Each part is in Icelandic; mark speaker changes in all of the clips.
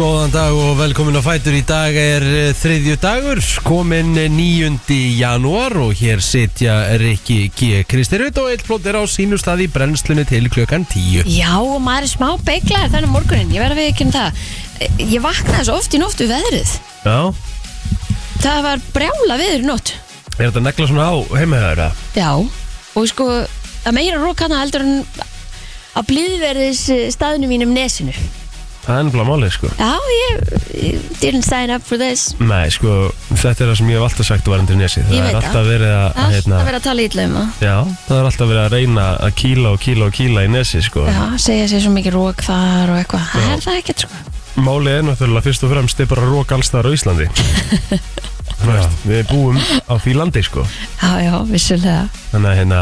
Speaker 1: Góðan dag og velkomin á Fætur Í dag er eh, þriðju dagur komin 9. janúar og hér sitja Rikki G. Kristirut og eitt blótt er á sínu stað í brennslunni til klukkan 10
Speaker 2: Já, og maður er smá beiglaður þannig morgunin, ég verða við ekki um það. Ég vaknaði svo oft í nóttu veðrið.
Speaker 1: Já,
Speaker 2: Það var brjála veður í nótt.
Speaker 1: er þetta negla svona á heimahöður að?
Speaker 2: Já, og sko, það meira rók hana heldur en á blíðverðis staðinu mínum nesinu.
Speaker 1: Það er ennfla málið sko
Speaker 2: Já, ég, ég didn't sign up for this.
Speaker 1: Nei, sko, þetta er það sem ég hef alltaf sagt varandi nesi
Speaker 2: Ég
Speaker 1: Það
Speaker 2: veit
Speaker 1: er
Speaker 2: það.
Speaker 1: alltaf verið að,
Speaker 2: Alltaf
Speaker 1: hérna,
Speaker 2: verið að tala ítla um það.
Speaker 1: Já, það er alltaf verið að reyna að kýla og kýla og kýla í nesi sko
Speaker 2: Já, segja sér svo mikið rók þar og eitthvað. Það er það ekkert, sko.
Speaker 1: Málið er náttúrulega fyrst og fremst er bara rók allstaðar á Íslandi Þú veist, Við búum á því landi sko
Speaker 2: Já, já, vissulega.
Speaker 1: Þannig að hérna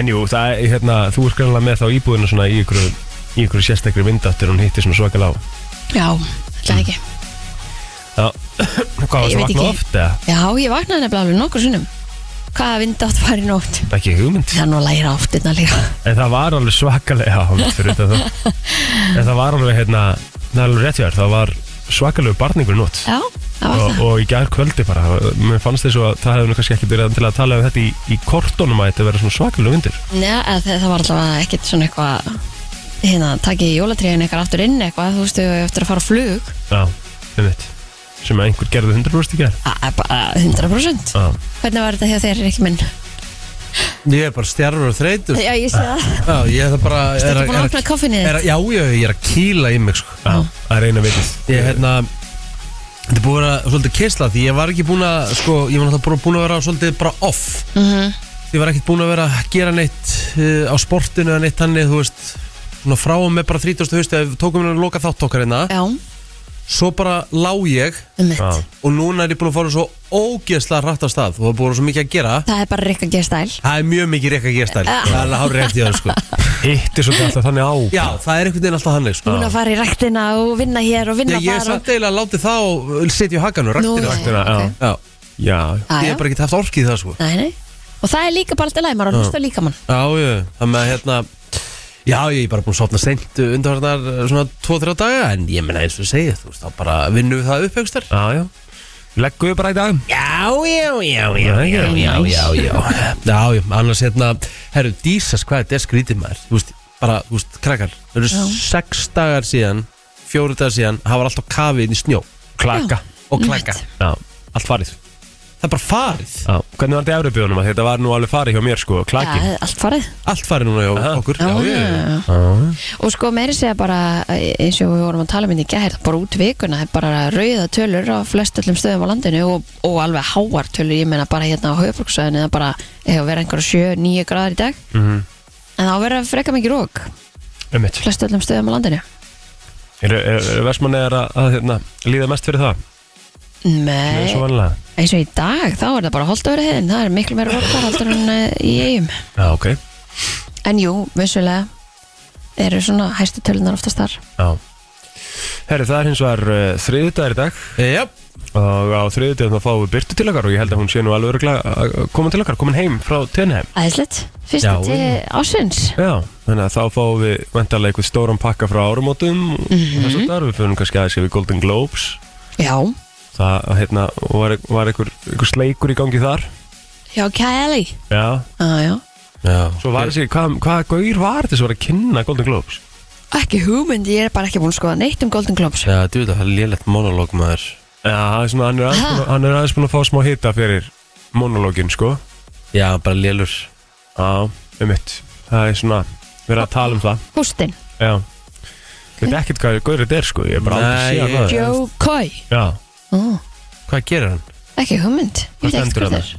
Speaker 1: Enjú, það er hérna, þú er skræðanlega með þá íbúðina svona í ykkur í ykkur sérstakri vindáttur hún hittir svona svakal á
Speaker 2: Já, alltaf ekki.
Speaker 1: Já, hvað var
Speaker 2: Ég
Speaker 1: það
Speaker 2: veit
Speaker 1: vakna
Speaker 2: ekki.
Speaker 1: oft eða?
Speaker 2: Já, ég vaknaði nefnilega alveg nokkur sinnum. Hvaða vindátt var í nótt?
Speaker 1: Ekki hugmynd
Speaker 2: Það er nú að læra áttirna líka.
Speaker 1: En það var alveg svakalega hálf fyrir þetta þá En það var alveg hérna, það er alveg rétt hjá þér, það var svakalegu barningur í nótt
Speaker 2: Já, það var
Speaker 1: og,
Speaker 2: það.
Speaker 1: og í gær kvöldi bara, mér fannst þess að það hefði nú kannski ekki byrjað til að tala um þetta í, í kortónum að þetta verið svona svakalega vindur
Speaker 2: Nei, að það það var allavega ekkert svona eitthvað hérna, takið jólatríðin eitthvað aftur inn eitthvað, þú veistu, eftir að fara á flug
Speaker 1: Já, einmitt, sem að einhver gerði 100% í gær
Speaker 2: A- a- bara 100%
Speaker 1: Já.
Speaker 2: Hvernig var þetta hjá þér, ekki minn?
Speaker 3: Ég er bara stjárfur og þreytur
Speaker 2: Já, ég sé það
Speaker 3: Já, ég er það bara
Speaker 2: Þetta
Speaker 3: er,
Speaker 2: er búin að opna koffinni
Speaker 3: er, Já, já, ég er að kýla í mig sko.
Speaker 1: Já, það er eina vitið
Speaker 3: Ég er hérna Þetta er búið að vera svolítið kisla Því ég var ekki búin að sko, Ég var náttúrulega búin að vera svolítið bara off
Speaker 2: Mhm.
Speaker 3: Ég var ekkert búin að vera að gera neitt uh, Á sportinu eða neitt þannig Þú veist Svona frá og með bara 30. hausti Ef við tókum hérna að loka þáttokkar hérna
Speaker 2: Já,
Speaker 3: Svo bara lá ég
Speaker 2: um
Speaker 1: Já,
Speaker 2: mitt
Speaker 3: Og núna er ég búin að fara svo ógeðslega hrætt af stað Og það er búin svo mikið að gera
Speaker 2: Það er bara rikka gestæl
Speaker 3: Það er mjög mikið reyka gestæl Það er alveg hár í það sko
Speaker 1: hittir svolítið alltaf þannig á
Speaker 3: Já, það er einhvern veginn alltaf hannig sko
Speaker 2: Búin að fara í ræktina og vinna hér og
Speaker 3: Já,
Speaker 2: vinna
Speaker 3: ég
Speaker 2: þar
Speaker 3: er
Speaker 2: og...
Speaker 3: samt eiginlega að láti það og uh, setja í hakanum,
Speaker 2: Nú,
Speaker 3: raktina
Speaker 1: Vaktina,
Speaker 2: ok.
Speaker 1: já.
Speaker 3: Já,
Speaker 1: Já,
Speaker 2: Já,
Speaker 3: ég
Speaker 2: já.
Speaker 3: hef bara ekki haft orkið í það sko
Speaker 2: Nei, nei Og það er líka bara alltaf læg, maður er að hlusta á líkamann
Speaker 3: Já, já, það með hérna Já, ég er bara búin að sofna seint undarverðnar svona 2-3 daga En ég menna eins og ég segi, þú veist, þá bara vinnum við það upp högstar
Speaker 1: já, já Leggum við bara í dag
Speaker 3: Já, já, já, já,
Speaker 1: Nei,
Speaker 3: já,
Speaker 1: já.
Speaker 3: já, já, já Já, já, annars hérna, herru, dísas hvað þetta er skrítið maður Þú veist, bara, þú veist, krakkar Það eru 6 dagar síðan, 4 dagar síðan Það var alltaf kafið inn í snjó
Speaker 1: Klaka
Speaker 3: og klaka
Speaker 1: Já, allt farið
Speaker 3: Það er bara farið
Speaker 1: já. Hvernig var þetta í Európiðunum? Þetta var nú alveg farið hjá mér sko, klaki
Speaker 2: Já, allt farið
Speaker 3: Allt farið núna hjá okkur
Speaker 2: Já, já, já.
Speaker 1: Já,
Speaker 2: Og sko meiri segja bara e- eins og við vorum að tala um þetta í gær bara út vikuna, það er bara rauða tölur á flest öllum stöðum á landinu og, og alveg háar tölur, ég meina bara hérna á höfbruksöðinu það bara eh, hefur verið einhverja 7-9 gráður í dag
Speaker 1: Mhm.
Speaker 2: en þá verður freka mikið rók
Speaker 3: Um
Speaker 1: ummitt
Speaker 2: flest öllum stöðum á landinu
Speaker 1: Er, er, er versmannegar að, að hérna, líða mest fyrir það? Nei,
Speaker 2: Nei,
Speaker 1: svo vanlega
Speaker 2: eins og í dag þá er það bara holdt öfri heiðin, það er miklu meira rók þar heldur en eh, í eigum
Speaker 1: Já, ok
Speaker 2: En jú, vissulega eru svona hæstu tölunar oftast þar
Speaker 1: Já Herri, það er hins vegar uh, þriðudagur í dag
Speaker 3: Já,
Speaker 1: og á þriðudagur þá fáum við Byrtu til okkar og ég held að hún sé nú alveg örugglega að koma til okkar, komin heim frá Tönheim
Speaker 2: Æðislegt, fyrsta
Speaker 3: Já,
Speaker 2: til ásins
Speaker 1: Já, þannig að þá fáum við vantarlega eitthvað stóran pakka frá árumótum og þess að þar við fyrir kannski aðeins yfir Golden Globes
Speaker 2: Já,
Speaker 1: það hérna, var, var einhver, einhver sleikur í gangi þar
Speaker 2: já, Kæli
Speaker 1: Já,
Speaker 2: Já, já
Speaker 3: já
Speaker 1: svo var þessi, hvað, hvað gaur var þetta sem var að kynna Golden Globes?
Speaker 2: Ekki hugmynd, ég er bara ekki búin að skoða neitt um Golden Globes
Speaker 3: Já, þú veit að það er lélegt monolog maður
Speaker 1: Já, það er svona, hann er aðeins búinn að- hann er aðeins búin að fá smá hita fyrir monologin, sko
Speaker 3: Já, bara lélur
Speaker 1: Já, um það er svona, við erum að tala um það
Speaker 2: Hústin,
Speaker 1: Já, ég veit ekkert hvað gaur þetta er, sko, ég er bara
Speaker 3: Nei,
Speaker 1: aldrei
Speaker 3: ég-
Speaker 1: síðan það
Speaker 2: Joe Coy
Speaker 1: Já,
Speaker 2: Ó,
Speaker 3: Hvað gerir hann?
Speaker 2: Ekki hugmynd, ég veit ekki
Speaker 1: stendur
Speaker 2: hvað það er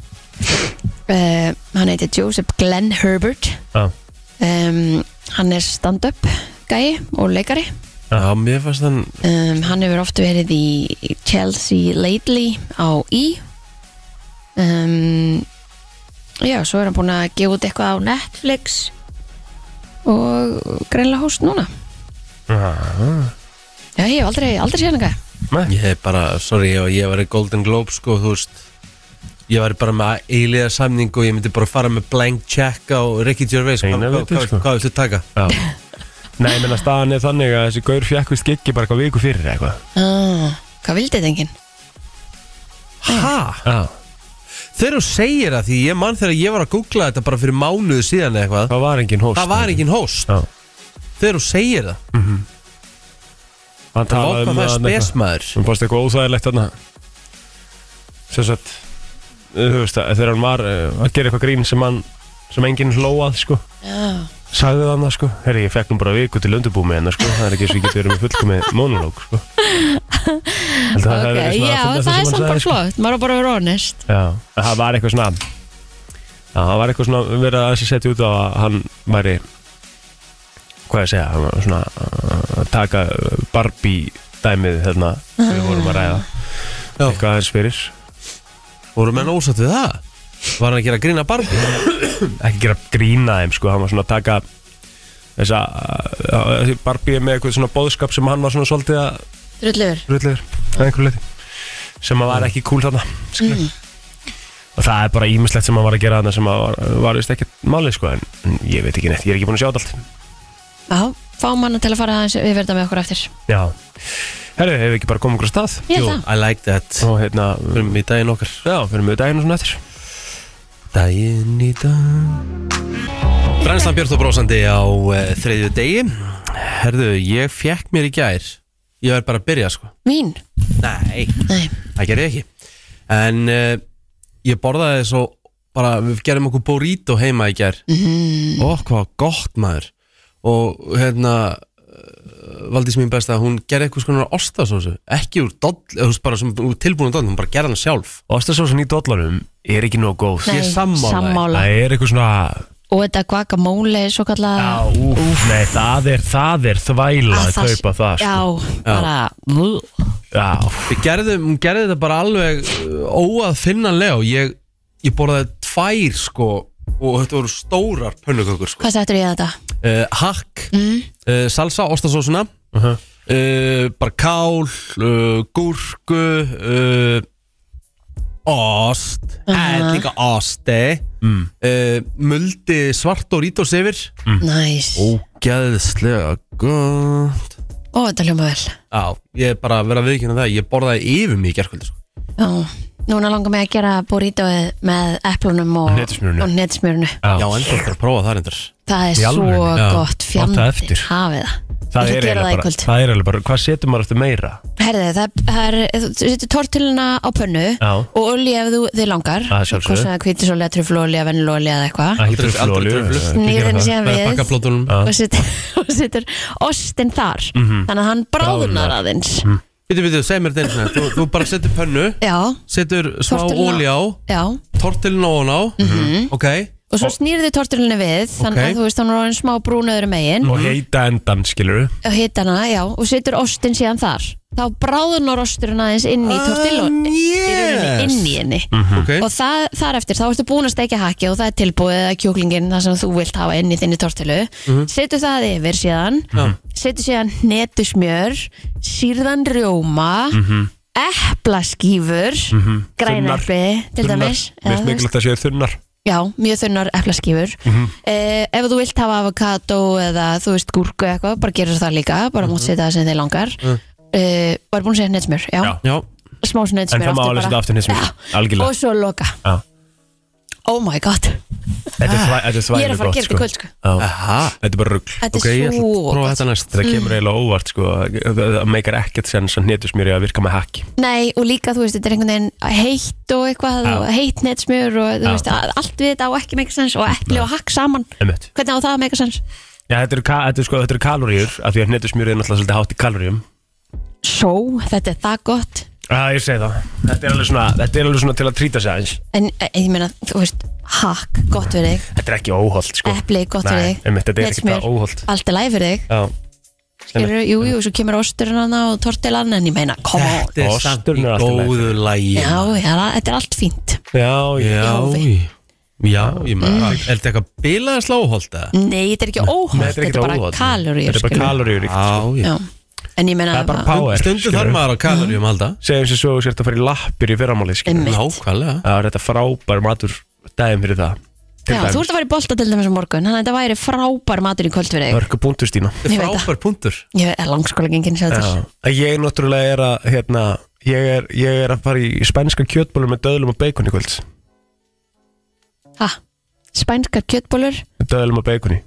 Speaker 2: uh, Hann heitir Joseph Glenn Herbert
Speaker 1: já,
Speaker 2: um, Hann er stand-up gæi og leikari
Speaker 3: Já, mér fannst hann
Speaker 2: um, Hann hefur oft verið í Chelsea Lately á E um, Já, svo er hann búin að gefa út eitthvað á Netflix og greinlega hóst núna
Speaker 1: Ah.
Speaker 2: Já, ég hef aldrei, aldrei séð hann eitthvað
Speaker 1: nei,
Speaker 3: Ég hef bara, sorry, ég, ég var í Golden Globe sko, þú veist Ég var bara með eiliga samning og ég myndi bara fara með blank check á Ricky Gervais
Speaker 1: Eina
Speaker 3: Hvað-
Speaker 1: vitið,
Speaker 3: hvað-
Speaker 1: sko.
Speaker 3: Hvað hvað viltu taka?
Speaker 1: já Nei, ég menna staðan er þannig að þessi gaur fjekk við skikki bara eitthvað viku fyrir eitthvað
Speaker 2: ah, Hvað vildi þetta enginn?
Speaker 3: Hæ?
Speaker 1: Já,
Speaker 3: Þegar þú segir það því ég mann þegar ég var að googla þetta bara fyrir mánuðu síðan eða eitthvað
Speaker 1: það var engin hóst
Speaker 3: Það var engin host
Speaker 1: Já,
Speaker 3: Þegar þú segir það
Speaker 1: hann
Speaker 3: Það
Speaker 1: talaði
Speaker 3: vákvað
Speaker 1: um
Speaker 3: það er
Speaker 1: að
Speaker 3: spesmaður
Speaker 1: Mér fannst eitthvað óþægilegt þarna Sem sagt Þú veist að þegar hann var eh, að gera eitthvað grín sem hann sem enginn hlóað sko
Speaker 2: Já,
Speaker 1: sagði það annað sko Herri, ég fekk nú bara viku til undirbúmi hennar sko það er ekki eins og ég geti verið með fullkomi monológ sko Held að hafi
Speaker 2: ok,
Speaker 1: verið svona
Speaker 2: já,
Speaker 1: að finna
Speaker 2: það
Speaker 1: sem
Speaker 2: er
Speaker 1: hann
Speaker 2: samt
Speaker 1: sagði,
Speaker 2: bara
Speaker 1: sko.
Speaker 2: flott Maður á bara að vera honest
Speaker 1: Já, en það var eitthvað svona Já, það var eitthvað svona verið að þessi setja út á að hann væri hvað ég segja, hann var svona uh, að taka uh, Barbie dæmið þarna sem við vorum að ræða
Speaker 3: Já.
Speaker 1: eitthvað aðeins fyrir
Speaker 3: Voru menn ósatt við það? Var hann að gera grína barbi?
Speaker 1: ekki gera grína þeim sko, hann var svona að taka þessa uh, þessi Barbie er með eitthvað svona bóðskap sem hann var svona svolítið að
Speaker 2: Drullur
Speaker 1: rullir að einhver leiti sem að var ekki kúl þarna mm. og það er bara ímislegt sem að var að gera þarna sem að var, var vist ekki málið sko en, en ég veit ekki neitt, ég er ekki búin að sjá þetta allt
Speaker 2: Já, fáum hana til að fara aðeins Við verðum með okkur eftir
Speaker 1: já, herru, hefur við ekki bara komið okkur á stað
Speaker 2: Ég held
Speaker 3: Jú,
Speaker 2: það
Speaker 3: I like that
Speaker 1: og hérna,
Speaker 3: Fyrir mig í daginn okkar
Speaker 1: já, fyrir mig daginn og svona eftir
Speaker 3: Daginn í dag Brænslan Björn og Brósandi á uh, þriðju degi Herðu, ég fekk mér í gær Ég verð bara að byrja sko
Speaker 2: Mín,
Speaker 3: Nei,
Speaker 2: nei,
Speaker 3: það gerði ég ekki En uh, ég borðaði svo bara, við gerum okkur burrito heima í gær mm. Og hvað gott maður Og hérna eh, Valdís mín besta, hún gerði eitthvað skonar ostasósu, ekki úr doll, eða þú veist bara sem úr tilbúinu doll, hún bara gerði hana sjálf
Speaker 1: Ostasósan í dollanum er ekki nóg góð
Speaker 2: nei
Speaker 3: er sammála.
Speaker 2: sammála.
Speaker 1: það er eitthvað svona
Speaker 2: Og þetta guacamole, svo kallað
Speaker 1: já, úf, nei, það er, það er þvæla að kaupa það sko.
Speaker 2: Já, bara uh. Vú.
Speaker 1: já,
Speaker 3: Við gerðum, hún gerði þetta bara alveg uh, óaðfinnanlega og ég, ég borðaði tvær sko og þetta voru stórar pönnukökur sko.
Speaker 2: Hvað sættur ég að þetta?
Speaker 3: Uh, hakk, uh, salsa, ostasósuna,
Speaker 1: Mhm.
Speaker 3: uh, bara kál, uh, gúrku, uh, ost, uh -huh. líka osti, mm. uh, muldi svart og rít og sefir.
Speaker 1: Mm.
Speaker 2: Næs
Speaker 3: Ógæðslega gott.
Speaker 2: Ó, þetta hljóma vel
Speaker 3: Já, ég er bara að vera að viðkynna það, ég borðaði yfir mig í gerkvöldi sko.
Speaker 2: Já, núna langar mig að gera burrítóið með eplunum og
Speaker 1: Hnetusmjörinu.
Speaker 2: og hnetusmjörinu.
Speaker 3: Já, ennþá þarf að prófa það reyndar
Speaker 2: Það
Speaker 1: Í
Speaker 2: er svo
Speaker 1: alvörunni?
Speaker 3: Já.
Speaker 2: gott fjandi
Speaker 1: Gott að eftir.
Speaker 2: hafið það.
Speaker 1: það
Speaker 2: Ég ætla
Speaker 1: er
Speaker 2: að gera
Speaker 1: eiginlega
Speaker 2: það í
Speaker 1: bara,
Speaker 2: kvöld.
Speaker 1: það er eiginlega bara hvað setur maður eftir meira
Speaker 2: Herði, það, það er, þú setur tortiluna á pönnu
Speaker 1: Já.
Speaker 2: og olja ef þú þið langar.
Speaker 1: Að sjálfsögðu.
Speaker 2: Hvort sem það hvítir svolítið, truflolja, venilolja eða eitthvað.
Speaker 1: ekki
Speaker 3: Aldrei- aldrei
Speaker 1: truflólu
Speaker 3: truflu.
Speaker 2: Snýður henni síðan
Speaker 3: Það er
Speaker 2: við
Speaker 3: bakkaplótunum
Speaker 2: og setur, og setur ostin þar.
Speaker 1: Mhm.
Speaker 2: Þannig að hann bráðunar aðeins.
Speaker 3: Býtu, býtu, seg mér þetta einu svona þú, þú bara setur pönnu,
Speaker 2: Já,
Speaker 3: setur smá
Speaker 2: Tortilluna.
Speaker 3: ólja á
Speaker 2: já.
Speaker 3: Tortilin á hann á
Speaker 2: Mhm.
Speaker 3: Ok
Speaker 2: Og svo snýrðu þið tortilunni við, þannig
Speaker 3: Ok.
Speaker 2: að þú veist, hann er orðin smá brúnöður megin.
Speaker 1: og heita endan skilur
Speaker 2: og hitana, já, og setur ostin síðan þar þá bráðunar osturinn aðeins inn í tortillo
Speaker 3: Um,
Speaker 2: í rauninni,
Speaker 3: yes. Mhm.
Speaker 2: inn í henni
Speaker 3: Ok
Speaker 2: og það, þar eftir, þá ertu búin að steikja haki og það er tilbúið að kjúklingin það sem þú vilt hafa inn í þinni tortillu setur það yfir síðan
Speaker 3: Mhm. Já.
Speaker 2: setur síðan netusmjör sírðan rjóma
Speaker 3: Mhm.
Speaker 2: eplaskífur mm -hmm.
Speaker 1: Þunnar.
Speaker 2: grænarpi til dæmis
Speaker 1: mest
Speaker 2: Já, þú veist.
Speaker 1: mikilvægt að séu þunnar
Speaker 2: Já, mjög þunnar eplaskífur mm ef þú vilt hafa avokado eða þú veist gúrku eða eitthvað bara gerur það líka, bara mm -hmm. mátt setja það sem þið langar mm. var búin að segja nedsmjör já,
Speaker 1: Já.
Speaker 3: Já,
Speaker 2: smá svona
Speaker 1: en
Speaker 2: nedsmjör
Speaker 1: það má alveg setja aftur hins
Speaker 2: Já.
Speaker 1: algjörlega
Speaker 2: og svo loka,
Speaker 1: Já.
Speaker 2: oh my god
Speaker 1: þetta er þvæ- þetta er
Speaker 2: ég er
Speaker 1: þvælu
Speaker 2: að fara að gera þetta í kvöld sko
Speaker 1: þetta
Speaker 3: aha
Speaker 1: er bara rugg
Speaker 2: þetta
Speaker 3: Ok,
Speaker 2: er
Speaker 3: ég ætla að
Speaker 2: svo
Speaker 3: prófa
Speaker 2: gott
Speaker 3: þetta næst
Speaker 2: Mm.
Speaker 1: þetta kemur eiginlega óvart sko það meikar ekkert sens að netusmjöri að virka með hakki
Speaker 2: nei, og líka þú veist, þetta er einhvern veginn heitt og eitthvað,
Speaker 1: Já.
Speaker 2: og heitt nedsmjör og þú
Speaker 1: Já.
Speaker 2: veist, að- allt við þetta á ekki meika sens og epli og hakk saman
Speaker 1: Einmitt.
Speaker 2: hvernig á það að meika sens?
Speaker 1: Já, þetta eru ka- þetta eru sko, þetta eru kaloríur af því að netusmjöri er náttúrulega svolítið hátt í kaloríum
Speaker 2: svo, þetta er það gott
Speaker 1: Já, ég segi það Þetta er alveg svona, þetta er alveg svona til að trýta sig aðeins
Speaker 2: en en ég meina, þú veist, hakk, gott fyrir þig
Speaker 1: Þetta er ekki óholt sko
Speaker 2: epli, gott
Speaker 1: Nei,
Speaker 2: fyrir þig
Speaker 1: einmitt, þetta er ekkert
Speaker 2: hnetusmjör,
Speaker 1: það óhollt.
Speaker 2: allt er læg fyrir þig
Speaker 1: Já,
Speaker 2: Skilur, jú, jú, svo kemur osturinn hana og tortilann en ég meina, come on
Speaker 3: Þetta er samt í
Speaker 1: Osturinn er alltaf leið.
Speaker 3: góðu lægi
Speaker 2: já, já, þetta er allt fínt
Speaker 1: já, já.
Speaker 3: Já,
Speaker 2: Jófi.
Speaker 3: já, ég maður
Speaker 2: Mm.
Speaker 3: Er þetta eitthvað bilaði sláholta?
Speaker 2: nei, þetta er ekki óholt, þetta er bara
Speaker 1: óhollt.
Speaker 2: kaloríur
Speaker 1: Þetta er bara
Speaker 2: skilur.
Speaker 1: kaloríur
Speaker 3: Já, já
Speaker 2: Já. en ég meina
Speaker 1: Það er bara power
Speaker 3: Stundu
Speaker 1: skilurðu.
Speaker 3: þarf maður á kaloríum alltaf
Speaker 1: segjum sér svo að þú sért að fara í lappir í fyrramálið skilur.
Speaker 2: Einmitt.
Speaker 3: Nákvæmlega
Speaker 1: það er þetta frábær matur daginn fyrir það Til
Speaker 2: Já,
Speaker 1: dæmis.
Speaker 2: þú ert að fara í bolta til dæmis á morgun Þannig að þetta væri frábær matur í kvöld fyrir þig
Speaker 1: Mörgu punktu Stína
Speaker 3: Þetta
Speaker 2: Ég
Speaker 3: er
Speaker 2: veit það.
Speaker 3: frábær punktur
Speaker 2: Ég eh, er langskóla gengin sér
Speaker 1: Já,
Speaker 2: þetta
Speaker 1: að ég náttúrulega er að hérna, ég, er, ég er að fara í spænska kjötbólur með döðlum og beikon í kvöld
Speaker 2: Ha, spænskar kjötbólur
Speaker 1: með döðlum og beikoni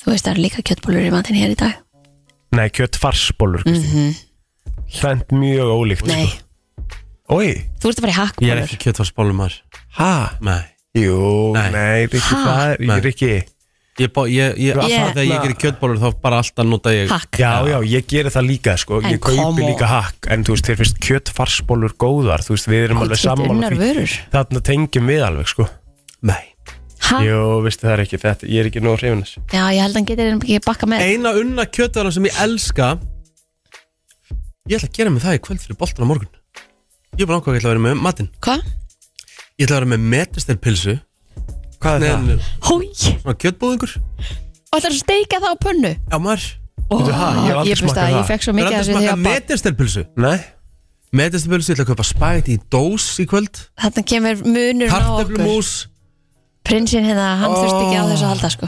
Speaker 2: Þú veist það eru líka kjötbólur í matinn hér í dag
Speaker 1: nei, kjötfarsbólur mm -hmm. hlænt mjög ólíkt
Speaker 2: Mhm.
Speaker 1: sko.
Speaker 2: Nei,
Speaker 1: oi,
Speaker 2: þú ert að fara í
Speaker 3: Ég er
Speaker 2: hakkbólur
Speaker 3: ekki kjötfarsbólum maður
Speaker 1: ha,
Speaker 3: Nei
Speaker 1: jú,
Speaker 3: Nei.
Speaker 1: nei, Rikki,
Speaker 2: Ha?
Speaker 1: það
Speaker 3: Nei.
Speaker 1: er Rikki
Speaker 3: Ég, bá, ég, ég
Speaker 1: Þú
Speaker 3: alltaf
Speaker 2: ætlar-
Speaker 3: þegar ég gerir kjötbólur þá bara alltaf nota ég
Speaker 2: Hakk
Speaker 1: Já, já, ég geri það líka sko,
Speaker 2: En
Speaker 1: ég
Speaker 2: come
Speaker 1: kaupi
Speaker 2: on.
Speaker 1: líka hakk en þú veist, þér finnst kjötfarsbólur góðar þú veist, við erum alveg sammála
Speaker 2: unnar vörur
Speaker 1: þarna tengjum við alveg sko
Speaker 3: Nei
Speaker 2: ha?
Speaker 1: Jú, veistu það er ekki, þetta, ég er ekki nóg hreifinis
Speaker 2: Já, ég held að hann getur einhvern veginn bakka með
Speaker 3: Eina unna kjötvaran sem ég elska Ég ætla að gera mig það í kvöld fyrir boltan á morgun Ég er bara ákvað að ég ætla að vera með matinn
Speaker 2: Hvað?
Speaker 3: Ég ætla að vera með metistelpilsu
Speaker 1: Hvað er það?
Speaker 3: Neðan
Speaker 2: Hói, og
Speaker 3: svona kjötbúðingur
Speaker 2: það er að steika það á pönnu
Speaker 3: Já maður
Speaker 2: Ó,
Speaker 1: ha, ég hef aldrei
Speaker 2: Ég finnst
Speaker 1: smakkað
Speaker 2: að
Speaker 1: það.
Speaker 2: ég fekk svo
Speaker 3: Ég er
Speaker 2: mikið af
Speaker 3: alltaf að
Speaker 2: þessu
Speaker 3: smaka
Speaker 2: þegar barn.
Speaker 3: metistelpilsu
Speaker 1: Nei?
Speaker 3: Metistelpilsu, ég ætla að kaupa spæti í dós í kvöld
Speaker 2: Þarna kemur munur á okkur
Speaker 3: Kartöflumús
Speaker 2: Prinsinn hérna, hann þurfti ekki á þessu að halda sko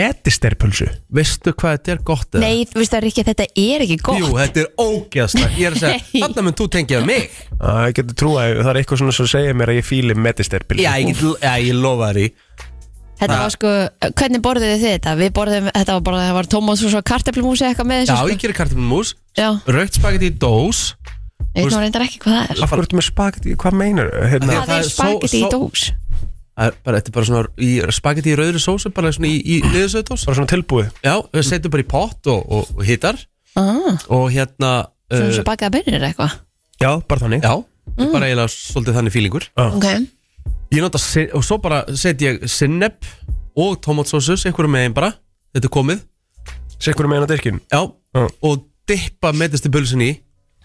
Speaker 1: Metisterpulsu?
Speaker 3: Veistu hvað þetta er gott? eða?
Speaker 2: Nei, þú veist það er ekki, þetta er ekki gott
Speaker 3: Jú, þetta er ógeðslega Ég er að
Speaker 2: Nei.
Speaker 3: segja, þarna mun þú tengja við mig
Speaker 1: Að, ég getur trúa, það er eitthvað svona sem segja mér að ég fíli metisterpil
Speaker 3: Já, ég, get- já, ég lofa þér í
Speaker 2: Þetta var sko, hvernig borðuðu þið þetta? Við borðum, þetta var bara, það var tómað svo svo karteflumúsi eitthvað með
Speaker 3: Já,
Speaker 2: þessu
Speaker 3: ég gerir kartöflumús
Speaker 2: sko Já,
Speaker 3: Raukt spagetti í dós
Speaker 2: ég veit nú reyndar ekki hvað það er
Speaker 1: Af hverju ertu með spagetti, hvað meinar hérna,
Speaker 3: Já,
Speaker 2: Hvað
Speaker 3: það
Speaker 2: er
Speaker 3: er só-
Speaker 2: spagetti í
Speaker 3: só-
Speaker 2: dós?
Speaker 3: Það er bara, þetta er bara svona í spagetti í rauðri sósu bara svona í, í niðursöðdós
Speaker 1: Bara svona tilbúið
Speaker 3: Já, við setjum bara í pott og, og, og hittar
Speaker 2: Ah,
Speaker 3: og hérna
Speaker 2: Svona
Speaker 3: uh,
Speaker 2: svo bakaða byrnir eitthvað
Speaker 1: Já, bara þannig
Speaker 3: Já, mm. bara eiginlega svolítið þannig fílingur
Speaker 2: Ok,
Speaker 3: Ég nota, si- og svo bara setjum ég sinnepp og tomatsósus, einhverju með einn bara Þetta er komið,
Speaker 1: Sekkur meina dirkin
Speaker 3: já,
Speaker 1: Já.
Speaker 3: og dippa meðlistu bulsin í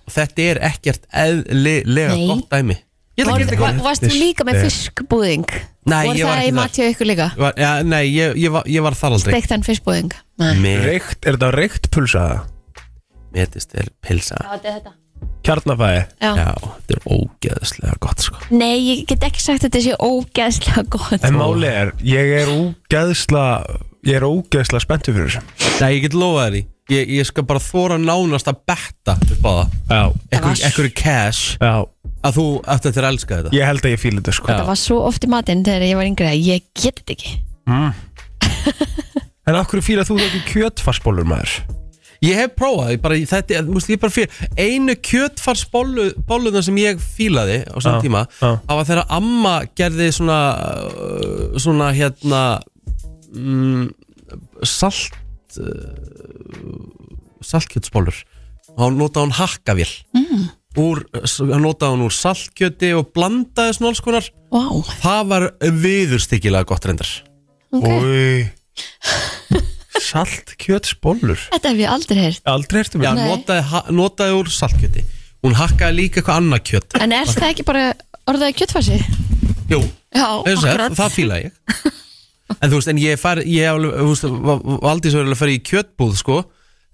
Speaker 3: og þetta er ekkert eðlilega
Speaker 2: Nei.
Speaker 3: gott dæmi Ég ætla að gera þetta í
Speaker 2: Var-
Speaker 3: kvöld.
Speaker 2: varst þú líka með
Speaker 1: Nei.
Speaker 2: fiskbúðing?
Speaker 3: Nei,
Speaker 2: Voru
Speaker 3: ég var
Speaker 2: það
Speaker 3: ekki
Speaker 2: í
Speaker 3: þar.
Speaker 2: matja ykkur líka?
Speaker 3: Ég var- Já, nei, ég, ég, var, ég var þar aldrei
Speaker 2: Steiktan fiskbúðing? Nei.
Speaker 3: Með-
Speaker 1: Reykt, er þetta reykt pulsa?
Speaker 3: Meðlist er pilsa
Speaker 2: Já, þetta er þetta.
Speaker 1: Kjarnafæði?
Speaker 2: Já.
Speaker 3: Já, þetta er ógeðslega gott sko
Speaker 2: Nei, ég get ekki sagt að þetta sé ógeðslega gott
Speaker 1: En máli er, ég er ógeðsla Ég er ógeðsla spenntu fyrir þessu
Speaker 3: Nei, ég get lofað þér í ég, ég skal bara þóra nánast að betta upp á það
Speaker 1: Já,
Speaker 3: Ekkur, ekkur cash
Speaker 1: já
Speaker 3: Að þú ætti eftir að elska þetta
Speaker 1: Ég held að ég fíli þetta sko
Speaker 2: Þetta var svo oft í matinn þegar ég var yngri að ég get þetta ekki
Speaker 1: En af hverju fíla þú þá ekki kjötfarsbólur maður?
Speaker 3: Ég hef prófað, ég bara, þetta, er- þú veist, ég bara fyrir Einu kjötfarsbólluðna sem ég fílaði á svona
Speaker 1: Já,
Speaker 3: tíma
Speaker 1: já.
Speaker 3: Það var þegar amma gerði svona uh, Svona hérna mm, Salt uh, Saltkjötsbólur Og hann notaði hún hakkavél mm. Úr, hann notaði hún úr saltkjöti Og blandaði svona alls konar
Speaker 2: Vá, wow.
Speaker 3: Það var viðurstyggilega gott reyndar
Speaker 2: ok
Speaker 1: Úi Salt kjötsbólur
Speaker 2: Þetta hef ég aldrei heyrt
Speaker 1: Aldrei ertu
Speaker 3: Já,
Speaker 1: mér
Speaker 2: Nei.
Speaker 3: notaði, ha- notaði úr saltkjöti Hún hakkaði líka eitthvað annað kjöt
Speaker 2: En er það ekki bara orðaði kjötfarsi?
Speaker 3: Jú,
Speaker 2: Já,
Speaker 3: eins og það, það fíla ég En þú veist, en ég fær Ég hef alveg, þú veist, va- va- valdi svo vel að fara í kjötbúð sko,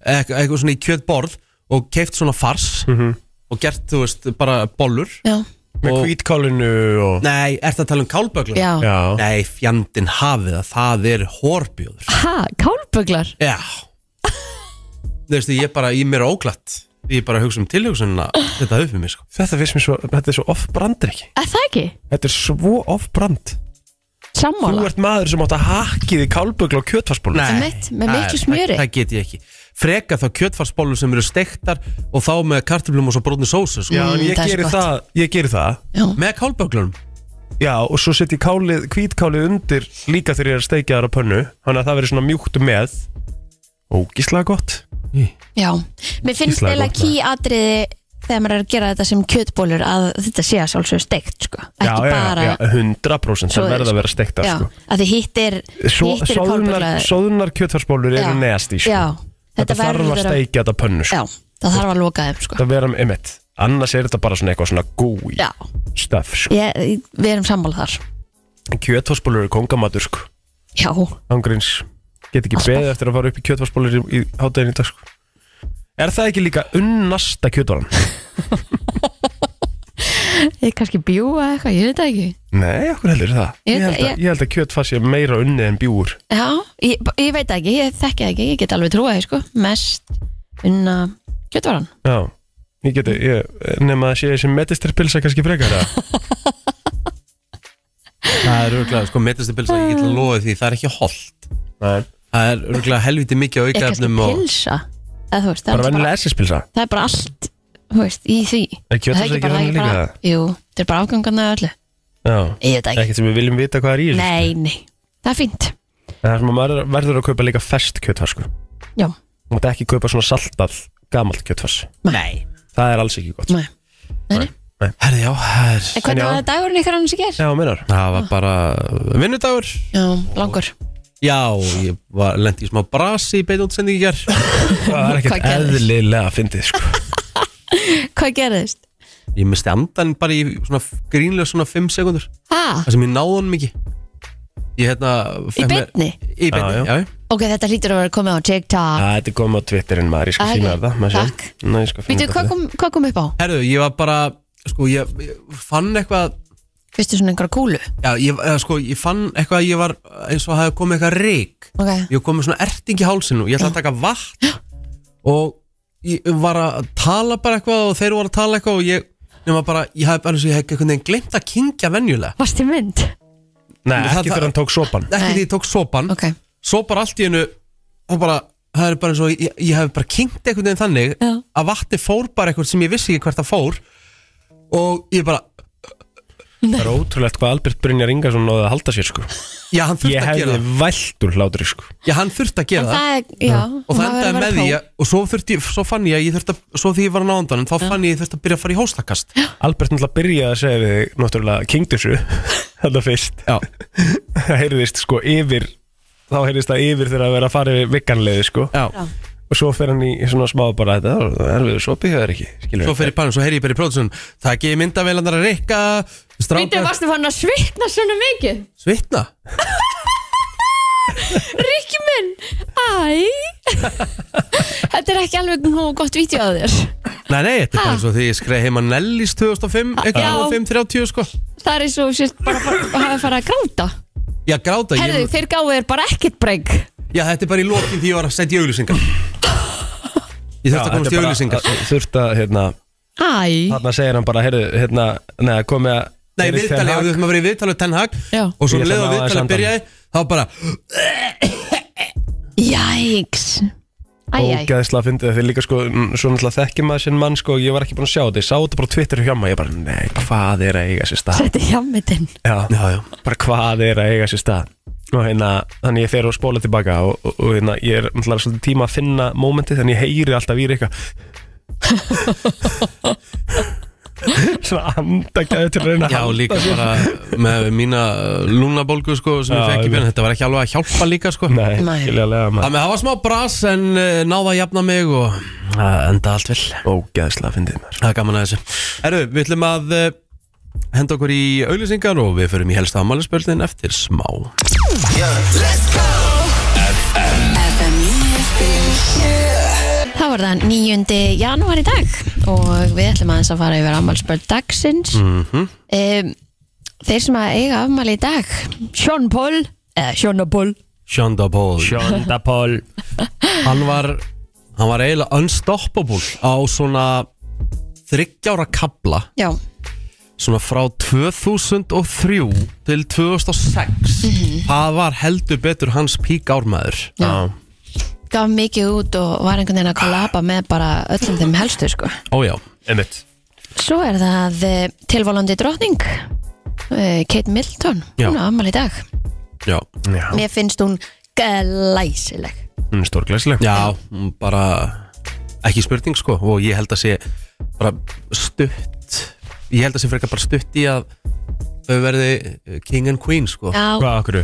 Speaker 3: eit- eitthvað svona í kjötborð og keift svona fars og gert, þú veist, bara bollur
Speaker 2: Já,
Speaker 1: Með
Speaker 3: Og-
Speaker 1: hvítkálinu og
Speaker 3: Nei, ertu að tala um kálböglur?
Speaker 2: já
Speaker 1: Já
Speaker 3: Nei, fjandin hafið að það er hórbjóður
Speaker 2: Ha, kálböglar?
Speaker 3: Já Þú veist, ég bara, ég mér er óglatt Ég bara hugsa um tilhugsunina Þetta upp við mér, sko
Speaker 1: Þetta finnst mér svo, þetta er svo off-brand ekki
Speaker 2: Er það ekki?
Speaker 1: Þetta er svo off-brand Þú
Speaker 2: Sammála
Speaker 1: ert maður sem átt að hakkið í kálbögl og kjötfarsbólur
Speaker 3: Nei,
Speaker 2: Einmitt, með
Speaker 3: það-
Speaker 2: miklu smjöri.
Speaker 3: Það, það get ég ekki Freka þá kjötfarsbólur sem eru steiktar Og þá með kartöflum og svo brotni sósu sko.
Speaker 1: Já, en
Speaker 2: Mm,
Speaker 1: ég
Speaker 2: það er svo
Speaker 1: geri
Speaker 2: gott.
Speaker 1: það, ég geri það
Speaker 2: Já,
Speaker 3: Með kálböglunum
Speaker 1: Já, og svo setjum kálið, hvítkálið undir líka þegar ég er að steikja þar á pönnu Þannig að það verður svona mjúkt með Ógíslega gott
Speaker 2: já Mér finnst
Speaker 1: Íslega
Speaker 2: eiginlega
Speaker 1: gott,
Speaker 2: ký atriði þegar maður er að gera þetta sem kjötbólur að þetta sé að sjálfsögur steikt sko.
Speaker 1: Já,
Speaker 2: ekki
Speaker 1: já,
Speaker 2: bara
Speaker 1: já, 100%
Speaker 2: Svo-
Speaker 1: það verður að vera steiktar
Speaker 2: já,
Speaker 1: sko.
Speaker 2: að því hitt er
Speaker 1: Svo,
Speaker 2: hitt er
Speaker 1: sóðunar,
Speaker 2: kálböglar
Speaker 1: sóðunar kjötfarsbólur
Speaker 2: Já.
Speaker 1: eru neðast í sko.
Speaker 2: Já,
Speaker 1: Þetta,
Speaker 2: þetta
Speaker 1: þarf að
Speaker 2: verður að-
Speaker 1: steikja þetta pönnu sko.
Speaker 2: Já, það þarf að loka þeim sko.
Speaker 1: Þetta vera um mitt Annars er þetta bara svona eitthvað svona gói
Speaker 2: Já,
Speaker 1: Stöf sko.
Speaker 2: ég, við erum sammála þar
Speaker 1: Kjötfarsbólur eru kongamatur sko.
Speaker 2: Já,
Speaker 1: Ángríns Get ekki
Speaker 2: Alltaf.
Speaker 1: beðið eftir að fara upp í kjötfarsbólur í, í hátæðin í dag sko. Er það ekki líka unnasta kjötvaran?
Speaker 2: ég kannski bjúa eitthvað, ég veit það ekki
Speaker 1: Nei, okkur heldur er það
Speaker 2: Ég-
Speaker 1: Ég held að,
Speaker 2: ég-
Speaker 1: ég held að kjötfars sé meira unnið en bjúur
Speaker 2: Já, ég, ég veit það ekki, ég þekki það ekki, ég get alveg trúa því sko, mest unna kjötvaran.
Speaker 1: Já Ég geti, ég, nema að sé þessi medisterpilsa kannski frekar að
Speaker 3: Það er örgulega, sko, metastabilsa, ég get að lofa því, það er ekki holdt.
Speaker 1: Nei,
Speaker 3: Það er örgulega helviti mikið á
Speaker 2: Ég kannski
Speaker 3: aukaefnum og...
Speaker 2: pilsa, eða þú veist,
Speaker 1: bara
Speaker 2: það er, bara,
Speaker 1: vennilega SS-pilsa
Speaker 2: það er bara allt, þú veist, í því.
Speaker 1: Er kjötvarsa ekki þannig líka
Speaker 2: bara, jú, það er bara afgangarna öllu.
Speaker 1: Já,
Speaker 2: Ég veit það ekki.
Speaker 1: ekkert sem við viljum vita hvað er í þessu
Speaker 2: Nei, nei, það er fínt.
Speaker 1: En Það er sem að maður verður að kaupa líka fest kjötfars sko Þú
Speaker 2: Já,
Speaker 1: mátt ekki kaupa svona saltað gamalt kjötfars
Speaker 3: Nei.
Speaker 1: Það er alls ekki gott
Speaker 2: nei.
Speaker 3: Herði, já, það er...
Speaker 2: En hvernig
Speaker 1: já.
Speaker 2: var það dagurinn ykkar annars í ger?
Speaker 1: Já, minnar
Speaker 3: Það var bara vinnudagur.
Speaker 2: Já, langur.
Speaker 3: Já, ég var, lendi í smá brasi í beinútsendingi hér.
Speaker 1: Það er
Speaker 2: Hvað
Speaker 1: ekkert
Speaker 2: gerðist?
Speaker 1: eðlilega fyndið sko
Speaker 2: Hvað gerðist?
Speaker 3: Ég misti andan bara í svona grínlega svona 5 sekundur.
Speaker 2: Ha?
Speaker 3: Það sem ég náði honum ekki. Ég hérna...
Speaker 2: Í
Speaker 3: fékk mér-
Speaker 2: beinni?
Speaker 3: Í beinni,
Speaker 1: Já, já.
Speaker 3: já. já.
Speaker 2: Ok, þetta hlýtur að vera komið á TikTok.
Speaker 1: Það er komið á Twitterinn maður, ég skal
Speaker 2: Ah,
Speaker 1: sína
Speaker 2: ok.
Speaker 1: þér það maður sé.
Speaker 2: Takk.
Speaker 1: Nei, ég skal finna
Speaker 2: Veitu,
Speaker 1: þetta
Speaker 2: hvað
Speaker 1: fyrir
Speaker 2: kom, hvað kom upp á?
Speaker 3: Herðu, ég var bara, sko, ég, ég fann eitthvað...
Speaker 2: Fyrstu svona einhverja kúlu?
Speaker 3: Já, ég, eða, sko, ég fann eitthvað að ég var eins og hafði komið eitthvað reik
Speaker 2: Ok.
Speaker 3: Ég kom með svona erting í hálsinu Ég ætlaði að taka vatn Og ég var að tala bara eitthvað Og þeir voru að tala eitthvað Og ég, nema bara, ég hafði bara eins og ég hef einhvern veginn glemt að kynkja venjulega
Speaker 2: Varst þið mynd?
Speaker 1: þér. Nei,
Speaker 3: Það-
Speaker 1: ekki þegar hann tók sopan
Speaker 3: Ekki
Speaker 2: Nei.
Speaker 3: því ég tók sopan
Speaker 2: Ok.
Speaker 3: Sopar allt í hennu Og bara, það er bara eins og Ég, ég hef bara kynkt einhvern veginn þannig
Speaker 2: Já.
Speaker 3: Að vatni fór bara eitthvað sem ég vissi ekki hvert það fór Og ég bara,
Speaker 1: Það er ótrúlegt hvað Albert Brynjar Ingarsson náði að halda sér sko
Speaker 3: já, hann þurfti
Speaker 1: Ég
Speaker 3: að gera
Speaker 1: hefði
Speaker 3: það
Speaker 1: vælt úr hlátri sko
Speaker 3: Já, hann þurfti að
Speaker 2: En
Speaker 3: gera það
Speaker 2: það er, já.
Speaker 3: og það
Speaker 2: maður verður
Speaker 3: endaði
Speaker 2: að
Speaker 3: með
Speaker 2: vera
Speaker 3: því
Speaker 2: pró.
Speaker 3: að- og svo, þurfti, svo fann ég að ég þurfti að, svo því ég var á náðandanum þá fann ég að ég þurfti að byrja að fara í hóstakast
Speaker 1: Albert náttúrulega byrjaði að segja við þig Náttúrulega kingdursu Þetta fyrst
Speaker 3: já,
Speaker 1: Það heyrðist sko yfir Þá heyrðist það yfir þegar að vera að fara yfir vikanleiði sko
Speaker 3: já.
Speaker 1: Og svo fer hann í svona smá bara Þetta það er við sopi hjá þér ekki Skilur
Speaker 3: svo fyrir pannan, svo heyri ég bara í prófessun það ekki myndavélandar að rikka
Speaker 2: Veitu,
Speaker 3: strákar,
Speaker 2: varstu fann að svitna svona mikið?
Speaker 3: svitna
Speaker 2: Rikki minn, æ Þetta er ekki alveg nógu gott vídeo á þér
Speaker 3: nei, nei, þetta er bara eins og því ég skreið heima Nellis 2005,
Speaker 2: Já.
Speaker 3: eitthvað 5.30 sko
Speaker 2: Það er eins og sért bara að hafa farið að gráta
Speaker 3: já, gráta,
Speaker 2: Herðu,
Speaker 3: ég,
Speaker 2: þeir gáðu þér bara ekkert breyk
Speaker 3: já, þetta er bara í lokin því ég var að setja í auglýsingar ég þurfti að komast í auglýsingar
Speaker 1: Þurft að hérna
Speaker 2: Æ,
Speaker 1: Þarna segir hann bara Heyrðu hérna Nei komið að
Speaker 3: nei,
Speaker 1: Erik Ten
Speaker 3: viðtalið,
Speaker 1: Hag-
Speaker 3: við þurfum að vera í viðtalið Ten Hag
Speaker 2: Já.
Speaker 3: og svo
Speaker 1: Ég ætla að
Speaker 3: leið
Speaker 1: ná
Speaker 3: og
Speaker 1: aðeins
Speaker 3: viðtalið
Speaker 1: andanum.
Speaker 3: byrjaði þá bara,
Speaker 2: jæks Æ, æ,
Speaker 1: ógæðislega að fyndi það þegar líka sko mm, svo náttúrulega þekki maður sinn mann sko ég var ekki búin að sjá þetta, ég sá þetta bara á Twitter hjá maður ég bara, nei, hvað er að eiga sér stað
Speaker 2: þetta er hjammitinn
Speaker 1: já,
Speaker 3: já, já,
Speaker 1: bara hvað er að eiga sér stað og hérna, þannig ég fer og spóla tilbaka og, og, og hérna, ég er náttúrulega svolítið tíma að finna mómenti, þannig ég heyri alltaf í eitthvað svona andagæði til að reyna að
Speaker 3: Já,
Speaker 1: halda
Speaker 3: líka
Speaker 1: sér.
Speaker 3: bara með mína lungnabólgu sko sem
Speaker 1: Já,
Speaker 3: ég fekk í
Speaker 1: einmitt.
Speaker 3: byrjun, þetta var ekki alveg að hjálpa líka sko
Speaker 1: nei,
Speaker 2: Nei.
Speaker 1: skiljaðlega maður
Speaker 3: Það með hafa smá bras en uh, náða að jafna mig og uh, enda allt vel
Speaker 1: ógæðislega að fyndið maður
Speaker 3: Það er gaman að þessu Herru, við ætlum að uh, henda okkur í auglýsingar og við förum í helsta afmælisbörðin eftir smá
Speaker 4: FM 957
Speaker 2: Það var það 9. janúar í dag og við ætlum aðeins að fara yfir afmælspöld dagsins mm Þeir sem að eiga afmæli í dag Sean Paul eða Sean Paul
Speaker 3: Shonda Paul
Speaker 1: Shonda Paul
Speaker 3: Hann var, hann var eiginlega unstoppable á svona þryggjára kabla
Speaker 2: Já,
Speaker 3: svona frá 2003 til 2006 það var heldur betur hans pík ármaður
Speaker 2: Mhm. Já. gaf mikið út og var einhvern veginn að kollaba með bara öllum þeim helstu sko
Speaker 3: Ójá,
Speaker 1: einmitt
Speaker 2: Svo er það eh, tilvalandi drottning eh, Kate Middleton
Speaker 3: Já.
Speaker 2: hún á afmæli í dag
Speaker 3: já,
Speaker 1: já,
Speaker 2: Mér finnst hún glæsileg
Speaker 1: hún er stórglæsileg
Speaker 3: já, hún bara ekki spurning sko og ég held að sé bara stutt ég held að sé frekar bara stutt í að þau verði eh, king and queen sko
Speaker 2: Já,
Speaker 1: Hvað okkur?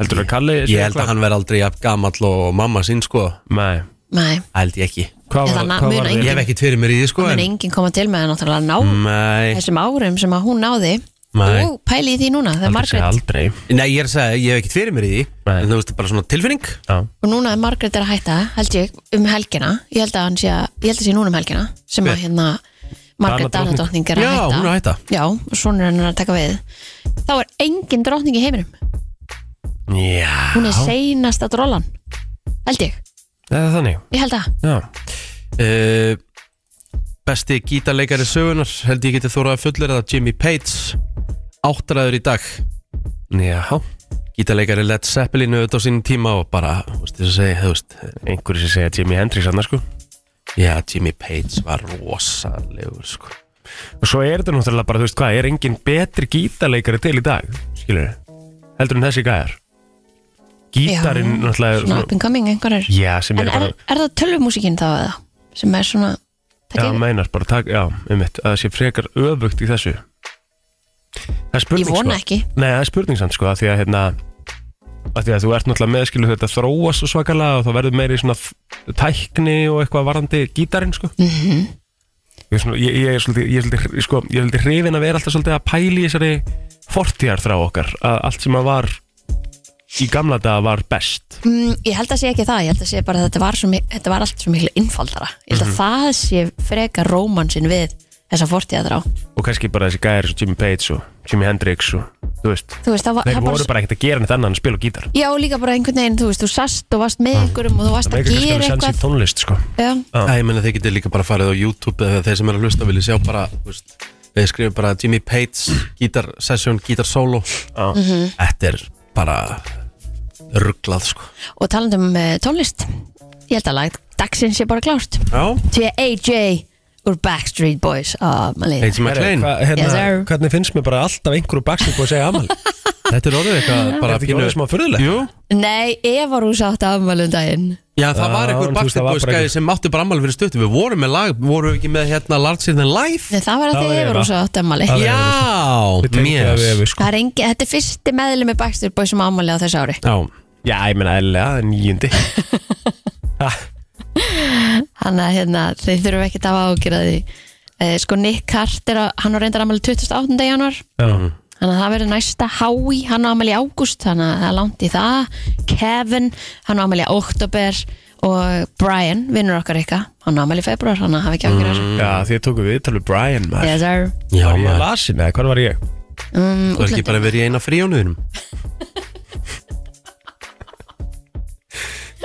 Speaker 1: Heldur þú að Kalli
Speaker 3: ég held að hann verði aldrei jafn gamall og mamma sín sko,
Speaker 1: Nei
Speaker 2: nei,
Speaker 3: Það held ég ekki
Speaker 1: Hvað
Speaker 2: Eða
Speaker 1: var,
Speaker 2: na-
Speaker 1: hvað
Speaker 2: muna
Speaker 1: var
Speaker 2: engin-
Speaker 3: ég hef ekkert fyrir mér í því sko
Speaker 2: hún er
Speaker 3: en,
Speaker 2: enginn koma til með það náttúrulega ná
Speaker 3: nei,
Speaker 2: þessum árum sem að hún náði
Speaker 3: Nei.
Speaker 2: og pæli í því núna, það er
Speaker 1: Aldrei segja
Speaker 2: Margrét
Speaker 1: aldrei
Speaker 3: nei, ég er að segja, ég hef ekkert fyrir mér í því
Speaker 1: Nei.
Speaker 3: en þú veist, bara svona tilfinning
Speaker 1: Já
Speaker 2: og núna er Margrét er að hætta, held ég, um helgina ég held að hann sé, að- ég held að sé núna um helgina sem að
Speaker 3: Hver?
Speaker 2: hérna Margrét
Speaker 1: Danadrottning.
Speaker 2: Danadrottning er að
Speaker 3: Já,
Speaker 2: hætta
Speaker 3: hún er að hætta.
Speaker 2: já, og svona er hann að taka við þá er engin drottning í heiminum
Speaker 3: Já,
Speaker 2: hún er seinasta drollan held ég,
Speaker 3: það er þannig
Speaker 2: ég held að
Speaker 3: Já uh, Besti gítarleikari sögunar held ég geti þórað að fullir eða Jimmy Pates áttræður í dag Já Gítarleikari Led Zeppelin auðvitað á sínum tíma og bara, þú veist þess að segja, þú veist
Speaker 1: Einhverju sem segja Jimi Hendrix annars sko
Speaker 3: Já, Jimmy Pates var rosalegur sko
Speaker 1: Og svo er þetta náttúrulega bara, þú veist hvað, er engin betri gítarleikari til í dag, skilur Heldur en þessi gæjar Gítarinn
Speaker 2: Já,
Speaker 1: náttúrulega er
Speaker 2: svona up and coming einhverjar
Speaker 1: Já, sem
Speaker 2: en
Speaker 1: er
Speaker 2: er,
Speaker 1: bara,
Speaker 2: er það tölvumúsikinn þá eða sem er svona
Speaker 1: já,
Speaker 2: takk,
Speaker 1: meinar bara, tak, já, um mitt Það sé frekar öfugt í þessu Það er
Speaker 2: ég,
Speaker 1: spurning
Speaker 2: ég vona
Speaker 1: sko
Speaker 2: ekki
Speaker 1: Nei, það er spurning samt sko, af því að hérna af því að þú ert náttúrulega meðskilu þetta þróast svo svakalega og þá verður meiri svona f- tækni og eitthvað varandi gítarinn sko mm
Speaker 2: Mhm.
Speaker 1: -hmm. ég, er svona, ég, ég er svolítið, ég er svolítið, sko, ég er svolítið hrifin að vera alltaf svolítið að pæli þessari fortíðar þrá okkar að allt sem að var í gamla daga var best
Speaker 2: Mm, ég held að sé ekki það, ég held að sé bara að þetta var, svo, mi- þetta var allt svo miklu innfaldara ég held að
Speaker 1: Mhm.
Speaker 2: það sé freka rómansin við þessa fortíðaðrá
Speaker 1: og kannski bara þessi gæri svo Jimmy Page og Jimi Hendrix og þú veist
Speaker 2: þú veist, það var,
Speaker 1: þeir
Speaker 2: það
Speaker 1: voru bara ekkert að gera neitt annað en að spila á gítar
Speaker 2: já, og líka bara einhvern veginn, þú veist, þú sast og varst með einhverjum og þú varst
Speaker 1: Ah. það
Speaker 2: að
Speaker 1: meikar kannski
Speaker 2: gera
Speaker 1: alveg sens í
Speaker 2: eitthvað
Speaker 1: tónlist sko
Speaker 2: já,
Speaker 3: Já, ég meina þeir getið líka bara farið á YouTube eða þeir sem er að hlusta vilja sjá bara, þú veist þeir skrifa bara Jimmy Pates gítar session, gítar solo
Speaker 1: Já.
Speaker 2: Mhm.
Speaker 3: Þetta er bara rugglað sko
Speaker 2: og talandum uh, tónlist ég held að lag dagsins sé bara klárt
Speaker 3: Já,
Speaker 2: til AJ úr Backstreet Boys ah, maður
Speaker 3: H.M. McLean
Speaker 1: Hva, hérna,
Speaker 2: Yes, sir.
Speaker 1: hvernig finnst mér bara alltaf einhverju bakstík og segja amal
Speaker 3: Þetta er orðið eitthvað bara
Speaker 1: þetta ekki orðið smá furðulegt?
Speaker 3: Jú
Speaker 2: nei, Eva Rúsa átti afmælum daginn
Speaker 3: Já, það
Speaker 1: Já,
Speaker 3: var
Speaker 1: þú veist,
Speaker 3: einhver
Speaker 1: það
Speaker 3: Backstreet
Speaker 1: var
Speaker 3: Boys
Speaker 1: bara
Speaker 3: gæði
Speaker 1: einhver-
Speaker 3: sem átti bara ammali fyrir stuttum Við vorum með lag, vorum við ekki með hérna Larger Than Life
Speaker 2: Nei, það var að
Speaker 1: Það
Speaker 2: því
Speaker 1: var
Speaker 2: Eva
Speaker 1: Eva.
Speaker 2: Rúsa átti afmæli
Speaker 1: Það var Eva
Speaker 3: Já, mér
Speaker 1: sko.
Speaker 2: það er engi, þetta er fyrsti meðlum með Backstreet Boys sem afmæli á þessu ári
Speaker 3: Já,
Speaker 1: Já, ég meina eðlilega, það er nýjundi
Speaker 2: Þannig að hérna, þeir þurfum ekki að hafa ágjörða því. Eh, sko Nick Carter, á- hann var reyndar ammæli 28. januar, þannig að það verður næsta Howie, hann á ammæli í ágúst, þannig að það er langt í það. Kevin, hann á ammæli í oktober og Brian, vinnur okkar ykkar, hann á ammæli í februar, þannig að hafa ekki ágjörða þessu.
Speaker 1: Já, því að tóku við talveg Brian maður
Speaker 2: Yes, sir.
Speaker 3: já
Speaker 1: Var Mm. ég
Speaker 3: maður
Speaker 1: lasin eða hvað var ég?
Speaker 2: Um,
Speaker 3: Þú er ekki
Speaker 2: útlöndum.
Speaker 3: bara verið í eina fríjónuðinum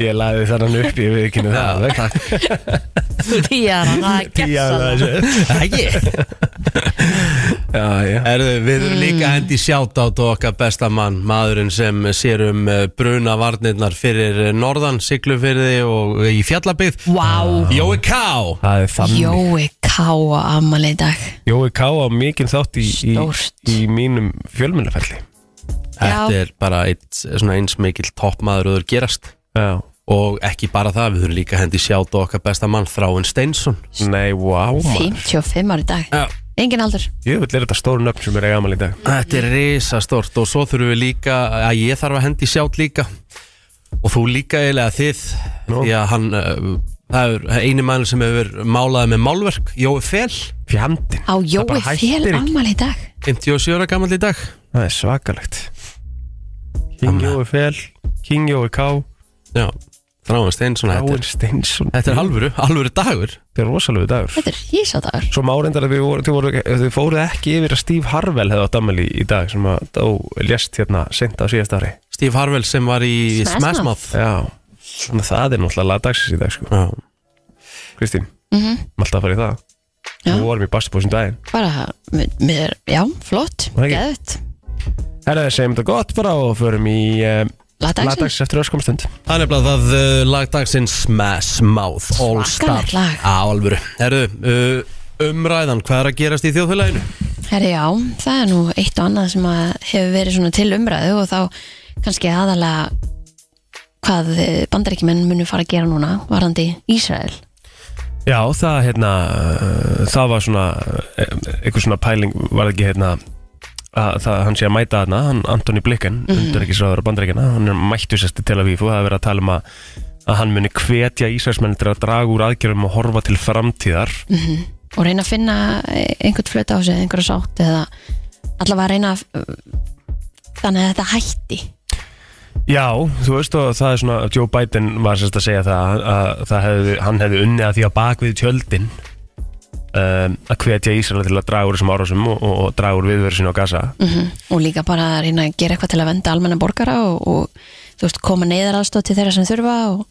Speaker 1: Ég laði þannan upp, ég við ekki það
Speaker 3: takk
Speaker 2: Píjar, hann það er
Speaker 1: það
Speaker 2: gessan.
Speaker 3: Ægir
Speaker 1: Já, já
Speaker 3: Erðu, við erum líka hendi sjátt á okkar besta mann, maðurinn sem sér um eh, brunavarnirnar fyrir eh, norðan, siglufyrði og eh, í fjallabið.
Speaker 2: Vá,
Speaker 3: Jói Ká!
Speaker 1: Það er þannig
Speaker 2: Jói Káa ammæli í dag.
Speaker 1: Jói Ká á mikinn þátt í, í,
Speaker 2: Stórt.
Speaker 1: í mínum fjölmjölaferli
Speaker 3: Þetta er bara eitt, svona eins mikill toppmaður og gerast.
Speaker 1: Já
Speaker 3: Og ekki bara það, við erum líka hendi sjátt á okkar besta mann, Þráinn Steinsson.
Speaker 1: Nei, vá maður
Speaker 2: 55 ári í dag.
Speaker 3: Já.
Speaker 2: Engin aldur.
Speaker 1: Ég vil er þetta stóru nöfn sem er eiga amal í dag
Speaker 3: Þetta er risastort og svo þurfum við líka, að ég þarf að hendi sjátt líka. Og þú líka eiginlega þið,
Speaker 1: Nú.
Speaker 3: því að hann, eh, það er eini mann sem hefur málaði með málverk, Jói Fel,
Speaker 1: Fjandinn
Speaker 2: Á
Speaker 1: Það bara
Speaker 2: Jói
Speaker 1: hættir
Speaker 2: fél
Speaker 1: ekki.
Speaker 2: ammæli í dag.
Speaker 3: 57 ára gammal í dag.
Speaker 1: Það er svakalegt King
Speaker 3: Amma.
Speaker 1: Jói Fel, King Jói Ká
Speaker 3: Já, Þráin Steinsson þetta
Speaker 1: Ráin
Speaker 3: er,
Speaker 1: Steinsson
Speaker 3: þetta er alvöru, alvöru dagur
Speaker 1: Þetta er rosalegu dagur
Speaker 2: Þetta er hísadagur.
Speaker 1: Svo márendar að þið, voru, þið, voru, þið fóruð ekki yfir að Steve Harvell hefði átt ammæli í dag sem að dó lést hérna sent á síðast ári
Speaker 3: Steve Harwell sem var í
Speaker 2: Smash
Speaker 3: Smash
Speaker 2: Mouth.
Speaker 3: Mouth
Speaker 1: Já, þannig að það er náttúrulega lagdagsins í dag sko
Speaker 3: Já.
Speaker 1: Kristín, mm
Speaker 2: Mhm.
Speaker 1: -hmm. alltaf að fara í það
Speaker 2: Já.
Speaker 1: Við vorum í Bastabósum daginn
Speaker 2: bara, mér- mér, já, flott
Speaker 1: Var ekki?
Speaker 2: geðut,
Speaker 1: Herra, segjum þetta gott bara og förum í uh,
Speaker 2: lagdagsins
Speaker 1: lagdags eftir öskumstund
Speaker 3: Það er nefnilega það uh, lagdagsinn Smash Mouth All Star
Speaker 2: Svakalegt lag.
Speaker 3: Á alvöru Herru, uh, umræðan, hvað er að gerast í þjóðfélaginu?
Speaker 2: eh,
Speaker 1: Já, það hérna eh, það var svona eh, einhver svona pæling var ekki hérna að það, hann sé að mæta þarna, hann Antoni Blikken mm -hmm. undir ekki sráður á bandaríkina, hann er mættu sérst til að vífu, það er verið að tala um að að hann muni hvetja Ísraelsmenn til að draga úr aðgerðum og horfa til framtíðar
Speaker 2: og reyna að finna eh, einhvern flöta á sig, einhverja sátt eða allavega reyna að eh, þannig að þetta hætti
Speaker 1: Já, þú veist og það er svona Joe Biden var sérst að segja það að, að það hefði, hann hefði unnið að því að bakvið tjöldin um, að hvetja Ísraela til að draga úr þessum árásum og, og, og draga úr viðverðu sín á Gaza
Speaker 2: Mhm. Og líka bara að reyna að gera eitthvað til að venda almenna borgara og, og þú veist, koma neyðar aðstóð til þeirra sem þurfa og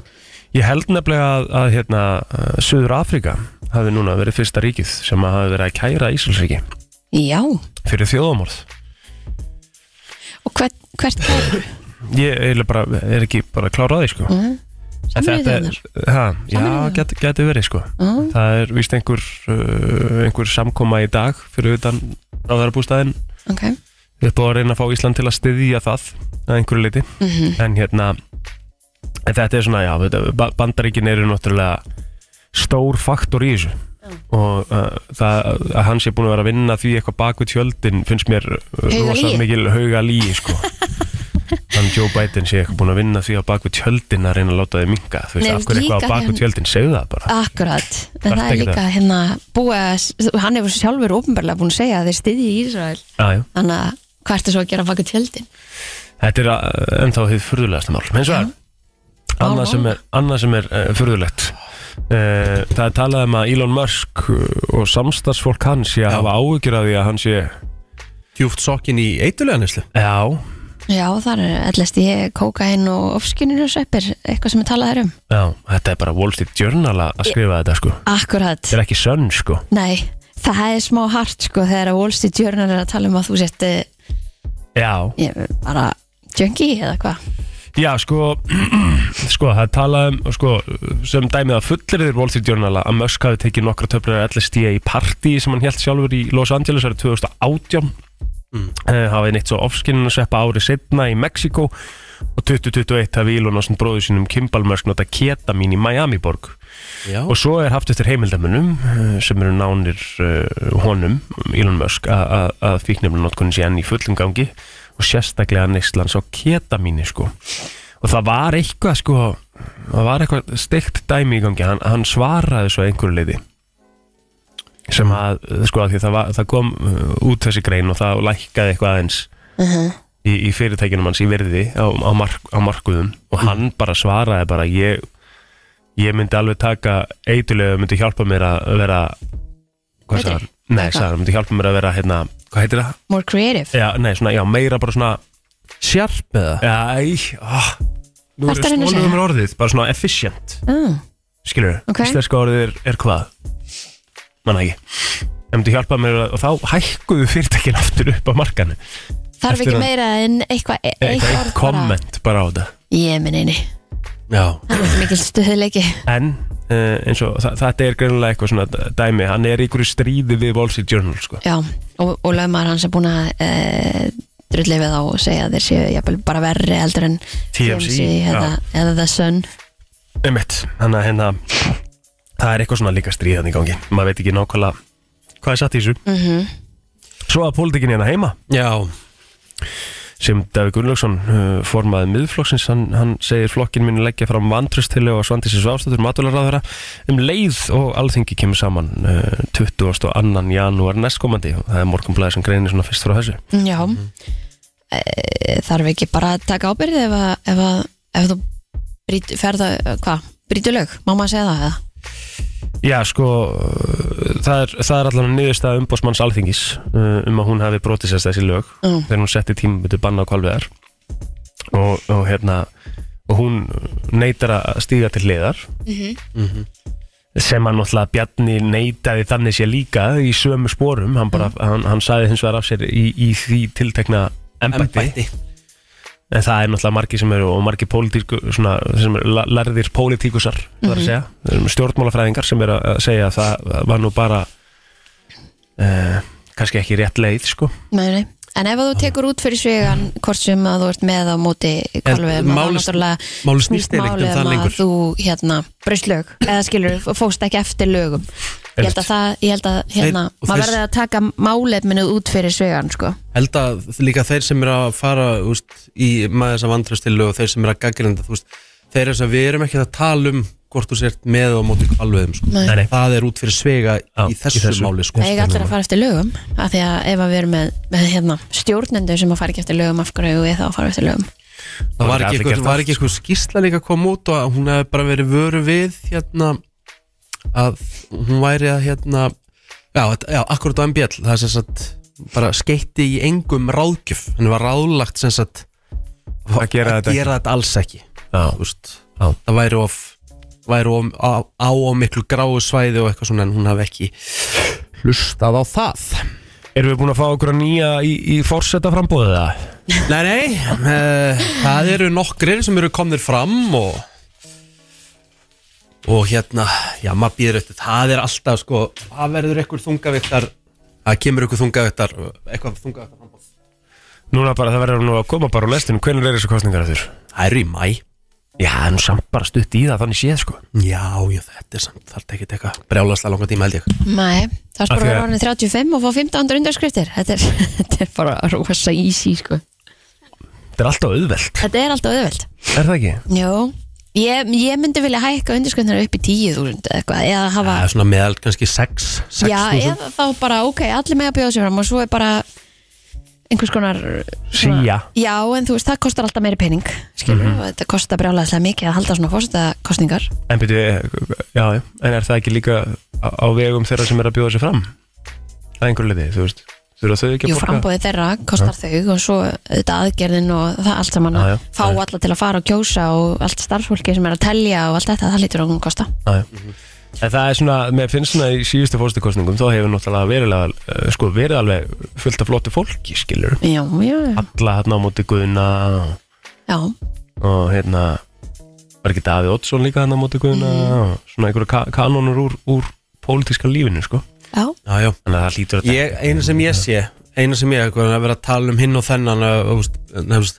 Speaker 1: Ég held nefnilega að, að hérna, uh, Suður Afrika hafi núna verið fyrsta ríkið sem að hafi verið að kæra Ísraelsríki
Speaker 2: já, og
Speaker 1: fyrir þjóðamorð
Speaker 2: hvert, hvert kæru?
Speaker 1: Ég er, bara, er ekki bara að klára á því sko
Speaker 2: Mhm.
Speaker 1: En
Speaker 2: Sameinuðu
Speaker 1: þetta er-
Speaker 2: þjóðirnar.
Speaker 1: ha, Já,
Speaker 2: Sameinuðu þjóðirnar.
Speaker 1: gæti, gæti verið sko
Speaker 2: Mhm.
Speaker 1: Það er víst einhver, uh, einhver samkoma í dag fyrir utan ráðarabústæðin
Speaker 2: Ok,
Speaker 1: Við erum búin að reyna að fá Ísland til að styðja það að einhverju leiti
Speaker 2: Mhm.
Speaker 1: en hérna en þetta er svona, já, þetta- ba- bandaríkin eru náttúrulega stór faktor í þessu og uh, það að hann sé búin að vera að vinna því eitthvað bakvið tjöldin finnst mér uh,
Speaker 2: Hauga
Speaker 1: rosa
Speaker 2: lygi.
Speaker 1: mikil hauga líi sko hann Joe Biden sé eitthvað búin að vinna því að bakvið tjöldin að reyna að láta þið minga þú veist,
Speaker 2: Nei,
Speaker 1: af hverju eitthvað
Speaker 2: líka
Speaker 1: að bakvið
Speaker 2: hann-
Speaker 1: tjöldin segðu það bara
Speaker 2: akkurat en
Speaker 1: Þarft
Speaker 2: það er
Speaker 1: ekki
Speaker 2: líka
Speaker 1: það.
Speaker 2: hérna búið að, hann hefur sjálfur ofnbarlega búin að segja að þeir styðji í Ísrael
Speaker 1: ah,
Speaker 2: þannig að hvað ertu svo að gera baka tjöldin?
Speaker 1: þetta er uh, ennþá þið furðulegasta mál eins og það annað sem er, annað sem er uh, furðulegt uh, það er talað um að Elon Musk uh, og samstagsfólk hans sé að
Speaker 3: Já.
Speaker 1: hafa áhyggjur af því að hann sé
Speaker 3: Djúft sokkin í eitulega neslu
Speaker 1: já,
Speaker 2: Já, þar er allast ég kókain og ofskyninu sveppir, eitthvað sem ég talaði um
Speaker 1: já, þetta er bara Wall Street Journal að að skrifa þetta sko
Speaker 2: Akkurat,
Speaker 1: þetta er ekki sönn sko
Speaker 2: nei, það er smá hart sko þegar að Wall Street Journal er að tala um að þú sért eh,
Speaker 1: já,
Speaker 2: ég, bara junkie eða hvað
Speaker 1: já sko sko það er talað um sko, sem dæmið að fullriðir Wall Street Journal að Musk hafi tekið nokkra töflar LSD í partí sem hann held sjálfur í Los Angeles árið 2018 mm. hafið neitt svo ofskinnun að sveppa ári setna í Mexiko og 2021 hafi Elon og bróðu sínum Kimball Musk nota ketamín í Miami borg
Speaker 3: Já.
Speaker 1: og svo er haft eftir heimildamunum eh, sem eru nánir uh, honum Elon Musk a- a- að fíknefnum notkunni sé enn í fullum gangi og sérstaklega neyslan svo ketamíni sko og það var eitthvað sko það var eitthvað steikt dæmi í gangi hann, hann svaraði svo að einhverju leiti sem að sko að því það, var, það kom uh, út þessi grein og það lækkaði eitthvað aðeins í, í fyrirtækinum hans í verði á, á, mark, á markuðum og hann bara svaraði bara ég, ég myndi alveg taka eitulega myndi hjálpa mér að vera hvað
Speaker 2: Betri?
Speaker 1: sagði hann? Nei,
Speaker 2: Eitthvað?
Speaker 1: sagði hann, myndi hjálpa mér að vera hérna, hvað heitir það?
Speaker 2: More creative,
Speaker 1: Já, nei, svona, já, meira bara svona
Speaker 3: Sjarp eða
Speaker 1: Æ, ah, nú
Speaker 2: Ertu að reyna að segja?
Speaker 1: mér orðið Bara svona efficient,
Speaker 2: mm,
Speaker 1: skilur
Speaker 2: Ok.
Speaker 1: Íslenska orðið er, er hvað? Manna ekki Það myndi hjálpa mér að, og þá hækkuðu fyrirtækin aftur upp á markanu
Speaker 2: þarf
Speaker 1: Eftir
Speaker 2: ekki
Speaker 1: að- Eh,
Speaker 2: meira en eitthvað e- eitt
Speaker 1: Eitthvað
Speaker 2: orð
Speaker 1: eitt komment bara á þetta
Speaker 2: bara ég minn eini,
Speaker 3: Já
Speaker 2: það er mikil stuðleiki
Speaker 1: En, uh, eins og, þa þetta er greinlega eitthvað svona d- dæmi Hann er í einhverju stríði við Wall Street Journal, sko
Speaker 2: Já, og, og lögmaður hans er búin að e, drulli við þá og segja að þeir séu jafnvel bara verri heldur en
Speaker 1: TMZ,
Speaker 2: eða, eða The Sun
Speaker 1: Einmitt, þannig að hérna Það er eitthvað svona líka stríðan í gangi Maður veit ekki nákvæmlega hvað er satt í þessu
Speaker 2: Mhm.
Speaker 1: Svo að pólitíkin hérna heima
Speaker 3: Já
Speaker 1: sem Davík Gunnlaugsson uh, formaði miðflokksins, hann, hann segir flokkin muni leggja fram vantröstileg og svandisins vástættur matúlarraðara um leið og alþingi kemur saman uh, 22. janúar næstkomandi og það er morgunblæði sem greinir svona fyrst frá þessu
Speaker 2: Já e, Mhm. þarf ekki bara að taka ábyrði ef, að, ef, að, ef þú brýt, ferða, hvað, brýtu lög má maður segja það eða?
Speaker 1: Já, sko, uh, það er, það er allan niðurstaða umbósmanns alþingis uh, um að hún hafi brotið sér þessi lög
Speaker 2: Mm.
Speaker 1: þegar hún setti tímabutu banna á kvalviðar og, og hérna og hún neytar að stíga til hliðar sem hann náttúrulega Bjarni neytaði þannig sé líka í sömu spórum hann, bara, hann, hann saði hins vegar af sér í, í því tiltekna embætti, en það er náttúrulega margir sem eru og margir pólitíku svona, sem eru la- lærðir pólitíkusar mm
Speaker 2: Mhm.
Speaker 1: -hmm. segja, Þeir eru stjórnmálafræðingar sem eru að segja að það var nú bara uh, kannski ekki rétt leið sko
Speaker 2: Nei, nei. En ef að þú tekur út fyrir svegan hvort sem að þú ert með á móti kvalvegum, þá
Speaker 3: máli-
Speaker 2: náttúrulega
Speaker 3: máli snýst eiginlega ekki um
Speaker 2: málið
Speaker 3: það
Speaker 2: að
Speaker 3: lengur.
Speaker 2: þú hérna, braust lög, eða skilur þú fóst ekki eftir lögum Ég held að það, ég held að hérna,
Speaker 3: og
Speaker 2: maður
Speaker 3: þeir-
Speaker 2: verður að taka málefminu út fyrir svegan, sko
Speaker 3: held að líka þeir sem eru að fara úst, í maður þess að vandrastilu og þeir sem eru að gaggrinda þú veist, þeir eru þess að við erum ekki að tala um hvort þú sért með og á móti kvalveðum sko.
Speaker 2: Nei.
Speaker 1: Nei, nei.
Speaker 3: það er út fyrir svega
Speaker 1: Já,
Speaker 3: í þessu,
Speaker 1: í þessu.
Speaker 3: máli sko.
Speaker 2: Það eiga allir að fara eftir lögum, af því að ef að við erum með, með hérna, stjórnendur sem að fara ekki eftir lögum, af hverju eigum við þá að fara eftir lögum
Speaker 3: það var ekki
Speaker 1: Allir
Speaker 3: eitthvað,
Speaker 1: gert allt,
Speaker 3: var
Speaker 1: sko.
Speaker 3: ekki eitthvað skýrsla líka að koma út og að hún hefði bara verið vöru við hérna, að hún væri að hérna, Já, þetta- já akkurat á MBL Það er sem sagt bara skeitti í engum ráðgjöf Hann var ráðlagt sem sagt
Speaker 1: Að gera þetta
Speaker 3: að gera þetta alls ekki
Speaker 1: Já.
Speaker 3: Þú veist, Það væri of væri of, á, á of miklu gráu svæði og eitthvað svona en hún hafi ekki hlustað á það
Speaker 1: Erum við búin að fá okkur að nýja í, í fórsetta frambóðið það?
Speaker 3: Nei, nei, uh, það eru nokkrir sem eru komnir fram og og hérna, já, maður býður eftir það er alltaf, sko, það verður eitthvað þungaviktar, það kemur eitthvað þungaviktar eitthvað þungaviktar framboð
Speaker 1: Núna bara það verður nú að koma bara á lestinu Hvernig er þessu kostningar eftir?
Speaker 3: Það eru í mæ
Speaker 1: Já, það er nú samt bara stutt í það þannig séð sko
Speaker 3: Já, já, þetta er samt, það er ekki eitthvað brjálaslega langa tíma held ég
Speaker 2: Nei,
Speaker 1: Af
Speaker 2: það er bara
Speaker 1: því
Speaker 2: að
Speaker 1: að-
Speaker 2: vera orðin 35 og fá 1500 undarskriftir þetta, er- þetta er bara rosa easy sko.
Speaker 1: Þetta er alltaf auðvelt
Speaker 2: Þetta er alltaf auðveld
Speaker 1: Er það ekki?
Speaker 2: Jó, ég, ég myndi vilja hækka undarskriftir upp í 10.000 eða eitthvað eða hafa,
Speaker 3: Það er svona meðal kannski 6
Speaker 2: já,
Speaker 3: 6.000
Speaker 2: eða þá bara ok, allir með að bjóða sér fram og svo er bara einhvers konar svona-
Speaker 1: Sía Mhm.
Speaker 2: Já, en þú veist, það kostar alltaf meiri pening skilur, og þetta kostar brjálega mikið að halda svona fórsetakostningar
Speaker 1: En byrju, eh, já, já, en er það ekki líka á, á vegum þeirra sem er að bjóða sér fram? Það er einhver leiti, þú veist Þurfa þau ekki
Speaker 2: Jú,
Speaker 1: að borga?
Speaker 2: frambóði þeirra kostar þau og svo þetta aðgerðin og það allt saman
Speaker 1: Já,
Speaker 2: að
Speaker 1: já,
Speaker 2: fá alla til að fara og kjósa og allt starfsfólki sem er að telja og allt þetta, það lítur okkur að kosta.
Speaker 1: Já, já. Mhm. En það er svona, mér finnst svona í síðustu fórstakostningum þá hefur náttúrulega verilega, eh, sko, verið alveg fullt af flottu fólki, skilur
Speaker 2: Já, já, já.
Speaker 1: alla hérna á móti Guðna og-
Speaker 2: Já,
Speaker 1: og hérna var ekki Davíð Oddsson líka hérna á móti Guðna
Speaker 3: Mm.
Speaker 1: og svona einhverja ka kanonur úr, úr pólitíska lífinu, sko
Speaker 2: já.
Speaker 3: Já, já,
Speaker 1: þannig að það lítur að
Speaker 3: ég, eina sem ég sé eina sem ég, eitthvað, að vera að tala um hinn og þennan að, þú veist, nefnst,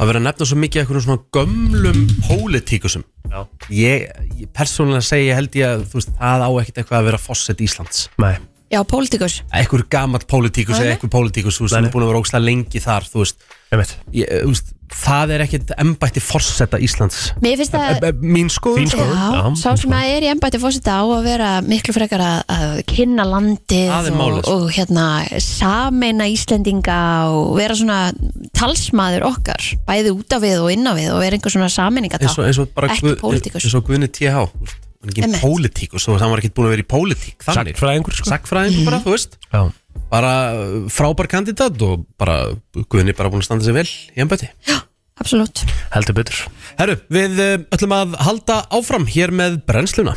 Speaker 3: að vera að nefna svo mikið eitthvað svona gömlum pólitíkusum
Speaker 1: Já.
Speaker 3: ég, ég persónulega segi held ég að þú veist, það á ekkert eitthvað að vera fósett Íslands
Speaker 1: Nei,
Speaker 2: Já, pólitíkus.
Speaker 3: eitthvað gamalt pólitíkus eða eitthvað pólitíkus þú veist, sem
Speaker 1: Nei,
Speaker 3: er búin að vera ógstlega lengi þar þú veist,
Speaker 1: einmitt
Speaker 3: ég, eh, þú veist, það er ekkert embætti fórsetta Íslands
Speaker 2: Mér finnst
Speaker 3: e,
Speaker 2: að,
Speaker 3: e, mín skoðun
Speaker 1: Þín
Speaker 3: sko.
Speaker 1: skoðun.
Speaker 2: já,
Speaker 1: já,
Speaker 2: sá sem að er í embætti fórseta á að vera miklu frekar að, að kynna landið
Speaker 3: Það er
Speaker 2: og,
Speaker 3: málið. sko.
Speaker 2: og hérna sameina Íslendinga og vera svona talsmaður okkar, bæði út af við og inn á við og vera einhver svona sameiningatá.
Speaker 3: eins og, eins og bara
Speaker 2: Ekki pólitíkus.
Speaker 3: eins og Guðni TH þú veist, hann er
Speaker 2: Einmitt.
Speaker 3: ekki pólitíkus, þú veist, hann var ekkert búin að vera í pólitík þannig,
Speaker 1: Sagnfræðingur, sko
Speaker 3: sagfræðing bara, þú veist
Speaker 1: Já.
Speaker 3: bara uh, frábær kandidat og bara Guðni bara búin að standa sig vel í ennbætti.
Speaker 2: Absolutt.
Speaker 1: Heldur betur
Speaker 3: Herru, við uh, ætlum að halda áfram hér með brennsluna.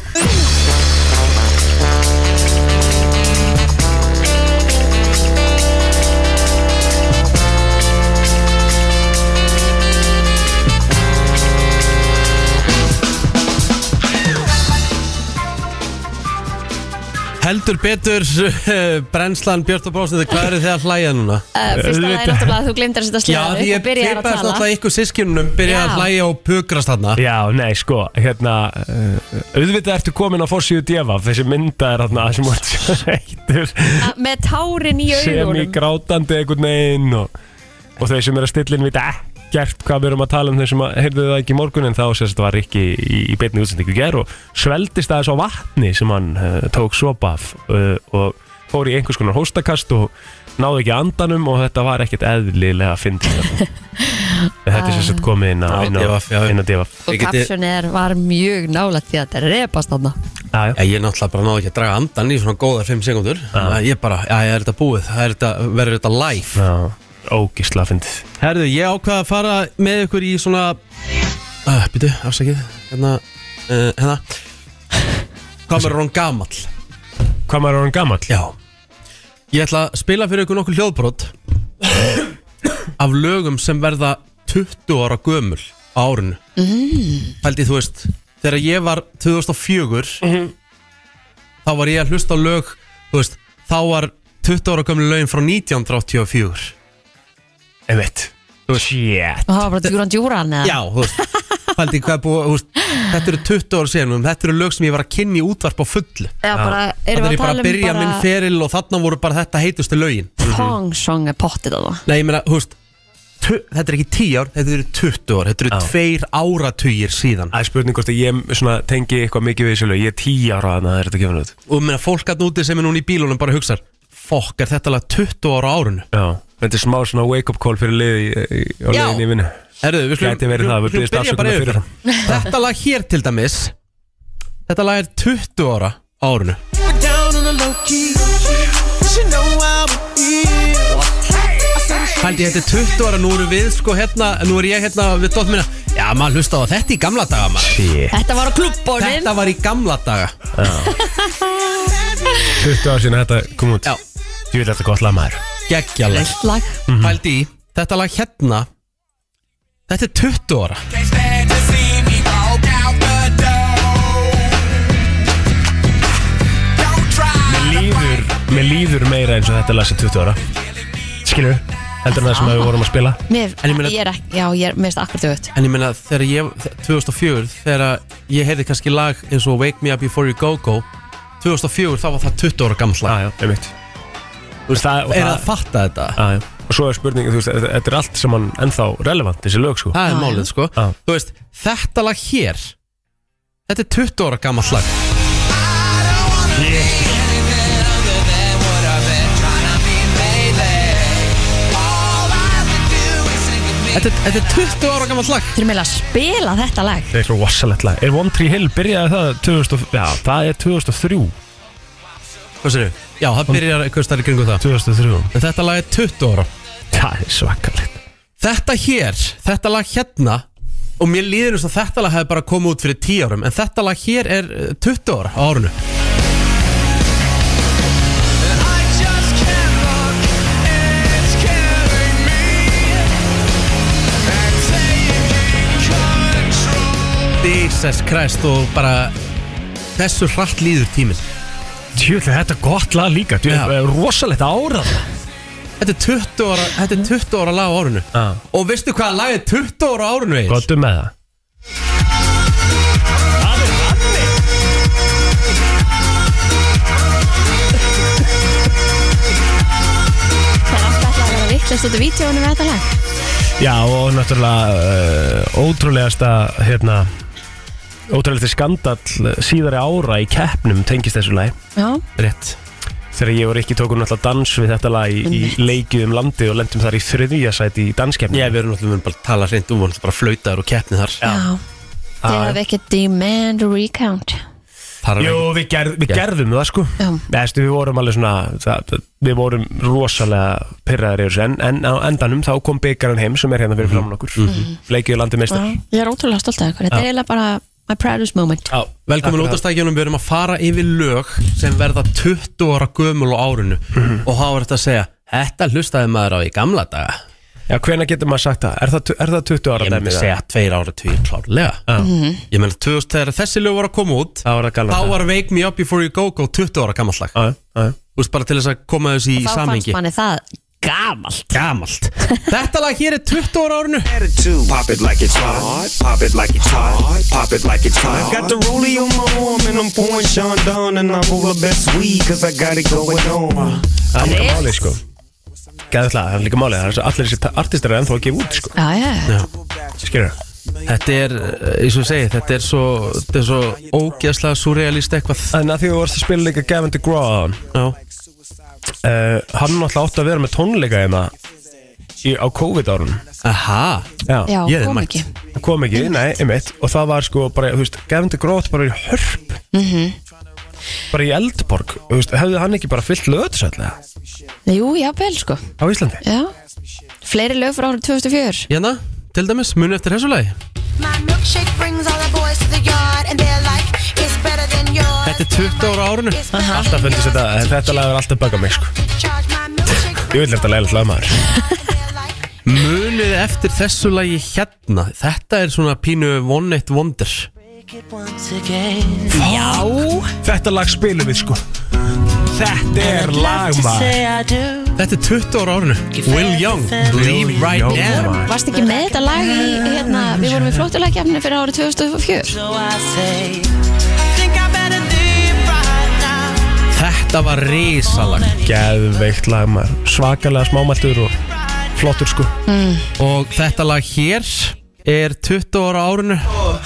Speaker 3: Heldur betur eh, brennslan Björn og Brósnið, hvað eru þið að hlæja núna?
Speaker 2: Uh, fyrst að það er náttúrulega að þú glemdir að setja
Speaker 3: Já,
Speaker 2: sleðar upp
Speaker 3: því ég
Speaker 2: og byrjar að
Speaker 3: tippaðist
Speaker 2: tala
Speaker 3: alltaf ykkur sískinunum byrjaði
Speaker 2: Já.
Speaker 3: að hlæja og pukrast þarna
Speaker 1: Já, nei, sko, hérna uh, auðvitað ertu komin á Fossíu Djefaf þessi mynda er hérna sem var reyktur
Speaker 2: A- með tárin í
Speaker 1: sem í
Speaker 2: augunum
Speaker 1: grátandi einhvern veginn og, og þau sem eru að stillin vita ekkert hvað við erum að tala um þau sem að- heyrðu það ekki í morgun en þá sérst var Rikki í, í beinni útsendingu í ger og sveldist aðeins á vatni sem hann uh, tók sopa af uh, og fór í einhvers konar hóstakast og náði ekki andanum og þetta var ekkert eðlilega fyndið þetta er sérst komið inn á,
Speaker 3: Á
Speaker 1: inn á,
Speaker 3: DFF, já.
Speaker 1: inn á Djefaf
Speaker 2: og
Speaker 3: Ég geti-
Speaker 2: kapsjónir var mjög nálægt því að þetta repast þarna
Speaker 1: Já, já.
Speaker 3: Já, ég náttúrulega bara náði ekki að draga andan í svona góðar 5 sekundur ah. Ég bara, já, er þetta búið, það er þetta, verður þetta live
Speaker 1: Já, ógisla fyndið
Speaker 3: Herðu, ég ákvað að fara með ykkur í svona uh, Býtu, afsakið, hérna, uh, hérna Hvað maður er hún gamall?
Speaker 1: Hvað maður er hann gamall?
Speaker 3: Já Ég ætla að spila fyrir ykkur nokkur hljóðbrot Af lögum sem verða 20 ára gömul á árinu mm. Pældi, þú veist, þegar ég var 2004
Speaker 2: Mhm.
Speaker 3: Þá var ég að hlusta á lög, þú veist, þá var 20 ára gömul lögin frá 1984
Speaker 1: Einmitt Shit
Speaker 2: og það var bara djúran djúran eða?
Speaker 3: Já, þú veist Paldi, hvað er búið, þú veist, þetta eru 20 ára síðan og þetta eru lög sem ég var að kynni útvarp á fullu
Speaker 2: eða bara erum
Speaker 3: Þannig er
Speaker 2: við að
Speaker 3: ég bara
Speaker 2: tala
Speaker 3: að byrja
Speaker 2: um
Speaker 3: minn feril og þarna voru bara þetta heitustu lögin
Speaker 2: bara pongsong er pottið þarna
Speaker 3: Nei, ég meina, þú veist tu- Þetta er ekki 10 ár, þetta eru 20 ár Þetta eru
Speaker 1: Já.
Speaker 3: tveir áratugir síðan
Speaker 1: Það er spurning hvort að ég svona, tengi eitthvað mikið við þessu lög Ég er tíu ára þannig að það er þetta gefin út
Speaker 3: Og ég meina, fólk að núti sem er núna í bílunum bara hugsar Fokk, er þetta alveg 20 ára á árunu
Speaker 1: Já Þetta er smá svona wake up call fyrir liði í- í- á
Speaker 3: Já.
Speaker 1: leiðinni í vinnu
Speaker 3: Herðu, við skulum
Speaker 1: Gæti verið það, við biðjumst
Speaker 3: byrja bara
Speaker 1: afsökunar
Speaker 3: yfir Þetta lag hér til dæmis Þetta lag er 20 ára á árunu
Speaker 5: Down on kinda low key. She know how it is. I said it's
Speaker 3: Haldi ég þetta er 20 ára, nú eru við sko hérna, nú er ég hérna við dótt minna Já, maður hlusta á þetta í gamla daga maður
Speaker 1: Shit.
Speaker 2: Þetta var á klubbónin
Speaker 3: Þetta var í gamla daga
Speaker 1: 20 ár síðan þetta kom út
Speaker 3: Já.
Speaker 1: Ég vil þetta gott lag maður
Speaker 3: Gekkjala
Speaker 2: Eitt lag
Speaker 3: Haldi í, þetta lag hérna Þetta er 20 ára
Speaker 5: can't stand to see me walk out the door. Don't try to
Speaker 1: líður, Mér líður meira eins og þetta lag sem 20 ára Skilur Heldur en það
Speaker 3: Ah.
Speaker 1: sem við vorum að spila
Speaker 2: Mér,
Speaker 3: En ég meina-
Speaker 2: ég er ekki, já, ég er mest akkur dögut
Speaker 3: En ég meina, þegar ég, 2004 Þegar ég heyrði kannski lag eins og Wake Me Up Before You Go Go 2004, þá var það 20 ára gamla
Speaker 1: Já, já, einmitt Þú veist það, og
Speaker 3: Er
Speaker 1: það
Speaker 3: að fatta þetta
Speaker 1: Já, já. Og svo er spurningin, þú veist, þetta þetta er allt sem hann ennþá relevant, þessi lög, sko
Speaker 3: Það
Speaker 2: Ah,
Speaker 3: er
Speaker 2: Já,
Speaker 3: málið, sko
Speaker 1: Já.
Speaker 3: Þú veist, þetta lag hér Þetta er 20 ára gammal lag Þetta, er- þetta er 20 ára gammal lag
Speaker 2: Þeir eru meila að spila þetta lag
Speaker 1: Það er eitthvað vassalett lag Er One Tree Hill, byrjaði það 2000, og- Já, það er 2003
Speaker 3: Hvað sér þau? Já, það byrjar eitthvað stærri kringu það
Speaker 1: 2003
Speaker 3: En þetta lag er 20 ára
Speaker 1: Það er svakalegt
Speaker 3: Þetta hér, þetta lag hérna Og mér líður eins og þetta lag hefði bara komið út fyrir 10 árum En þetta lag hér er eh, 20 ára á árunu
Speaker 5: I just can't look. It's killing me. And taking control.
Speaker 3: Jesus Christ og bara Þessu hratt líður tíminn
Speaker 1: Tjúlega, þetta er gott lag líka
Speaker 3: Já.
Speaker 1: Tjúlega, rosalegt árað
Speaker 3: Þetta er 20 ára, þetta er 20 ára lag á árunu
Speaker 1: Já.
Speaker 3: Og veistu hvaða lag er 20 ára á árunu Egil?
Speaker 1: Gottum með það
Speaker 2: Það er alltaf að vera viklist út af vídjónu með þetta lag
Speaker 1: Já og náttúrulega uh, ótrúlegasta hérna ótrúlegasti skandall eh, síðari ára í keppnum tengist þessu lagi
Speaker 2: Já,
Speaker 3: Rétt
Speaker 1: þegar ég og Rikki tókum náttúrulega dans við þetta lag í, í leikið um landið og lendum þar í þriðja sæti í danskeppnum
Speaker 3: Já, við erum náttúrulega við erum bara að tala reynd um og náttúrulega bara flöytar og keppnið þar
Speaker 2: já Þeir hafa ekki demand a recount
Speaker 3: Þar er
Speaker 1: Jú,
Speaker 3: ekki-
Speaker 1: við, gerð, við
Speaker 3: Já.
Speaker 1: gerðum það sko
Speaker 2: Já.
Speaker 1: Æstu, Við vorum alveg svona það, Við vorum rosalega pyrraðir yfir þessu en, en á endanum þá kom byggarinn heim sem er hérna
Speaker 3: Mhm.
Speaker 1: fyrir framann okkur mm -hmm. Leikið um landið
Speaker 2: Já,
Speaker 1: meistar
Speaker 2: Ég er ótrúlega stolt af ykkur Þetta er eiginlega bara my proudest moment
Speaker 3: Já, velkomin
Speaker 1: Akkurat.
Speaker 3: út af stækjunum, við erum að fara yfir lög sem verða 20 ára gömul á árinu og þá er þetta að segja Þetta hlustaði maður á í gamla daga
Speaker 1: Já, hvenær getur maður sagt það? Er það, er það 20 ára
Speaker 3: Ég myndi
Speaker 1: dæmi það?
Speaker 3: segja tveir ára tvið klárlega Mhm. Ég meina 2000 þegar þessi lög voru að koma út
Speaker 1: Það var það galna
Speaker 3: Þá var Wake Me Up Before You Go Go 20 ára gammal lag
Speaker 1: Já, já, já.
Speaker 3: Þú veist bara til þess að koma þessi í
Speaker 2: Þá fannst
Speaker 3: samhengi
Speaker 2: manni það gamalt
Speaker 3: Gamalt Þetta lag hér er 20 ára á árinu
Speaker 6: attitude. Pop it like it's hot. Pop it like it's hot. Pop it like it's hot. Got the rollie on my arm and I'm pouring Sean Don and I'm over best weed cause I got it going on.
Speaker 1: Það er líka málið sko Gæðið það, það er líka málið Það er svo- Allir þessi ta- artistar er ennþá að gefa út sko
Speaker 2: Já, já, já
Speaker 1: Skilur það?
Speaker 3: Þetta er, eh, eins og ég segi, þetta er svo, þetta er svo ógeðslega surrealist eitthvað
Speaker 1: En að því þú varst að spila líka Gavin DeGraw
Speaker 3: Já,
Speaker 1: uh, Hann náttúrulega átti að vera með tónleika hérna í, á COVID-árun
Speaker 3: aha
Speaker 1: Já,
Speaker 2: Já,
Speaker 3: Ég er
Speaker 2: kom
Speaker 3: mætt.
Speaker 2: ekki
Speaker 1: Það kom ekki, nei, einmitt Og það var sko bara, þú veist, Gavin DeGraw átti bara í hörp Bara í Eldborg Þú veist, hefði hann ekki bara fyllt löðsætlega
Speaker 2: Jú, já, vel sko
Speaker 1: á Íslandi?
Speaker 2: Já Fleiri lög frá árið 2004
Speaker 3: Jana, til dæmis, muni eftir þessu lagi
Speaker 7: My milkshake brings all the boys to the yard and they're like, it's better than yours.
Speaker 3: Þetta er 20 ára á árinu
Speaker 7: It's better than
Speaker 1: Alltaf fundist þetta,
Speaker 7: yours.
Speaker 1: þetta lag er alltaf baka mig sko
Speaker 7: Charge my milkshake
Speaker 1: Ég vil þetta leiðilegt lag maður
Speaker 7: They're like,
Speaker 3: Munið eftir þessu lagi hérna Þetta er svona pínu one eight wonder
Speaker 1: Þetta lag spilum við sko Þetta er lag maður
Speaker 3: Þetta er 20 ára á árinu Will Young, Believe Right Now
Speaker 2: Varst ekki með þetta lag í, hérna, við vorum í flóttulagkjafninu fyrir árið 2004
Speaker 5: Think I better leave right now.
Speaker 3: Þetta var risalag
Speaker 1: Geðveikt lag maður Svakalega smámæltur og flottur sko
Speaker 3: Og þetta lag hér er 20 ára á árinu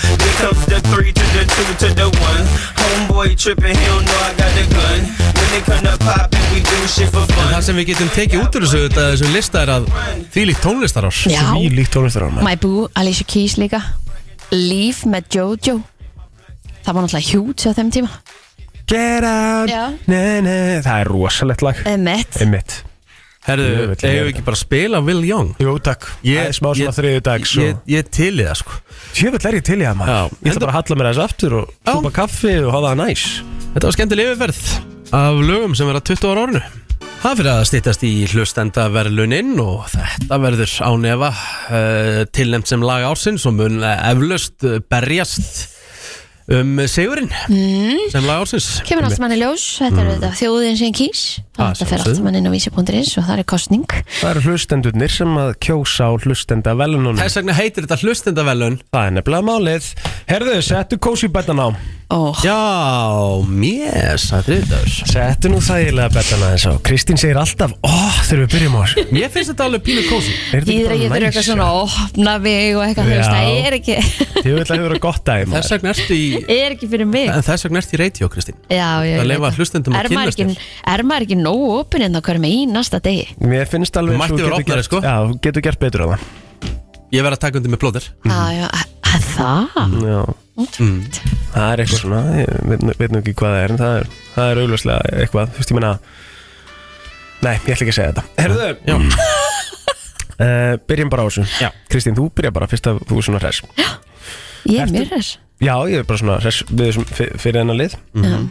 Speaker 5: Here comes the three to the two to the one. Homeboy tripping, he don't know I got the gun. When they come to poppin', we do shit for
Speaker 3: Það
Speaker 5: fun.
Speaker 3: sem við getum tekið út úr þessu þetta þessum lista er að þvílíkt tónlistarás
Speaker 2: Já
Speaker 1: Því líkt tónlistar á maður
Speaker 2: My Boo, Alicia Keys líka Leave með Jojo Það var náttúrulega hjút á þeim tíma
Speaker 1: Get out
Speaker 2: Já. Eh.
Speaker 1: ne, ne. Það er rosalegt lag
Speaker 2: Emmett
Speaker 1: Einmitt
Speaker 3: Herðu,
Speaker 1: Ég
Speaker 3: eigum
Speaker 1: vil heyra
Speaker 3: við ekki bara að spila Will Young?
Speaker 1: Jú, takk
Speaker 3: Ég-
Speaker 1: Það er smá svona
Speaker 3: ég-
Speaker 1: þriðu dag
Speaker 3: Ég, ég til í það sko
Speaker 1: Tjöfull er ég til í það maður
Speaker 3: Já.
Speaker 1: Ég ætla bara að halla mér aðeins aftur og
Speaker 3: Já.
Speaker 1: súpa kaffi og hafa það næs
Speaker 3: Þetta var skemmtileg yfirferð af lögum sem verða 20 ára árinu Það fyrir að stýttast í hlustendaverlunin og þetta verður ánefa uh, tilnæmt sem lag ársins og mun eflaust eh, berjast um sigurinn mm. sem lag ársins
Speaker 2: Kemur allt manni ljós, þetta er þetta þjóðin sem kýs
Speaker 3: Ah,
Speaker 2: Þetta fer allt
Speaker 3: sjálfsögðu.
Speaker 2: manni inn á vísi.is og það er kostning
Speaker 1: Það eru hlustendurnir sem að kjósa á hlustenda velunum
Speaker 3: Þess vegna heitir þetta hlustendaverlun
Speaker 1: Það er nefnilega málið Herðu, settu kósi betan á
Speaker 2: og
Speaker 3: Já, mér sagði þetta
Speaker 1: Settu nú þægilega betan aðeins á Kristín segir alltaf, ó, þegar við byrjum á þessu
Speaker 3: Mér finnst þetta alveg pínu kósi
Speaker 1: Er þetta
Speaker 2: ég
Speaker 1: ekki bara
Speaker 2: er ekki
Speaker 1: næs,
Speaker 2: verið eitthvað svona
Speaker 1: ja?
Speaker 2: opna mig og eitthvað þú veist,
Speaker 1: Já.
Speaker 2: það er ekki
Speaker 1: Ég vil að hefur að gott dæma
Speaker 3: Þess vegna ertu í
Speaker 2: er ekki fyrir mig
Speaker 3: En þess vegna ertu í radio, Kristín
Speaker 2: Já, já,
Speaker 3: Að
Speaker 2: ég
Speaker 3: leyfa
Speaker 2: veit það.
Speaker 3: hlustendum að
Speaker 2: Er maður
Speaker 3: kynnast
Speaker 2: ekki- Er maður ekki nógu opinn en það hverjum í næsta degi?
Speaker 1: Mér finnst alveg
Speaker 3: Þú mætti
Speaker 1: getur
Speaker 3: vera opnari,
Speaker 1: gert-
Speaker 3: sko.
Speaker 1: Já, þú getur gert betur á það
Speaker 3: Ég verð að taka undir með plóðir
Speaker 2: Já, já, að- að það?
Speaker 1: Já,
Speaker 2: Ótrúlegt.
Speaker 1: það er eitthvað svona Ég veit nú- veit nú ekki hvað það er En það er, það er augljóslega eitthvað Þú veist, ég meina Nei, ég ætla ekki að segja þetta Herðu,
Speaker 3: Já,
Speaker 1: uh, byrjum bara á þessu
Speaker 3: Já.
Speaker 1: Kristín, þú byrja bara fyrst að þú er svona hress
Speaker 2: Ég er mér þess
Speaker 1: Já, ég er bara svona hress við þessum fyr- fyrir hennar lið uh,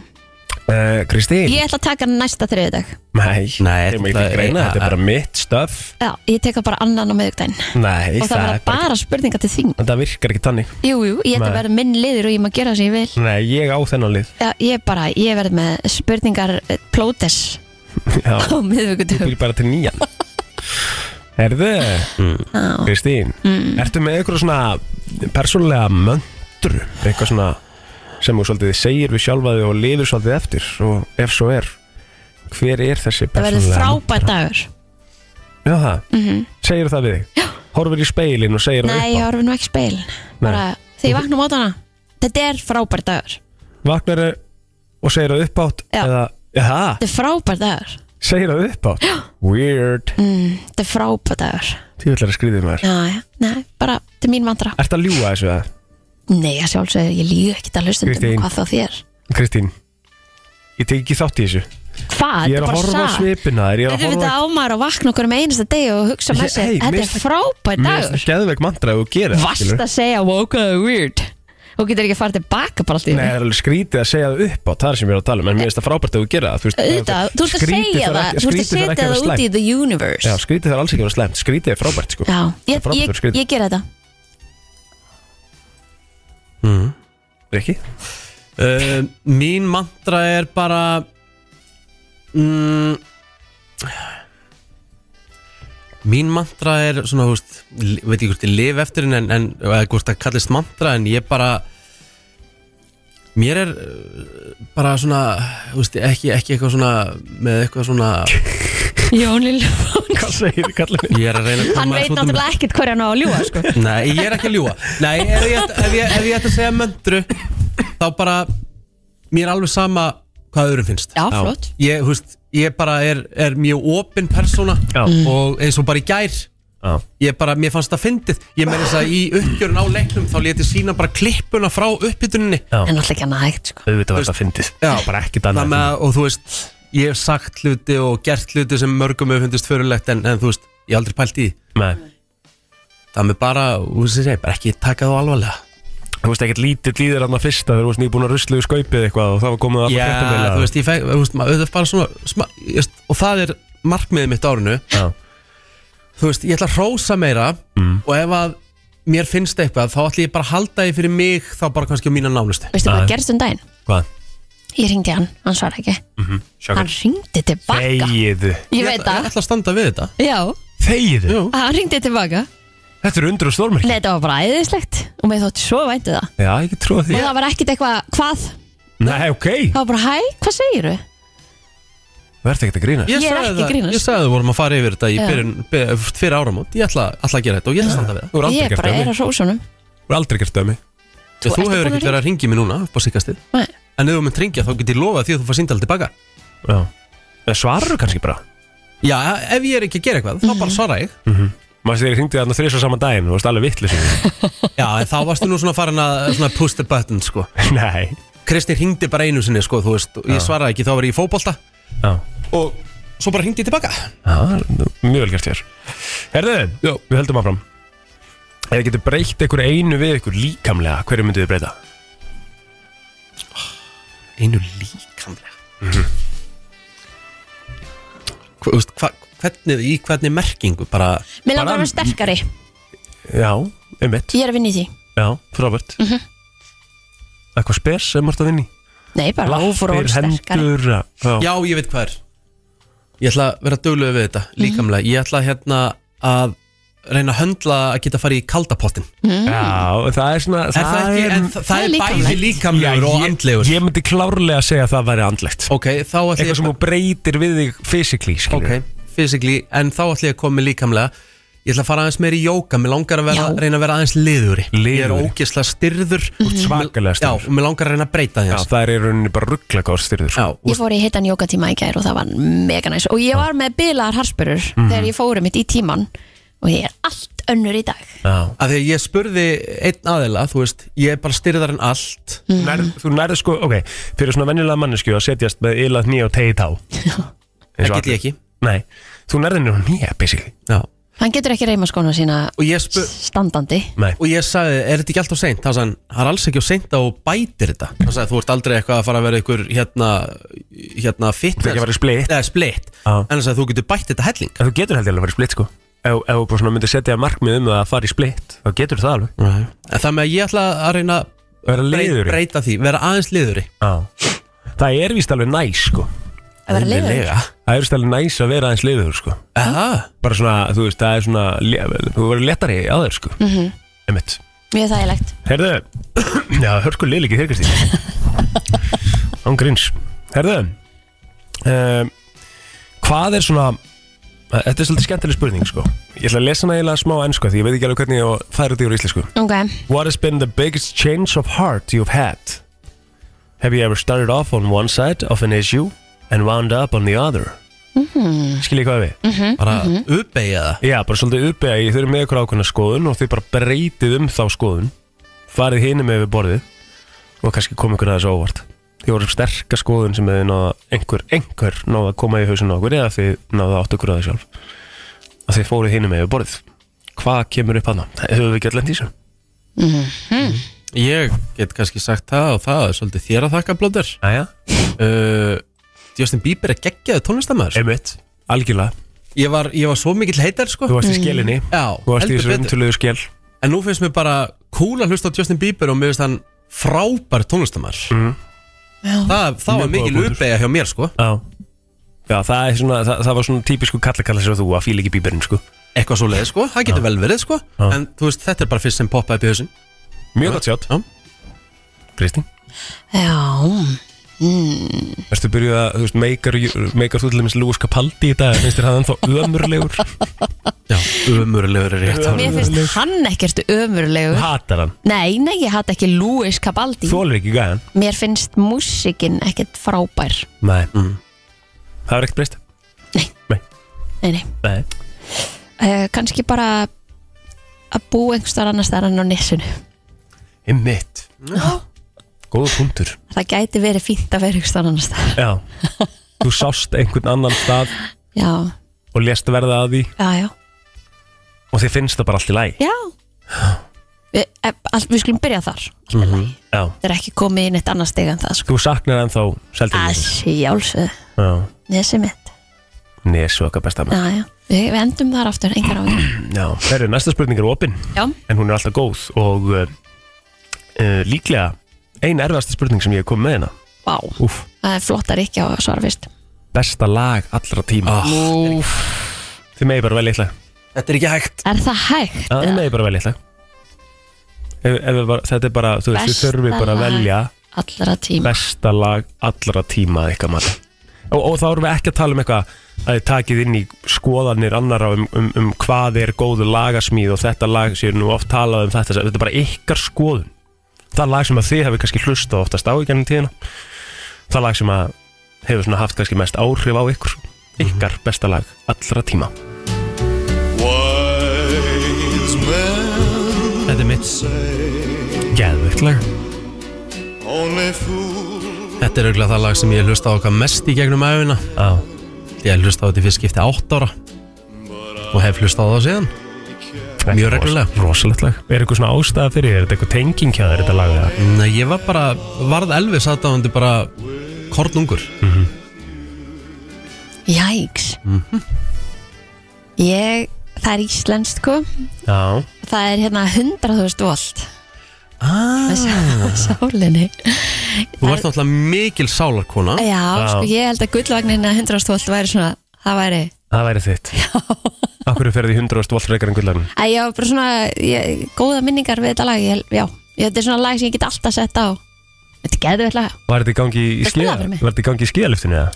Speaker 1: Kristín
Speaker 2: Ég ætla að taka næsta þriðudag
Speaker 1: Nei,
Speaker 3: Nei,
Speaker 1: ég má ekki
Speaker 3: þetta-
Speaker 1: greina, þetta
Speaker 3: ja,
Speaker 1: er bara mitt stöf
Speaker 2: Já, ég teka bara annan á miðugdæn
Speaker 1: Nei,
Speaker 2: Og það verða
Speaker 1: er
Speaker 2: bara spurningar til þín
Speaker 1: Það virkar ekki tannig
Speaker 2: Jú, jú, ég ætla að
Speaker 1: Nei.
Speaker 2: verða minn liður og ég maður gera það sem ég vil
Speaker 1: Nei, ég á þennan lið
Speaker 2: Já, ég bara, ég verð með spurningar eh, plótes
Speaker 1: Já,
Speaker 2: á miðugdæn
Speaker 1: býr bara til nýjan Herðu, Kristín
Speaker 2: Mm.
Speaker 1: Ertu með eitthvað svona persónulega möndru eitthvað svona sem þú svolítið segir við sjálfaði og lifir svolítið eftir og ef svo er hver er þessi
Speaker 2: Það
Speaker 1: persónulega
Speaker 2: verður frábært dagur
Speaker 1: Já, það, mm segir það við þig Já. Horfir í speilin og segir
Speaker 2: Nei, ég
Speaker 1: það upp
Speaker 2: horfi nú ekki í speilin Bara, þegar ég vakna á mótana Þetta er frábært dagur
Speaker 1: á Vaknar og segir það upp átt
Speaker 2: Já.
Speaker 1: eða, Já, það,
Speaker 2: Þetta er frábært dagur
Speaker 1: segir það upp átt Weird,
Speaker 2: mm, Þetta er frábært dagur
Speaker 1: því vil að skriðið maður
Speaker 2: Já, já, nei, bara til mín vandra
Speaker 1: Ertu að ljúga þessu það?
Speaker 2: Nei, að sjálfsögðu, ég líu ekkert að hlustundum
Speaker 1: Kristín.
Speaker 2: Hvað þá þér?
Speaker 1: Kristín, ég tek ekki þátt í þessu
Speaker 2: Hvað?
Speaker 1: Ég er
Speaker 2: Þetta
Speaker 1: að
Speaker 2: bara
Speaker 1: horfa á
Speaker 2: satt.
Speaker 1: svipina þér Ég er að
Speaker 2: Þetta er
Speaker 1: horfa
Speaker 2: þetta ámar að vakna okkur með einasta degi og hugsa með
Speaker 1: Ég-
Speaker 2: sér
Speaker 1: hey,
Speaker 2: Þetta
Speaker 1: mér
Speaker 2: er
Speaker 1: finnst-
Speaker 2: frábær
Speaker 1: Mér finnst
Speaker 2: dagur
Speaker 1: geðveik mantra ef þú gerir það,
Speaker 2: Vast
Speaker 1: skilurðu.
Speaker 2: að segja, wow, hvað er weird Þú getur ekki að fara tilbaka bara alltaf
Speaker 1: Nei, það er alveg skrítið að segja það upp á það er sem ég er að tala um En mér finnst það frábært ef þú gerir það veist,
Speaker 2: Auðvitað, þú ert að
Speaker 1: skrítið
Speaker 2: segja
Speaker 1: þarf
Speaker 2: það
Speaker 1: ekki-
Speaker 2: Þú
Speaker 1: skrítið þarf ekki að
Speaker 2: ert að setja það
Speaker 1: vera
Speaker 2: út í
Speaker 1: slæmt.
Speaker 2: the universe
Speaker 1: Já, skrítið þarf alls ekki að vera slæmt Skrítið er frábært, sko
Speaker 2: Já, ég,
Speaker 1: frábært
Speaker 2: ég,
Speaker 1: að skrifa.
Speaker 2: ég ger þetta
Speaker 1: Rikki?
Speaker 3: Uh, mín mantra er bara mm, Mín mantra er svona, þú veist, li- veit ekki hvort ég lif eftir henni en, en eða hvort það kallist mantra en ég bara mér er uh, bara svona, þú veist, ekki, ekki eitthvað svona með eitthvað svona
Speaker 2: Jón Lillefón,
Speaker 1: Hvað segir kallinu?
Speaker 3: ég er að reyna að
Speaker 2: hann veit
Speaker 3: þessu út um-
Speaker 2: náttúrulega ekkert hverja hann á að ljúa sko.
Speaker 3: Nei, ég er ekki að ljúa Nei, ef ég, ætti- ef ég, ef ég ætti að segja möndru Þá bara Mér er alveg sama hvað öðrum finnst
Speaker 2: Já, flott.
Speaker 3: Ég, þú veist, ég bara er, er mjög opinn persóna
Speaker 1: Já.
Speaker 2: Mm.
Speaker 3: Og eins og bara í gær Ég bara, mér fannst það fyndið Ég meira þess að í uppgjörun á leiknum Þá leti sína bara klippuna frá uppbytuninni
Speaker 1: Já.
Speaker 2: En alltaf ekki hann að hægt sko.
Speaker 1: Auðvitað var þetta fyndið
Speaker 3: Já.
Speaker 1: Bara ekki
Speaker 3: Það
Speaker 1: dannað
Speaker 3: með að, og þú veist Ég hef sagt hluti og gert hluti sem mörgum hefur fundist förulegt en, en þú veist, ég hef aldrei pælt í því.
Speaker 1: Nei.
Speaker 3: Það með bara, þú veist, ég segi, bara ekki taka þú alvarlega
Speaker 1: Þú veist ekkert lítið líður hann að fyrsta Þegar þú veist nýbúin að ruslu í skaupið eitthvað Og það var komið að
Speaker 3: Já, þú veist, ég fæk, þú veist, maður, auðvitað bara svona sma, ég veist, og það er markmiðið mitt á árinu
Speaker 1: Já. Mm.
Speaker 3: þú veist, ég ætla að hrósa meira og ef að mér finnst eitthvað þá ætla ég bara að halda því fyrir mig þá bara kannski á mína nánustu
Speaker 2: Veistu hvað gerst um daginn?
Speaker 1: Hvað?
Speaker 2: Ég ringdi hann, hann svara ekki
Speaker 1: Mhm,
Speaker 2: Hann
Speaker 1: Sjókvæmt
Speaker 2: ringdi tilbaka
Speaker 1: Þegiðu
Speaker 2: Ég veit
Speaker 3: ætla,
Speaker 2: það,
Speaker 3: ég ætla að standa við þetta
Speaker 2: já
Speaker 1: Þegiðu
Speaker 3: Jú.
Speaker 2: Hann ringdi tilbaka
Speaker 1: Þetta er undur og
Speaker 2: Nei,
Speaker 1: stórmerki
Speaker 2: þetta var bara æðislegt Og mér þótti svo væntu það
Speaker 1: Já, ég get trúið
Speaker 2: Og
Speaker 1: því
Speaker 2: það var ekkit eitthvað, hvað?
Speaker 1: Nei, ok
Speaker 2: Það var bara, hæ, hvað segirðu?
Speaker 1: Verð ekkert að grínast
Speaker 2: Ég er
Speaker 3: sagði
Speaker 2: ekki
Speaker 3: það-
Speaker 2: grínast.
Speaker 3: Ég sagði við vorum að fara yfir þetta í
Speaker 2: Já.
Speaker 3: byrjun, byrjun, fyrir áramót Ég ætla, ætla að gera þetta og ég ætla að standa við það
Speaker 1: Þú er aldrei
Speaker 2: Ég
Speaker 1: gert
Speaker 2: bara er
Speaker 1: dæmi
Speaker 2: að rósa honum
Speaker 1: Þú er aldrei gert dæmi
Speaker 3: Þú,
Speaker 2: ert að
Speaker 3: hefur
Speaker 2: búin að
Speaker 3: ekkert verið að ringi mér núna upp á síkastið
Speaker 2: Nei.
Speaker 3: En ef þú mynd ringja þá get ég lofað því að þú fær síndal tilbaka
Speaker 1: Já Það svarar kannski bara
Speaker 3: Já, ef ég er ekki að gera eitthvað, þá
Speaker 2: Mhm.
Speaker 3: bara svara ég
Speaker 1: Maður þegar ég hringdi þarna þrísvar saman daginn Þú veist alveg vittlis
Speaker 3: Já, en þá varstu nú svona farin að svona push the button, sko
Speaker 1: Nei
Speaker 3: Kristi hringdi bara einu sinni sko, þú veist, og ég svaraði ekki, þá var ég í fótbolta
Speaker 1: Já,
Speaker 3: og svo bara hringdi ég tilbaka
Speaker 1: Já, mjög vel gert þér Herðu,
Speaker 3: Já.
Speaker 1: við höldum áfram Ef þið getur breytt einhver einu við ykkur líkamlega Hverju myndu þið breyta?
Speaker 3: einu líkamlega Mhm. Hva- þú veist, hva, hvernig, í hvernig merkingu bara,
Speaker 2: Mér langar að vera sterkari,
Speaker 1: Já, einmitt
Speaker 2: ég er að vinna í því
Speaker 1: Já, frábært Eitthvað spes sem margt að vinni
Speaker 2: Nei, bara hún fór að vera sterkari
Speaker 1: hendur Já, já.
Speaker 3: já, ég veit hvað er ég ætla að vera dögluð við þetta líkamlega, ég ætla hérna að reyna að höndla að geta að fara í kaldapottin
Speaker 1: já það er svona
Speaker 3: er það, ekki, en það, það
Speaker 2: það er
Speaker 3: er bæði
Speaker 2: líkamlegt.
Speaker 3: líkamlegur og andlegur sko.
Speaker 1: Ég myndi klárlega að segja að það væri andlegt
Speaker 3: ok, þá ætla
Speaker 1: Eitthvað
Speaker 3: ég
Speaker 1: sem þú breytir við þig physically skilur.
Speaker 3: ok, physically, en þá ætla ég að koma með líkamlega ég ætla að fara aðeins meir í jóka mér langar að vera,
Speaker 2: Já.
Speaker 3: reyna að vera aðeins liðuri ég er
Speaker 1: Liðugri.
Speaker 3: ógislega styrður
Speaker 1: svakalega
Speaker 3: já,
Speaker 1: styrður.
Speaker 3: og mér langar að reyna að breyta því
Speaker 1: Já,
Speaker 3: aðeins.
Speaker 1: það er í rauninni bara sko. ruggla hvað styrður
Speaker 3: Já, og
Speaker 2: Ég fór í hittan jókatíma í gær og það var mega næs og ég var með bilaðar harspurur
Speaker 1: Mhm.
Speaker 2: þegar ég fórum mitt í tíman og ég er allt önnur í dag
Speaker 1: Já.
Speaker 3: að því að ég spurði einn aðila, þú veist, ég er bara styrðar en allt
Speaker 1: Nærð, þú nærðu sko, ok, fyrir svona venjulega mannesku að setjast með ylað nýja og tegið tá
Speaker 3: það get ég ekki
Speaker 1: Nei, þú nærður nýja nýja, basically
Speaker 3: já.
Speaker 2: Hann getur ekki reyma skóna sína
Speaker 3: og ég spur
Speaker 2: standandi
Speaker 1: Nei,
Speaker 3: og ég sagði, er þetta ekki alltaf seint? Það sagði, hann, það er alls ekki á seint að þú bætir þetta hann sagði, þú ert aldrei eitthvað að fara að vera ykkur hérna, hérna fitness
Speaker 1: þú ekki að vera splitt
Speaker 3: eða splitt,
Speaker 1: Já.
Speaker 3: en hann sagði, þú getur bætt þetta helling
Speaker 1: En þú getur held ég alveg að vera í splitt sko Ef, ef þú bara svona myndir setja markmið um það að fara í splitt Þá getur það alveg
Speaker 3: Nei. En það með að ég ætla að reyna að
Speaker 1: Vera
Speaker 3: breyta,
Speaker 1: leiður í
Speaker 3: breyta því, vera aðeins liðuri
Speaker 1: Já. Það er víst alveg næs sko
Speaker 2: að vera leiður
Speaker 1: Það er víst alveg næs að vera aðeins leiður sko
Speaker 3: Aha,
Speaker 1: Bara svona, þú veist, það er svona le- Þú verður letari á þér sko mm -hmm. Emitt
Speaker 2: Mjög þægilegt
Speaker 1: Herðu, já, hörku lið ekki þér Kristín Án gríns Herðu um, Hvað er svona Þetta er svolítið skemmtileg spurning sko Ég ætla að lesa hana eiginlega smá á ensku Því ég veit ekki alveg hvernig ég á að færa út yfir íslensku
Speaker 2: Ok,
Speaker 1: What has been the biggest change of heart you've had? Have you ever started off on one side of an issue and wound up on the other? Mm -hmm. Skiljið hvað ég við?
Speaker 2: Mhm,
Speaker 3: bara uppeyja það
Speaker 1: Já, bara svolítið uppega í þau eru með ykkur ákveðna skoðun og þau bara breytið um þá skoðun farið hinum með við borðið og kannski kom ykkur aðeins á óvart þau voru sterka skoðun sem þau náða einhver, einhver náða að koma í hausinu okkur eða þau náða átt ykkur aðeins sjálf og þau fóruð hinum með við borðið hvað kemur upp aðna? Höfum við ekki allan tísum?
Speaker 3: Ég get kannski sagt það og það er svolítið þér að þakka blóður
Speaker 1: Æja,
Speaker 3: uh, Justin Bieber er geggjaðu tónlistamæður
Speaker 1: einmitt, algjörlega
Speaker 3: ég var, ég var svo mikill heitar sko
Speaker 1: þú varst í skelinni,
Speaker 3: Já,
Speaker 1: þú varst í
Speaker 3: heldur
Speaker 1: þessu
Speaker 3: betur
Speaker 1: umtöluðu skel
Speaker 3: En nú finnst mér bara cool að hlusta á Justin Bieber og mér finnst hann frábær tónlistamæður mm. Það, það var
Speaker 1: Mjög góður
Speaker 3: mikil
Speaker 1: punktur.
Speaker 3: uppeyja hjá mér sko
Speaker 1: Já, Já það, er svona, það, það var svona típisku kallakalla sem þú að fíla ekki bíberinn sko
Speaker 3: Eitthvað svo leið sko, það getur vel verið sko
Speaker 1: Já.
Speaker 3: En þú veist, þetta er bara fyrst sem poppaði upp í hausinn
Speaker 1: Mjög gott sjátt
Speaker 3: Já.
Speaker 1: Kristín
Speaker 2: já
Speaker 1: Erstu byrjuð að, þú veist, meikar, meikar þú til dæmis Lúis Capaldi í dag Finnst þér hann þá ömurlegur?
Speaker 3: Já, umurlegur er rétt
Speaker 2: Mér finnst hann ekkert ömurlegur
Speaker 1: Hatar hann
Speaker 2: Nei, nei, ég hatt ekki Louis Cabaldi
Speaker 1: Þólir ekki gæðan?
Speaker 2: Mér finnst músikin ekkert frábær
Speaker 1: Nei Mm. Það er ekkert breyst?
Speaker 2: Nei, nei
Speaker 1: Nei
Speaker 2: uh, Kanski bara að búa einhvers þar annars þar enn á nesunu
Speaker 1: Einmitt Góða punktur
Speaker 2: Það gæti verið fínt að vera einhvers þar annars þar
Speaker 1: Já Þú sást einhvern annan stað
Speaker 2: Já,
Speaker 1: og lést verða að því
Speaker 2: já, já
Speaker 1: og þið finnst það bara allt í læg
Speaker 2: Já Við, e, all, við skulum byrja þar Allt er lagi.
Speaker 1: Já
Speaker 2: Það er ekki komið inn eitt annað steg en það sko.
Speaker 1: Þú saknar ennþá
Speaker 2: Að
Speaker 1: Seltjarnarnes.
Speaker 2: sjálfsög
Speaker 1: Já
Speaker 2: Nesi mitt
Speaker 1: Nesu okkar besta
Speaker 2: Já,
Speaker 1: með
Speaker 2: já Við, við endum þar aftur Engar á
Speaker 1: Já Herru, næsta spurning er opinn
Speaker 2: Já
Speaker 1: en hún er alltaf góð og uh, uh, líklega ein erfasta spurning sem ég hef komið með hérna
Speaker 2: Vá
Speaker 1: Úf,
Speaker 2: Það er flottar ekki á að svara fyrst
Speaker 1: besta lag allra tíma oh.
Speaker 3: Úff,
Speaker 1: Þið megi bara velja eitthvað
Speaker 3: Þetta er ekki hægt
Speaker 2: Er það hægt?
Speaker 1: Þið megi bara velja eitthvað Ef, ef við bara, þetta er bara, þú veist, við
Speaker 2: Besta
Speaker 1: þurfum bara að
Speaker 2: lag.
Speaker 1: velja
Speaker 2: Allra tíma
Speaker 1: besta lag allra tíma að eitthvað mann og, og þá erum við ekki að tala um eitthvað að þið takið inn í skoðanir annara um, um, um hvað er góðu lagasmíð og þetta lag séu nú oft talað um þetta þetta er bara ykkar skoðun það lag sem að þið hefur kannski hlustað oftast á í gennum tíðina það lag sem að hefur svona haft kannski mest áhrif á ykkur ykkar besta lag allra tíma
Speaker 3: Þetta er mitt
Speaker 1: Geðvögt lag
Speaker 3: Þetta er auðvitað það lag sem ég hlusta á okkar mest í gegnum æfina
Speaker 1: Já,
Speaker 3: Ég hlusta á þetta í fyrst skipti 8 ára Og hef hlusta á það síðan
Speaker 1: þetta er
Speaker 3: Mjög
Speaker 1: ros-
Speaker 3: reglulega.
Speaker 1: Rosalegt lag Er eitthvað svona ástæða fyrir þér? Er þetta eitthvað tenging hjá þér þetta lag? eða?
Speaker 3: Nei, ég var bara, varð Elvis aðdáðandi bara kornungur
Speaker 2: Jæks Ég, það er íslenskt sko
Speaker 1: Já,
Speaker 2: Það er hérna 100.000 volt
Speaker 3: ah,
Speaker 2: ah. Sálinni
Speaker 3: Þú varst náttúrulega mikil sálarkona
Speaker 2: Já, sko ég held að gullvagnin að 100.000 volt væri svona Það væri
Speaker 1: það væri þitt Já Akkur ferði 100 volt reikar en gullarinn
Speaker 2: Æ, ég var bara svona ég, Góða minningar við þetta lag ég, Já, ég, þetta er svona lag sem ég get alltaf sett á Þetta er geðveikt lag
Speaker 1: Var þetta í gangi í
Speaker 2: Viltu
Speaker 1: skíða?
Speaker 2: það fyrir mig?
Speaker 1: Var þetta í gangi í skíðaliftinu eða?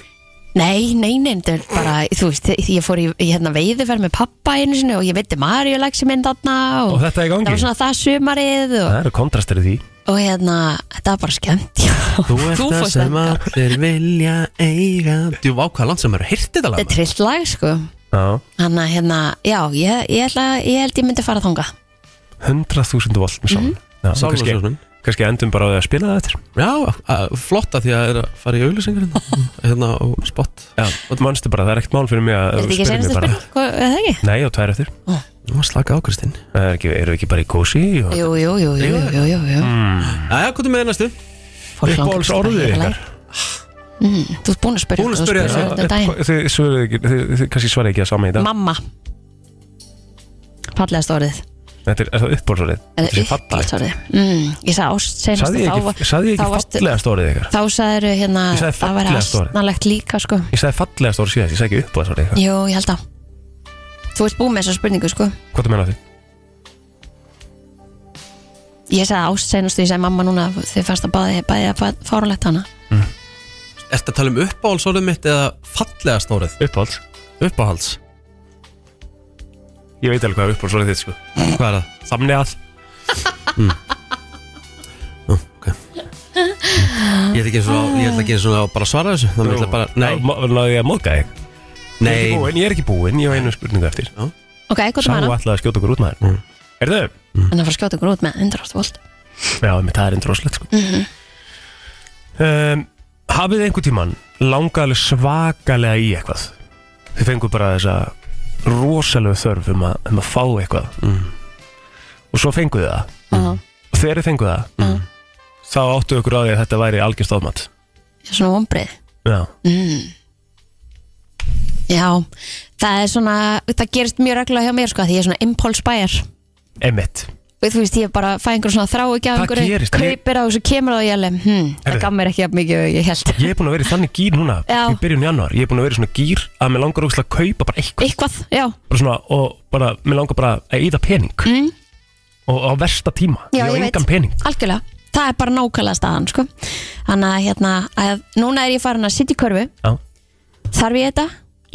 Speaker 2: Nei, nei, nei, þetta er bara, þú veist, ég fór í, í hérna veiðuferð með pappa einu sinni og ég veitti Maríulag sem inn þarna og,
Speaker 1: Og þetta er í gangi?
Speaker 2: það var svona það sumarið og,
Speaker 1: Það eru kontrastir í því
Speaker 2: og hérna, þetta var bara skemmt, já.
Speaker 3: Þú ert það
Speaker 2: fórst
Speaker 3: sem
Speaker 2: þangað.
Speaker 3: allir vilja eiga Þú ákvaða land sem eru hirtið þetta
Speaker 2: Þetta er
Speaker 3: lag
Speaker 2: trillt lag, sko.
Speaker 1: Já,
Speaker 2: Þannig að, hérna, já, ég, ég, ætla, ég held ég myndi fara þanga.
Speaker 1: 100.000 volt með sálun Já,
Speaker 2: Mhm.
Speaker 1: og kannski-
Speaker 3: Sálarkona
Speaker 1: Kannski endum bara á því að spila það eftir
Speaker 3: Já, að- flotta því að það er að fara í auglýsingar hérna, hérna og spott
Speaker 1: Já, og mannstu bara, það er ekkert mál fyrir mig að
Speaker 2: Er þetta ekki senast að spyrja? Er það ekki?
Speaker 1: Nei, og tvær eftir
Speaker 3: Nú var slaka ákvæmstinn
Speaker 1: Það er ekki, eru við ekki bara í kósi og...
Speaker 2: Jú, jú, jú, jú, jú, jú, jú.
Speaker 3: Jæja, hvað er með þér næstu?
Speaker 2: Fólk langar
Speaker 1: Uppáhalds
Speaker 2: bara
Speaker 1: orðið
Speaker 2: í þetta
Speaker 1: ykkar?
Speaker 2: lag. Mm, Þú ert búin að spyrja.
Speaker 3: Búin að
Speaker 2: þú
Speaker 3: spyrja,
Speaker 2: spurðir þetta um daginn.
Speaker 1: Þið svöruðu ekki, þið, þið kannski svaraði ekki að sama í dag
Speaker 2: Mamma. Fallegast orðið.
Speaker 1: Þetta er, er það uppbólsorðið
Speaker 2: Er
Speaker 1: Þetta er
Speaker 2: það
Speaker 1: fallegt
Speaker 2: uppáhaldsorðið? Mm, ég sagði ást senast
Speaker 1: Saði
Speaker 2: að
Speaker 1: ég
Speaker 2: þá var-
Speaker 1: ekki, sagði ég
Speaker 2: þá
Speaker 1: ekki
Speaker 2: varstu-
Speaker 1: fallegast orðið ykkar
Speaker 2: Þá sagðiru hérna
Speaker 1: Ég sagði
Speaker 2: Það væri
Speaker 1: fallegast orðið.
Speaker 2: astnalegt líka sko
Speaker 1: Ég sagði fallegast orðið síðast, ég sagði ekki uppbólsorðið ykkar
Speaker 2: Jú, ég held að Þú ert búið með þessa spurningu sko
Speaker 1: Hvað er meina því?
Speaker 2: Ég sagði ást senast og ég sagði mamma núna Þið fannst að bæði, bæði að fárulegt hana
Speaker 3: Ertu að tala um uppáhalsorðið mitt eða fallegast orðið?
Speaker 1: Uppbóls
Speaker 3: Uppáhalds?
Speaker 1: Ég veit alveg hvað er uppbólsorðið þitt sko
Speaker 3: Hvað er það?
Speaker 1: Samni að
Speaker 3: Nú, ok Ég ætla ekki eins og ég ætla ekki eins og að bara svara þessu Þannig ég ætla bara, nei,
Speaker 1: Náðu ég að móðga þig Ég er ekki
Speaker 3: nei
Speaker 1: búinn, Ég er ekki búinn, ég á einu spurningu eftir
Speaker 2: Ok, hvað er
Speaker 1: Sá
Speaker 2: með hana?
Speaker 1: alltaf að skjóta okkur út maður mm. Erðu?
Speaker 2: Þannig að fara að skjóta ykkur út með 100 volt
Speaker 1: Já, með það er einn droslegt sko um, Hafið þið einhver tíman langað alveg svakalega í eitthvað Þið fengur bara þessa rosalega þörf um að, um að fá eitthvað Og svo fenguð þið það Og þegar þið fenguð það
Speaker 2: Mhm.
Speaker 1: Þá áttu ykkur á því að þetta væri algjörst ofmat
Speaker 2: Ég er svona vombrið
Speaker 1: Já,
Speaker 2: Já, það er svona Það gerist mjög reglulega hjá mér sko Því ég er svona impulse buyer
Speaker 1: emitt
Speaker 2: Og þú veist, ég bara fæ einhver svona þrái
Speaker 1: Það
Speaker 2: einhverju
Speaker 1: gerist, ég-
Speaker 2: Kaupir á þessu, kemur á því alveg hm, Það
Speaker 1: Heyrðu.
Speaker 2: gaf mér ekki jafn mikið og ég held
Speaker 1: Ég er búin að vera í þannig gýr núna
Speaker 2: Já.
Speaker 1: Í byrjun januar, ég er búin að vera í svona gýr Að mér langar ógæslega að kaupa bara eitthvað
Speaker 2: Eitthvað, já
Speaker 1: bara svona, og bara, mér langar bara að íða pening mm. og á versta tíma
Speaker 2: Já,
Speaker 1: ég á
Speaker 2: ég
Speaker 1: engan
Speaker 2: veit.
Speaker 1: pening
Speaker 2: Algjörlega, það er bara nákvæmlega staðan sko. Þannig að, hérna, að núna er ég farin að sitja í körfu
Speaker 1: já,
Speaker 2: Þarf ég þetta,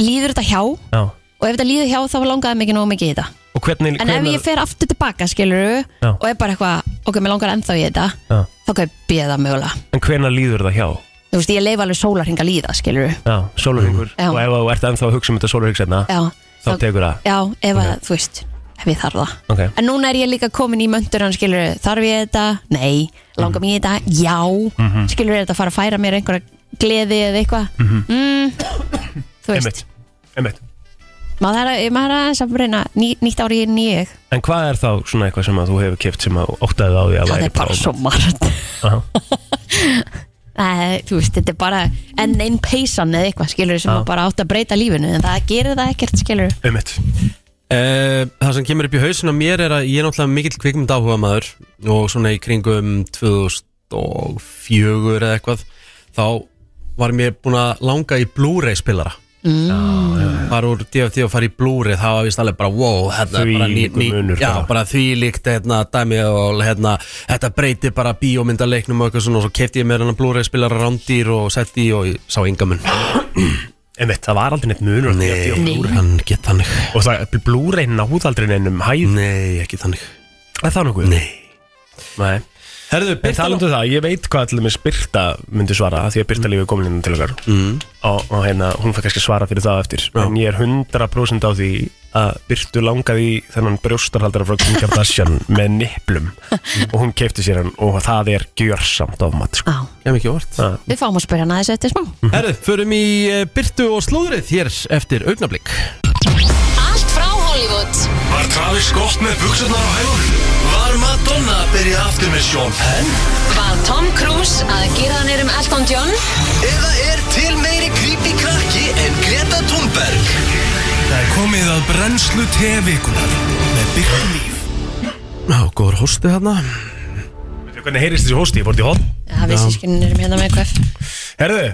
Speaker 2: líður þetta hjá og
Speaker 1: já.
Speaker 2: ef þetta líður hjá þá langaði mikið nóg mikið í þetta
Speaker 1: og hvernig,
Speaker 2: En ef ég fer aftur tilbaka skilur
Speaker 1: Já.
Speaker 2: og er bara eitthvað, ok, mér langar ennþá í þetta
Speaker 1: Já.
Speaker 2: þá kaup ég það mögulega
Speaker 1: en hvenar líður það hjá
Speaker 2: Þú veist, ég leif alveg sólarhinga líða skilur
Speaker 1: já, sólurhingur,
Speaker 2: Já.
Speaker 1: og ef þú ert ennþá að hugsa um þetta sólurhing setna,
Speaker 2: Já,
Speaker 1: þá tekur það
Speaker 2: já ef að, þú veist, ef ég þarf það
Speaker 1: ok,
Speaker 2: En núna er ég líka komin í möndurann, skilur þarf ég þetta? Nei.
Speaker 1: Mhm.
Speaker 2: Langar mér í þetta? Já. Mm -hmm. Skilur þetta að fara að færa mér einhverja gleði eða eitthvað? Mm
Speaker 1: Mhm.
Speaker 2: Þú veist,
Speaker 1: emitt, emitt
Speaker 2: maður er, að- maður er aðeins að reyna ný, nýtt ári en ég.
Speaker 1: en hvað er þá svona eitthvað sem að þú hefur kipt sem að þú óttaði á því að
Speaker 2: Það er bara svo margt.
Speaker 1: Aha.
Speaker 2: Nei, Eh, þú veist, þetta er bara enn einn peysan eða eitthvað, skilur sem
Speaker 1: Já.
Speaker 2: maður bara átt að breyta lífinu, en það gerir það ekkert, skilur
Speaker 1: emitt,
Speaker 3: Eh, Það sem kemur upp í hausinu á mér er að ég er náttúrulega mikill kvikmynd áhuga maður og svona í kringum 2004 eða eitthvað þá var mér búin að langa í Blu-ray spilara mm. bara úr DVD og fara í Blu-ray þá var vist alveg bara wow hérna,
Speaker 1: Þvílíkur
Speaker 3: bara,
Speaker 1: munur
Speaker 3: já,
Speaker 1: bara.
Speaker 3: bara því líkt hérna, dæmi og hérna, þetta breyti bara bíómyndaleiknum og eitthvað svona og svo kefti ég mér hennar Blu-ray spilara rándýr og setti í og ég sá engamun
Speaker 1: emitt, það var aldrei neitt munur á því að því að-
Speaker 3: hann get þannig
Speaker 1: og það, Blu-ray náði aldrei neinum hæð
Speaker 3: Nei, ekki þannig
Speaker 1: er það nokkuð?
Speaker 3: Nei
Speaker 1: Nei.
Speaker 3: Herðu,
Speaker 1: En
Speaker 3: Birta
Speaker 1: talandu um það, ég veit hvað allir með Birta myndi svara af Því að Birta lífið komin inn til okkar mm. og, og hérna, hún fær kannski svara fyrir það eftir En ég er 100% á því að Birtu langaði í þennan brjóstarhaldara frá Kim Kardashian með niplum og hún keipti sér hann og það er gjörsamt ofmat sko.
Speaker 2: Á,
Speaker 3: Ég hef mikið vort
Speaker 1: ah.
Speaker 2: við fáum að spyrja hana þessi eftir smá
Speaker 1: Hm.
Speaker 3: Herðu, förum í eh, Birtu og slúðrið hér eftir augnablík
Speaker 8: Allt frá Hollywood
Speaker 9: Var Travis Scott með buksurnar á hægur? Var Madonna að byrja aftur með Sean Penn?
Speaker 8: Var Tom Cruise að gera hann erum Elton John
Speaker 9: Eða er til meiri creepy krakki en Greta Thunberg? Það er komið að brennslu tevikunar með byrju líf.
Speaker 3: Já, góður hósti þarna
Speaker 1: Hvernig heyrist þessi hósti, ég fórt í hot
Speaker 2: Já, við sískinni erum hérna með KF
Speaker 1: Herðu,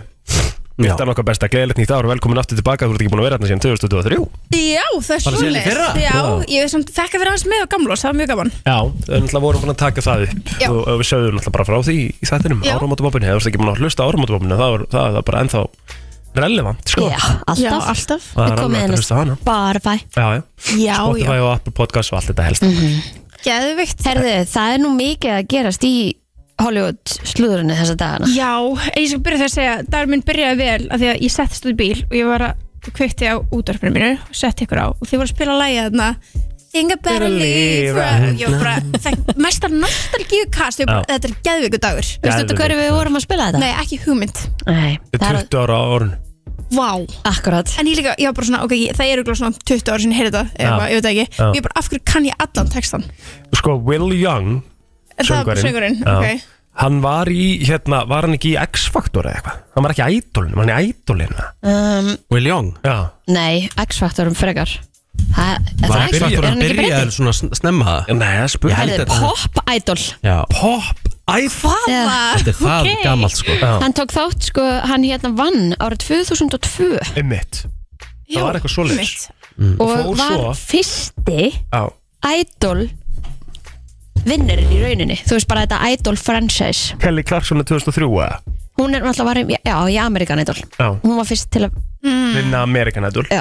Speaker 1: Birta er nokkað besta, gleðilegt nýtt ár og velkomin aftur tilbaka Þú ert ekki búin að vera hérna síðan 2023
Speaker 10: Já, það er
Speaker 3: Bara síðan í
Speaker 10: svoleiðis.
Speaker 3: fyrra?
Speaker 10: Já,
Speaker 3: Vá.
Speaker 10: ég er samt þakka fyrir aðeins með og gamla það var mjög gaman
Speaker 1: Já, við náttúrulega vorum búin að taka það upp
Speaker 10: Já.
Speaker 1: og, og við sögðum náttúrulega bara frá því í þættinum
Speaker 10: Já.
Speaker 1: áramótabopinni, það varst ekki búin að hlusta áramótabopinni það, var- það, það var bara ennþá relevant sko.
Speaker 2: Já, alltaf
Speaker 10: alltaf
Speaker 1: Það
Speaker 2: Við
Speaker 1: er
Speaker 2: komum
Speaker 1: alveg hægt að hlusta á hana
Speaker 2: hérna bara bæ
Speaker 1: Já, já,
Speaker 10: Já,
Speaker 1: Spotify
Speaker 10: já,
Speaker 1: og Apple Podcast og allt þetta helst mm
Speaker 10: geðvikt
Speaker 2: Herðu, það er nú mikið að gerast í Hollywood slúðurinni þessa dagana
Speaker 10: Já, ég skal byrja því að segja dagur minn byrjaði vel af því að ég settist út í bíl og ég var að kveikti á útvarpinu mínu og setti ykkur á og þið voru að spila lægið þarna Think about a leave og ég var bara, það mestar nostalgíu kast ég var bara, þetta er geðviku dagur
Speaker 2: Veistu þetta hverju við vorum að spila þetta?
Speaker 10: Nei, ekki hugmynd,
Speaker 2: Nei,
Speaker 1: Þetta
Speaker 2: það
Speaker 1: er
Speaker 2: er
Speaker 1: 20 ára á orðin
Speaker 10: vá
Speaker 2: akkurat
Speaker 10: En ég líka, ég var bara svona, ok, ég, það eru glóð svona 20 ára sinni heyrði þetta,
Speaker 1: Já.
Speaker 10: eða, eitthvað, ég veit það ekki
Speaker 1: Já.
Speaker 10: Ég bara, af hverju kann ég allan textan?
Speaker 1: Sko, Will Young,
Speaker 10: Er það
Speaker 1: söngvarinn
Speaker 10: Söngurinn,
Speaker 1: Já.
Speaker 10: ok
Speaker 1: Hann var í, hérna, var hann ekki í X-Factor eða eitthvað? Hann var ekki í Idolin, var hann í Idolin eða?
Speaker 2: um,
Speaker 3: Will Young
Speaker 1: Já,
Speaker 2: Nei, X-faktorum frekar Þa, Það er ekki, er hann ekki
Speaker 3: byrjar
Speaker 2: breytið?
Speaker 3: svona sn- snemma það
Speaker 1: nei, það er spurning
Speaker 2: Það er
Speaker 3: þetta-
Speaker 2: pop-idol
Speaker 3: Já Pop Æfa
Speaker 2: Já.
Speaker 3: Þetta er það gamalt sko
Speaker 1: Já,
Speaker 2: Hann tók þátt, sko, hann hérna vann árið 2002
Speaker 1: einmitt
Speaker 10: Jú,
Speaker 1: var eitthvað svoleiðis.
Speaker 10: einmitt.
Speaker 2: og
Speaker 1: Mm. Fór
Speaker 2: var
Speaker 1: svo.
Speaker 2: fyrsti
Speaker 1: Já,
Speaker 2: idol vinnurinn í rauninni þú veist bara þetta idol franchise
Speaker 1: Kelly Clarkson er 2003 eða?
Speaker 2: hún er náttúrulega varum, já, í Amerikan idol
Speaker 1: Já,
Speaker 2: hún var fyrst til að
Speaker 1: vinna American Idol
Speaker 2: já,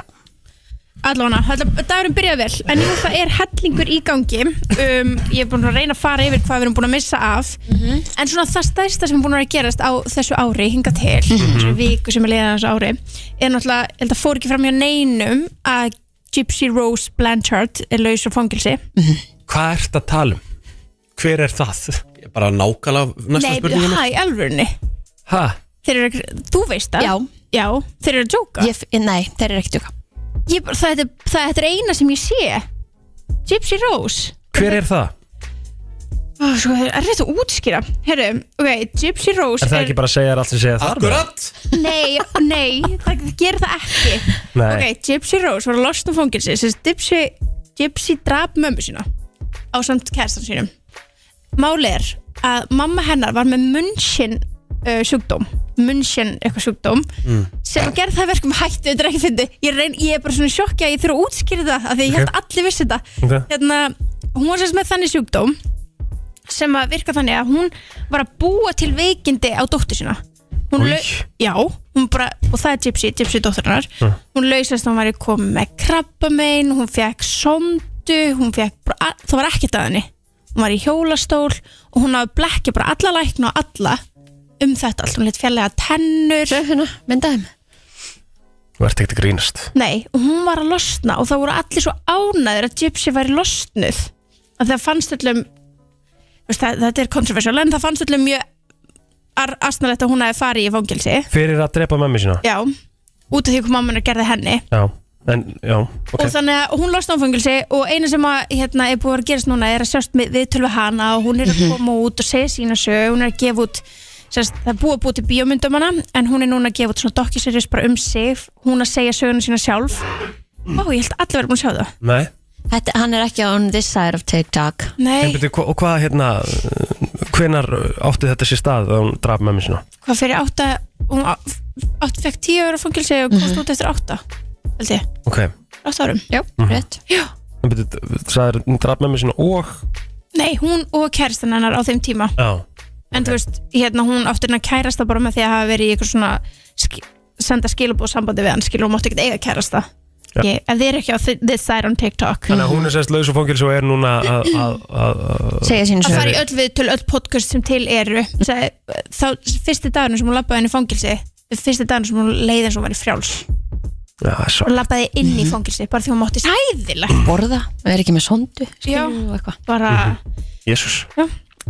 Speaker 10: Allána, dagurinn byrjaði vel En jú, það er hellingur í gangi um, Ég er búin að reyna að fara yfir hvað við erum búin að missa af
Speaker 2: Mhm.
Speaker 10: En svona það stærsta sem er búin að vera að gerast á þessu ári hinga til,
Speaker 2: Mhm.
Speaker 10: þessu viku sem er leiðið á þessu ári er náttúrulega, ég held að fór ekki fram hjá neinum að Gypsy Rose Blanchard er laus á fangilsi
Speaker 3: Hvað ert að tala um?
Speaker 1: Hver er það?
Speaker 3: Ég Bara nákvæmlega næsta
Speaker 10: Nei,
Speaker 3: spurningu
Speaker 10: hæ, alvörunni
Speaker 3: Hæ?
Speaker 10: Þeir eru, ekki- þú veist það?
Speaker 2: Já.
Speaker 10: Já, þeir eru að jóka
Speaker 2: ég, nei, þeir eru ekkert tjóka
Speaker 10: ég, bara- það, þetta, það, þetta er eina sem ég sé Gypsy Rose
Speaker 1: Hver er það?
Speaker 10: Ó, sko, það er rétt að útskýra Herru, ok, Gypsy Rose
Speaker 1: Er það ekki bara að segja þér allt sem segja það?
Speaker 3: Akkurat
Speaker 10: Nei, nei, það gerir það ekki
Speaker 1: Nei,
Speaker 10: Ok, Gypsy Rose var að losna úr fangilsi sem sagt, Gypsy, Gypsy drap mömmu sína á samt kærstan sínum Málið er að mamma hennar var með munnsinn uh, sjúkdóm munnsinn eitthvað sjúkdóm
Speaker 1: Mm.
Speaker 10: sem að gera það verkum hættu, þetta er ekki fyndi ég, reyn, ég er bara svona í sjokki að ég þurfa að útskýra það af því ég held að allir vissi þetta
Speaker 1: Ok.
Speaker 10: hérna, hún var sérst með þannig sjúkdóm sem að virka þannig að hún var að búa til veikindi á dóttur sína hún
Speaker 1: Új.
Speaker 10: lau, já, hún bara og það er Gypsy, Gypsy dótturinnar hún lausast að hún var í komið með krabbamein hún fekk sondu hún fekk bara, a- það var ekkert að henni hún var í hjólastól og hún hafði blekki bara alla lækna og alla um þetta allt, hún lit fjallega tennur
Speaker 2: hérna, myndaðum
Speaker 1: þú ert ekkert að grínast
Speaker 10: Nei, og hún var að losna og það voru allir svo ánæður að Gypsy væri losnuð að það fannst öllum veist, það, þetta er kontroversial en það fannst öllum mjög ar- asnalegt að hún hefði farið í fangilsi
Speaker 1: Fyrir að drepa mömmu sína
Speaker 10: já, út af því hvað mamman gerði henni
Speaker 1: Já, en, já, ok
Speaker 10: og þannig að hún losna á fangilsi og eina sem að, hérna, er búið að gerast núna er að sjást með, við tölvi hana og hún er að koma út og segja sína sög, hún er að gefa út sérst, það er búið að búið til bíómyndum hana en hún er núna að gefa út svona dokkisirjus bara um sig hún að segja söguna sína sjálf Ó, ég held að allir verið búin að sjá það
Speaker 1: Nei,
Speaker 2: Þetta, hann er ekki on this side of TikTok
Speaker 10: Nei,
Speaker 1: en betur, hva, og hvað hérna Hvenar átti þetta sér stað að hún draf mömmu sína?
Speaker 10: hvað fyrir átta hún á- átt fekk tíu ára fangilsi og
Speaker 1: Mhm.
Speaker 10: komst út eftir átta held ég,
Speaker 1: Ok,
Speaker 10: átta árum
Speaker 2: Jó,
Speaker 1: Mhm.
Speaker 2: rétt
Speaker 10: Já.
Speaker 1: en betur, sagði hún draf mömmu sína og
Speaker 10: Nei, hún og kærastan hennar á þeim tíma
Speaker 1: Já,
Speaker 10: en þú veist, hérna hún átti hennar kærasta bara með því að hafa verið í eitthvað svona sk senda skilabóð sambandi við hann skilur, hún mátti ekkert eiga kærasta Ég, ef þið eru ekki á thi- this side on TikTok
Speaker 1: Þannig að hún er sérst laus og fangils og er núna að að- að- að-
Speaker 10: að fara í öll við til öll podcast sem til eru Sæ, þá fyrsti dagurinn sem hún labbaði inn í fangilsi fyrsti dagurinn sem hún leiði eins og hún var í frjáls
Speaker 1: Já, svo
Speaker 10: og labbaði inn
Speaker 1: Mhm.
Speaker 10: í fangilsi bara því hún mátti sæðilega
Speaker 2: borða, er ekki með sondu
Speaker 10: já, bara
Speaker 1: Jésús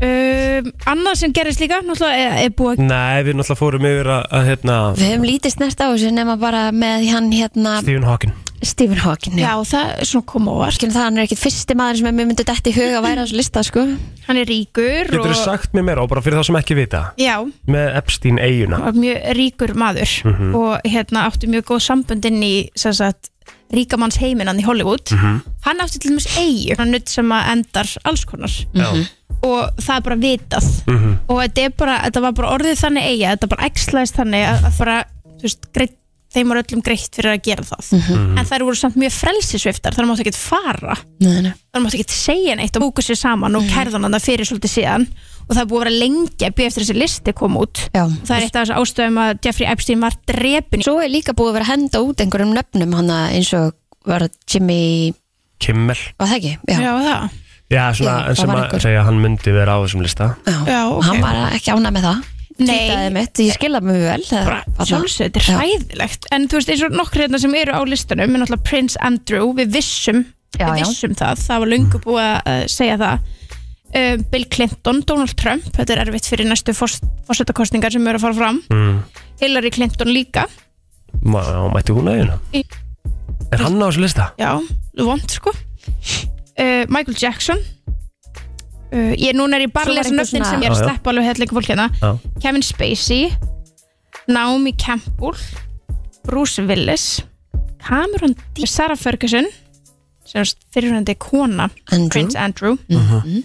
Speaker 10: um, annað sem gerist líka náttúrulega er, er búið að
Speaker 1: Nei, við náttúrulega fórum yfir að, að hérna
Speaker 2: Við hefum lítið snert á þessu nema bara með hann hérna
Speaker 1: Stephen Hawking
Speaker 2: Stephen Hawking
Speaker 10: Já, það er svona koma óvart
Speaker 2: Skilum það, hann er ekkit fyrsti maður sem mér myndi dætt í huga að væri á þessu lista, sko
Speaker 10: Hann er ríkur
Speaker 1: Getur þú sagt mér meira og bara fyrir þá sem ekki vita
Speaker 10: já,
Speaker 1: Með Epstein eiguna
Speaker 10: var mjög ríkur maður
Speaker 1: Mhm.
Speaker 10: og hérna áttu mjög góð sambönd inn í sem sagt, ríkamanns heiminann í Hollywood
Speaker 1: Mhm.
Speaker 10: hann átti til dæmis eigu hann nutt sem að endar alls konar
Speaker 1: Já.
Speaker 10: og það er bara vitað
Speaker 1: Mhm.
Speaker 10: og þetta, er bara, þetta var bara orðið þannig eiga þetta bara æxlaðist þannig að, að bara, þú veist, greitt, þeim var öllum greitt fyrir að gera það
Speaker 2: Mhm.
Speaker 10: en þær voru samt mjög frelsisviftar þar máttu ekkert fara
Speaker 2: Nei, nei
Speaker 10: þannig máttu ekki segja neitt og búku sér saman
Speaker 2: Mhm.
Speaker 10: og kærðan hann það fyrir svolítið síðan og það er búið að vera lengi að býja eftir þessi listi kom út
Speaker 2: Já.
Speaker 10: það er eitt af þessu ástöðum að Jeffrey Epstein var drepin
Speaker 2: Svo er líka búið að vera að henda út einhverjum nöfnum hann eins og var Jimmy
Speaker 1: Kimmel
Speaker 2: Var það ekki? Já,
Speaker 10: já það
Speaker 1: Já, svona
Speaker 2: Já,
Speaker 1: en
Speaker 2: það
Speaker 1: sem
Speaker 2: var
Speaker 1: að
Speaker 2: einhver.
Speaker 1: segja að hann myndi vera á þessum lista
Speaker 2: Já,
Speaker 10: ok.
Speaker 2: Hann var ekki ánað með það Tweetaði mitt, ég skilða mig vel
Speaker 10: Sjálfsögðu, þetta er hræðilegt En þú veist, eins og nokkri hérna sem eru á listanum er náttúrulega Prince Andrew, við vissum
Speaker 2: Já,
Speaker 10: við
Speaker 2: já.
Speaker 10: vissum það, það var löngu búið að eh, segja það um, Bill Clinton, Donald Trump þetta er erfitt fyrir næstu fórsetakostningar sem eru að fara fram
Speaker 1: mm.
Speaker 10: Hillary Clinton líka
Speaker 1: Má, Mætti hún eiguna
Speaker 10: Í-
Speaker 1: Er hann á þessum lista?
Speaker 10: Já, vond sko uh, Michael Jackson uh, Ég núna er ég bara
Speaker 2: Svo
Speaker 10: að
Speaker 2: var
Speaker 10: lesa
Speaker 2: einhver
Speaker 10: nöfnin
Speaker 2: svona-
Speaker 10: sem ég er að
Speaker 1: Já, já.
Speaker 10: sleppa alveg hellingu fólk hérna
Speaker 1: Já.
Speaker 10: Kevin Spacey Naomi Campbell Bruce Willis Cameron Diaz Sarah Ferguson sem er fyrirhundið kona
Speaker 2: Andrew.
Speaker 10: Prince Andrew
Speaker 1: Uh-huh.
Speaker 2: Mhm.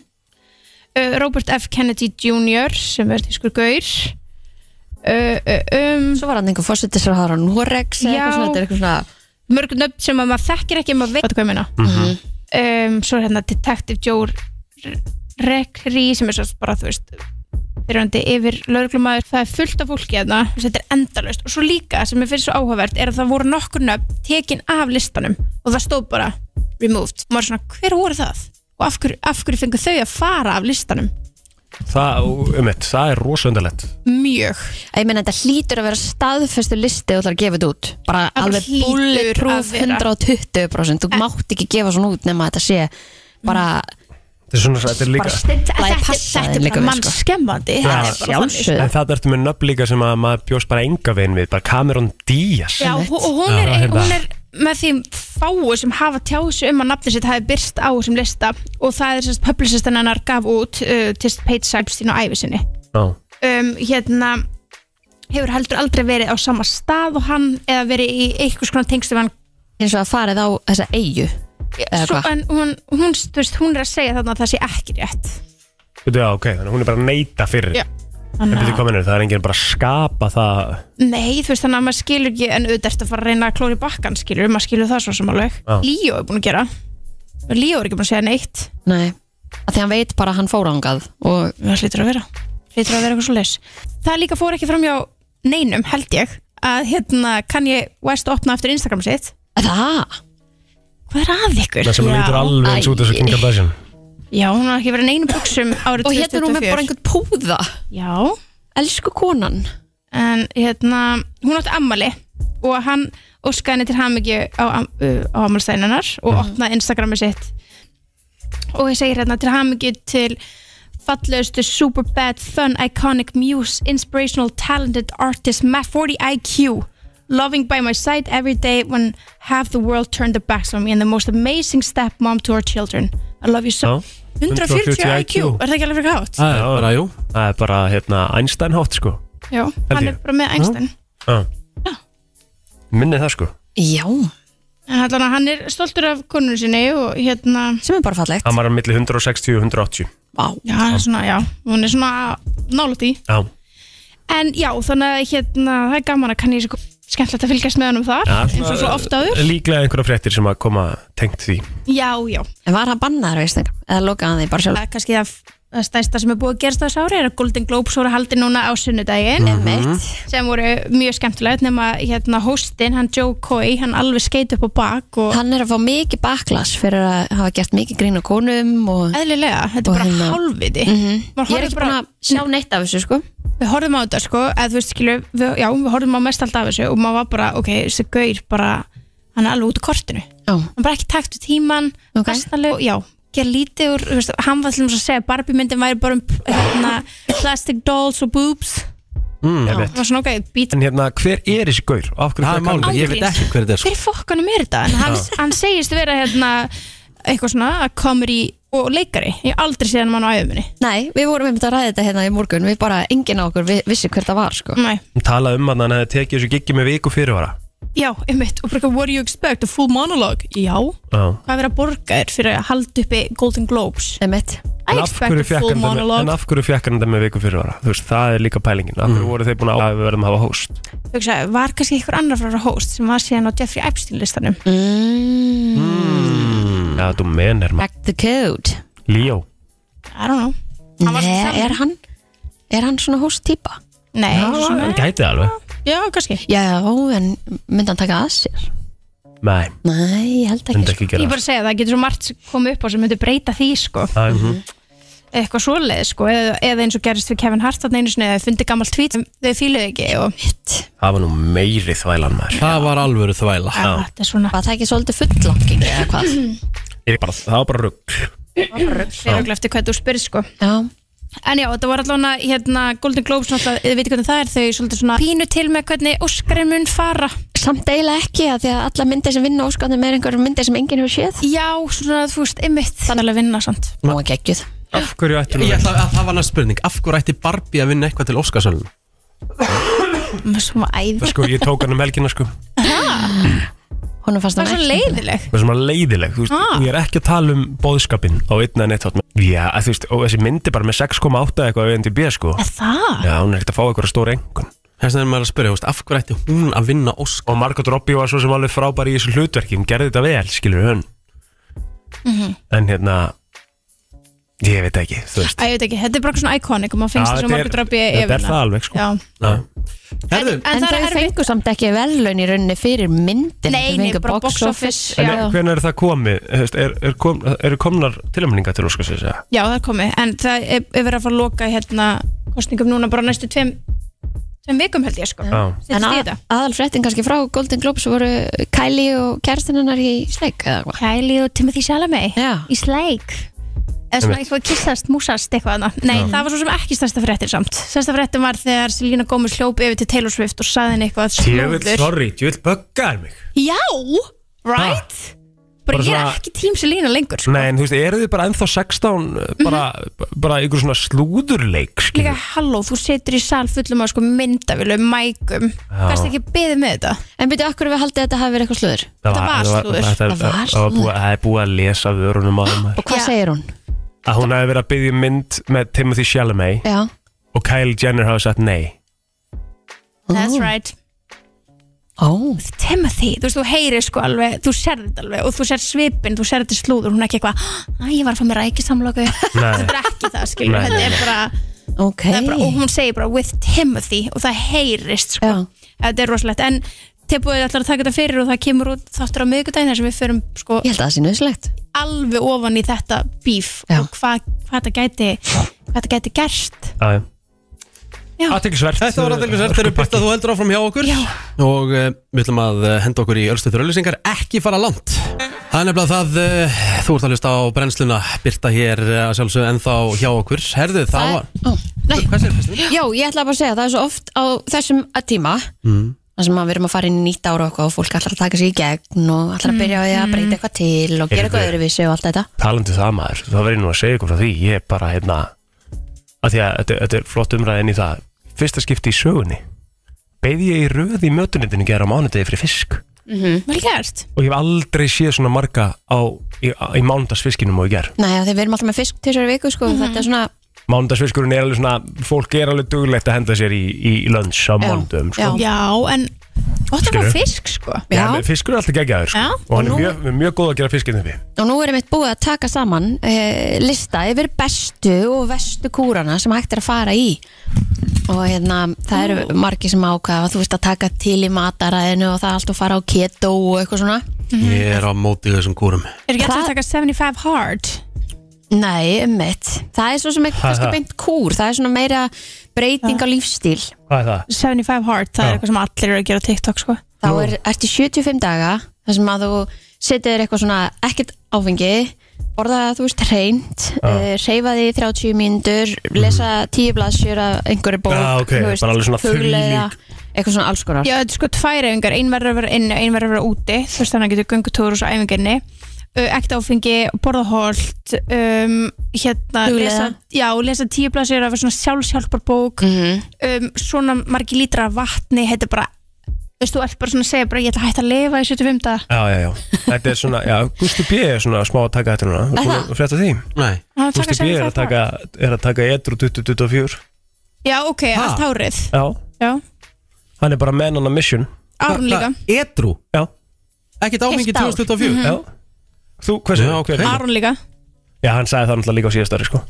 Speaker 10: uh, Robert F. Kennedy Jr. sem er tískur gaur uh, uh, um,
Speaker 2: Svo var hann einhver fórsetisraðar á Norex eða
Speaker 10: Já.
Speaker 2: eitthvað svona, þetta er eitthvað svona
Speaker 10: mörg nöfn sem að maður þekkir ekki en maður veit Þetta hvað ég meina
Speaker 2: Mhm.
Speaker 10: um, svo er hérna Detective Joe R- Rekri sem er svo bara þú veist fyrirhandi yfir lauruglumæður það er fullt af fólki hérna þú veist, þetta er endalaust og svo líka sem ég finnst svo áhugavert er að það voru nokkur nöfn tekin af listanum og það stóð bara removed og maður er svona hver voru það og af hverju, af hverju fengu þau að fara af listanum
Speaker 1: Það, um eitt, það er rosundalett
Speaker 10: mjög
Speaker 2: Ég meina þetta hlýtur að vera staðfestu listi og það er að gefa þetta út bara
Speaker 10: Það
Speaker 2: alveg
Speaker 10: hlýtur
Speaker 2: bulletproof
Speaker 10: að vera.
Speaker 2: 120% þú mátt ekki gefa svona út nema þetta sé bara,
Speaker 1: Þetta er svona, þetta er líka
Speaker 2: bara stimpla í passa
Speaker 10: þetta
Speaker 2: þeim
Speaker 10: er
Speaker 2: líka
Speaker 10: bara
Speaker 2: við, sko.
Speaker 10: mannskemmandi
Speaker 1: Já.
Speaker 10: það er bara þannig, sko.
Speaker 1: En það ertu með nöfn líka sem að maður bjóst bara enga veginn við Bara Cameron Diaz
Speaker 10: Já, og og hún
Speaker 1: Já,
Speaker 10: er,
Speaker 1: hérna.
Speaker 10: hún er með því fáu sem hafa tjáð sig um að nafni sitt hafi byrst á þessum lista og það er sérst publicistinn hennar gaf út uh, til Page Sæbstín og æfisinni
Speaker 1: Já.
Speaker 10: um, hérna hefur heldur aldrei verið á sama stað og hann eða verið í einhvers konar tengstu við hann
Speaker 2: eins og að farið á þessa eigu eða
Speaker 10: Svo,
Speaker 2: hvað
Speaker 10: en hún, hún, þú veist, hún er að segja þarna að það sé ekki rétt
Speaker 1: Veitu, já, ok, þannig að hún er bara að neita fyrir
Speaker 10: Já.
Speaker 1: En
Speaker 10: Þannig
Speaker 1: byrju,
Speaker 10: að-
Speaker 1: hvað mennur, það er enginn bara að skapa það
Speaker 10: Nei, þú veist þannig að maður skilur ekki en auðvitað ertu að fara að reyna að klóri bakkan skilur maður skilur það svo sem alveg
Speaker 1: Já.
Speaker 10: Líó er búin að gera Líó er ekki búin að segja neitt
Speaker 2: Nei, að því hann veit bara að hann fór ángað og
Speaker 10: það hlýtur að vera hlýtur að vera eitthvað svo leis það líka fór ekki fram hjá neinum held ég að hérna kann ég West opna aftur Instagram sitt
Speaker 2: það,
Speaker 10: hvað er að ykkur?
Speaker 1: Það sem hún lítur alveg eins út þessu King Kardashian
Speaker 10: já, hún har ekki verið í neinum buksum árið 2024
Speaker 2: og hérna er hún með bara einhvern púða
Speaker 10: já,
Speaker 2: elsku konan
Speaker 10: en hérna hún átti ammali og hann óskaði henni til hamingju á, am- uh, á ammalstæninar og opnaði Instagrami sitt og ég segir hérna til hamingju til fallegustu super bad fun iconic muse inspirational talented artist ma 40 IQ loving by my side every day when half the world turned their backs on me and the most amazing stepmom to our children I love you so
Speaker 1: Já.
Speaker 10: 140 IQ,
Speaker 1: 140
Speaker 10: er það ekki alveg fyrir hátt?
Speaker 3: Ah.
Speaker 11: Það er bara, jú
Speaker 1: Það er bara, hérna, Einstein hátt, sko
Speaker 10: Já, hann er
Speaker 1: ég.
Speaker 10: bara með Einstein
Speaker 1: Já Minni það, sko
Speaker 2: já,
Speaker 10: En allan að hann er stoltur af konunum sinni og hérna,
Speaker 2: sem er bara fallegt
Speaker 1: Hann var á milli 160 og 180
Speaker 2: Vá.
Speaker 10: já, hann er svona, já, hún er svona nálægt í.
Speaker 1: Já,
Speaker 10: En já, þannig að hérna, það er gaman að kann ég svo skemmtilegt að fylgjast með honum þar,
Speaker 1: Já,
Speaker 10: eins og svo oft áður.
Speaker 1: líklega einhverja fréttir sem að koma tengt því
Speaker 10: Já, já,
Speaker 2: en var hann bannaður á Instagram eða lokaði hann því bara sjálf
Speaker 10: það er kannski það það stærsta sem er búið að gerast á þessu ári er að Golden Globes voru haldið núna á sunnudaginn
Speaker 2: Einmitt.
Speaker 10: sem voru mjög skemmtilegt nema hérna hóstinn, hann Joe Coy hann alveg skeit upp á bak og
Speaker 2: Mhm. Hann er að fá mikið baklas fyrir að hafa gert mikið grín á konum og
Speaker 10: eðlilega, þetta er bara hérna. hálfviti
Speaker 2: Ég er ekki búin að sjá neitt af þessu sko
Speaker 10: við horfum á þetta sko eða þú veist skilur, við, já, við horfum á mest allt af þessu og maður var bara, ok, þessi gaur bara, hann er alveg út á kortinu
Speaker 2: Já.
Speaker 10: hann bara ekki takt við tíman okay. og, já, gera lítið úr þú veist, hann var til dæmis að segja, að Barbie myndin væri bara um hérna, plastic dolls og boobs
Speaker 1: mm,
Speaker 10: það var svona ok, být
Speaker 1: En hérna, hver er þessi gaur? Af hverju
Speaker 11: Það er
Speaker 1: fekk hann-
Speaker 11: málið, ég veit ekki hver þetta er sko.
Speaker 10: hver fokkanum er þetta? En hann, hann segist vera hérna, eitthvað svona að komur í og leikari, ég hef aldrei séð hann mann á æfuminni
Speaker 2: Nei, við vorum einmitt að ræða þetta hérna í morgun Við bara, enginn á okkur vi- vissi hver það var sko
Speaker 10: Nei.
Speaker 1: Hún talaði um að hann hefði tekið þessu giggi með viku fyrirvara
Speaker 10: já, einmitt, og bara eitthvað, what do you expect, a full monologue já,
Speaker 1: Já
Speaker 10: hvað er verið að borga þér fyrir að halda uppi Golden Globes
Speaker 2: Emmett
Speaker 10: I
Speaker 1: En af hverju
Speaker 10: expect a
Speaker 1: fékk
Speaker 10: full
Speaker 1: hann þetta með- En
Speaker 10: monologue
Speaker 1: af hverju fekk hann þetta með viku fyrirvara? Þú veist, það er líka pælingin Af hverju
Speaker 10: Hmm.
Speaker 1: voru þeir búin að að við verðum að hafa host?
Speaker 10: Hugsa, var kannski einhver annar frá að host sem var síðan á Jeffrey Epstein listanum Hmm.
Speaker 1: Mm. Ja, þú menir maður
Speaker 2: Back the code
Speaker 1: Líó
Speaker 10: I don't know Hann var
Speaker 2: Nei,
Speaker 10: svona
Speaker 2: er hann, er hann svona hóst típa?
Speaker 10: Nei, svona,
Speaker 1: Gæti það alveg
Speaker 10: já, kannski
Speaker 2: Já, en myndi hann taka að sér?
Speaker 1: Nei,
Speaker 2: Nei, ég held
Speaker 1: myndi
Speaker 2: ekki
Speaker 1: ekki
Speaker 10: Ég sko.
Speaker 1: gera
Speaker 10: er bara að segja það getur svo margt komið upp á sem myndi breyta því sko
Speaker 1: það mm -hmm.
Speaker 10: eitthvað svoleið sko eða, eða eins og gerist við Kevin Hart þarna einu sinni eða fundið gammal tweet sem þau fíluðu ekki og
Speaker 1: Það var nú meiri þvælan maður
Speaker 11: Það var alvöru þvæla
Speaker 10: að, þetta er svona
Speaker 2: Var það ekki svolítið fullanging eða hvað?
Speaker 1: Ég bara, Það var bara rugg
Speaker 10: fyriröglega eftir hvað þú spyrir sko
Speaker 2: Já,
Speaker 10: En já, þetta voru allavega hérna Golden Globes náttúrulega, þið veitir hvernig það er þau svolítið svona pínu til með hvernig Óskarinn mun fara
Speaker 2: samt eiginlega ekki að því að alla myndir sem vinna óskarnum er einhverjum myndir sem enginn hefur séð
Speaker 10: Já, svona þú veist, ymmit Þannig alveg vinna samt
Speaker 2: Nú að geggjuð
Speaker 1: Af hverju ættum
Speaker 11: Ég
Speaker 1: við
Speaker 11: ætla að það var næst spurning Af hverju ætti Barbie að vinna eitthvað til Óskarsölun?
Speaker 10: Það er svona æði
Speaker 1: Sko, ég tók hann um helgina sko
Speaker 2: Honum fannst
Speaker 10: Það
Speaker 2: hann
Speaker 10: er svo
Speaker 2: ekki
Speaker 10: leiðileg
Speaker 1: Það er svona leiðileg, þú veist,
Speaker 10: Ah.
Speaker 1: ég er ekki að tala um bóðskapin á einn eða neitt þátt Já, að þú veist, og þessi myndi bara með 6,8 eitthvað á NDB sko
Speaker 10: Er það?
Speaker 1: Já, hún er ekkert að fá eitthvað stóra engun
Speaker 11: Þess vegna er maður að spyrja, þú veist, af hverju ætti hún að vinna Óskar?
Speaker 1: Og Margot Robbie var svo sem alveg frábær í þessu hlutverki Hún gerði þetta vel, skilur hún
Speaker 10: Mhm.
Speaker 1: En hérna, ég veit ekki, þú veist
Speaker 10: Æ, ég veit ekki, þetta er bara svona iconic og maður
Speaker 1: Já,
Speaker 10: finnst þess að
Speaker 1: þetta er-
Speaker 10: margur drabbi
Speaker 1: Þetta er það alveg sko
Speaker 10: Já,
Speaker 1: Já.
Speaker 11: Herðu,
Speaker 10: en
Speaker 2: En
Speaker 10: það er
Speaker 2: þau
Speaker 10: erfitt
Speaker 2: fengu samt ekki velun í rauninni fyrir myndin
Speaker 10: Nei,
Speaker 2: Þau
Speaker 10: nei,
Speaker 2: fengu
Speaker 10: bara
Speaker 2: box
Speaker 10: box office,
Speaker 2: office.
Speaker 10: já.
Speaker 2: Já.
Speaker 1: Hvernig er það komið? Þú veist, Er, er, kom, er komnar tilöfninga til Óskarsins? eða?
Speaker 10: Já, það er komið, en það er, er verið að fara að loka hérna kostningum núna bara næstu tveim tveim vikum held ég sko
Speaker 1: Já
Speaker 2: En
Speaker 10: Settist í þetta
Speaker 2: aðal fréttin kannski frá Golden Globes voru Kylie og kæristinunnar í sleik eða hvað?
Speaker 10: Kylie og Timothy Chalamet
Speaker 2: Já.
Speaker 10: í sleik eða svona
Speaker 1: Einmitt.
Speaker 10: eitthvað kissast, músast eitthvað annað Nei, það var svo sem ekki stærsta fréttin samt Stærsta fréttin var þegar Selena Gomez hljóp yfir til Taylor Swift og saði henni eitthvað
Speaker 1: Tjöfull,
Speaker 10: slúður.
Speaker 1: sorry, tjöfull böggar mig
Speaker 10: Já, right? Bara
Speaker 1: Bara
Speaker 10: ég er
Speaker 1: svona-
Speaker 10: ekki tím Selena lengur sko.
Speaker 1: Nei, en þú veist, eru þið bara ennþá 16 bara, bara ykkur svona slúðurleik
Speaker 10: Líka
Speaker 1: skilur?
Speaker 10: halló, þú setur í sal fullum af sko myndavillum, mækum Kannst ekki beðið með þetta?
Speaker 2: En byrju, okkur við haldið að þetta hafi verið eitthvað slöður
Speaker 1: Það
Speaker 10: var slúður.
Speaker 1: þetta er-
Speaker 2: Það var
Speaker 1: Það var búið- það er búið að lesa vörunum á þeim
Speaker 2: Og hvað
Speaker 10: Já.
Speaker 2: segir hún?
Speaker 1: að hún hefði verið að byggja mynd með Timothy Chalamet
Speaker 2: Já,
Speaker 1: og Kylie Jenner hafi sagt nei
Speaker 10: That's right
Speaker 2: ó,
Speaker 10: Timothy, þú veist, þú heyrir sko alveg þú serði þetta alveg og þú serð svipin þú serði þetta slúður, hún er ekki eitthvað að ég var að fá mér rækið samlóku
Speaker 1: Nei.
Speaker 10: þetta er ekki það, skilur,
Speaker 1: Nei,
Speaker 10: þetta
Speaker 1: nei,
Speaker 10: er bara,
Speaker 2: ok
Speaker 10: það er bara og hún segir bara with Timothy og það heyrist sko,
Speaker 2: Já.
Speaker 10: þetta er rosalegt, en tilbúið ætlar að taka þetta fyrir og það kemur út þáttur á miðvikudaginn þar sem við förum sko
Speaker 2: Ég held að það sé nöðslegt
Speaker 10: alveg ofan í þetta bíf
Speaker 2: Já.
Speaker 10: og hvað hva þetta gæti hvað þetta gæti gerst Já.
Speaker 1: Aðteklisvert
Speaker 11: Þetta var aðeins verður byrta þú heldur áfram hjá okkur
Speaker 10: Já.
Speaker 11: og uh, við ætlum að eh, henda okkur í ölstuður öllusingar ekki fara langt Það er nefnilega það,
Speaker 3: eh,
Speaker 11: uh, þú ert að hlusta á brennsluna byrta hér eh, að sjálfsög ennþá hjá okkur Herðu, það var
Speaker 2: Ó, Nei,
Speaker 11: Hvað segir Kristín?
Speaker 2: Já, ég ætla bara að segja, það er svo oft á þessum að tíma þar sem að við erum að fara inn í nýtt ára og eitthvað og fólk ætlar að taka sér í gegn og ætlar að byrja á því að breyta eitthvað til og gera eitthvað
Speaker 1: Heyrðu.
Speaker 2: öðruvísi og allt þetta
Speaker 1: Talandi það maður, þá verður ég nú að segja ykkur frá því ég er bara hérna að því að þetta, þetta er flott umræðin í það fyrsta skipti í sögunni beigði ég í röð í mötunitinu gera á mánudegi fyrir fisk
Speaker 2: Mm.
Speaker 10: vel gert
Speaker 1: og ég hef aldrei séð svona marga á, í, í mánudagsfiskinum og ég ger
Speaker 2: Nei, af því við erum alltaf með fisk til þessari viku sko, þetta er svona,
Speaker 1: mánudagsfiskurinn er alveg svona fólk er alveg duglegt að henda sér í, í, í lönns á mánudum sko.
Speaker 2: já.
Speaker 10: Já, en Og það var fisk sko
Speaker 1: Já, menn, fiskur er alltaf geggjaður sko.
Speaker 10: Já,
Speaker 1: og hann er
Speaker 10: og nú-
Speaker 1: mjög, mjög góð að gera fiskinn uppi
Speaker 2: Og nú erum við búið að taka saman eh, lista yfir bestu og vestu kúrana sem hægt er að fara í og hérna, það eru margir sem ákvaða, þú veist að taka til í mataræðinu og það allt og fara á keto og eitthvað svona
Speaker 3: Ég er á móti þessum kúrum
Speaker 10: Er ekki alltaf að taka 75 hard?
Speaker 2: Nei, ummitt, það er svo sem ekki
Speaker 3: Ha, ha.
Speaker 2: kannski beint kúr, það er svona meira breyting á lífstíl
Speaker 1: Hvað er það?
Speaker 10: 75 hard, það er eitthvað sem allir eru að gera á TikTok sko
Speaker 2: þá er, ertu í 75 daga þar sem að þú setur þér eitthvað svona ekkert áfengi borða þú veist reynd
Speaker 1: Já. Mhm.
Speaker 2: uh, reyfa því í 30 mínútur lesa 10 blaðsjur af einhverju bók
Speaker 1: Já, ok,
Speaker 2: þú veist,
Speaker 1: bara alveg svona
Speaker 2: hugleiða, eitthvað svona alls konar
Speaker 10: Já, þetta er sko tvær æfingar, ein verður að vera inni og ein verður að vera úti þú veist þannig að getur göngutúr og svo æfingarni uh, ekta áfengi, borða holt um, hérna
Speaker 2: Hugleiða.
Speaker 10: lesa, já, lesa tíu blasir af svona sjálfshjálparbók um, svona margi lítra af vatni þetta er bara, veist þú ert bara svona að segja bara ég ætla að hætta að lifa í 75 dag
Speaker 1: Já, já, já, þetta er svona, já, Gusti B er svona smá að taka þetta núna,
Speaker 10: Er
Speaker 1: þú frétta því
Speaker 3: Nei,
Speaker 10: Hann
Speaker 1: Gusti
Speaker 10: taka
Speaker 1: B er að
Speaker 10: 75
Speaker 1: taka, er að taka edru 2024
Speaker 10: Já, ok, allt hárið
Speaker 1: Já,
Speaker 10: Já,
Speaker 1: hann er bara man on a mission
Speaker 10: árun líka
Speaker 3: Edru?
Speaker 1: Já
Speaker 3: Ekkert áfengi
Speaker 10: Heilt ár.
Speaker 3: 2024
Speaker 10: Mhm.
Speaker 1: Já Þú, hversu, já, okay.
Speaker 10: Árun líka
Speaker 1: já, hann sagði það náttúrulega líka á síðastari, sko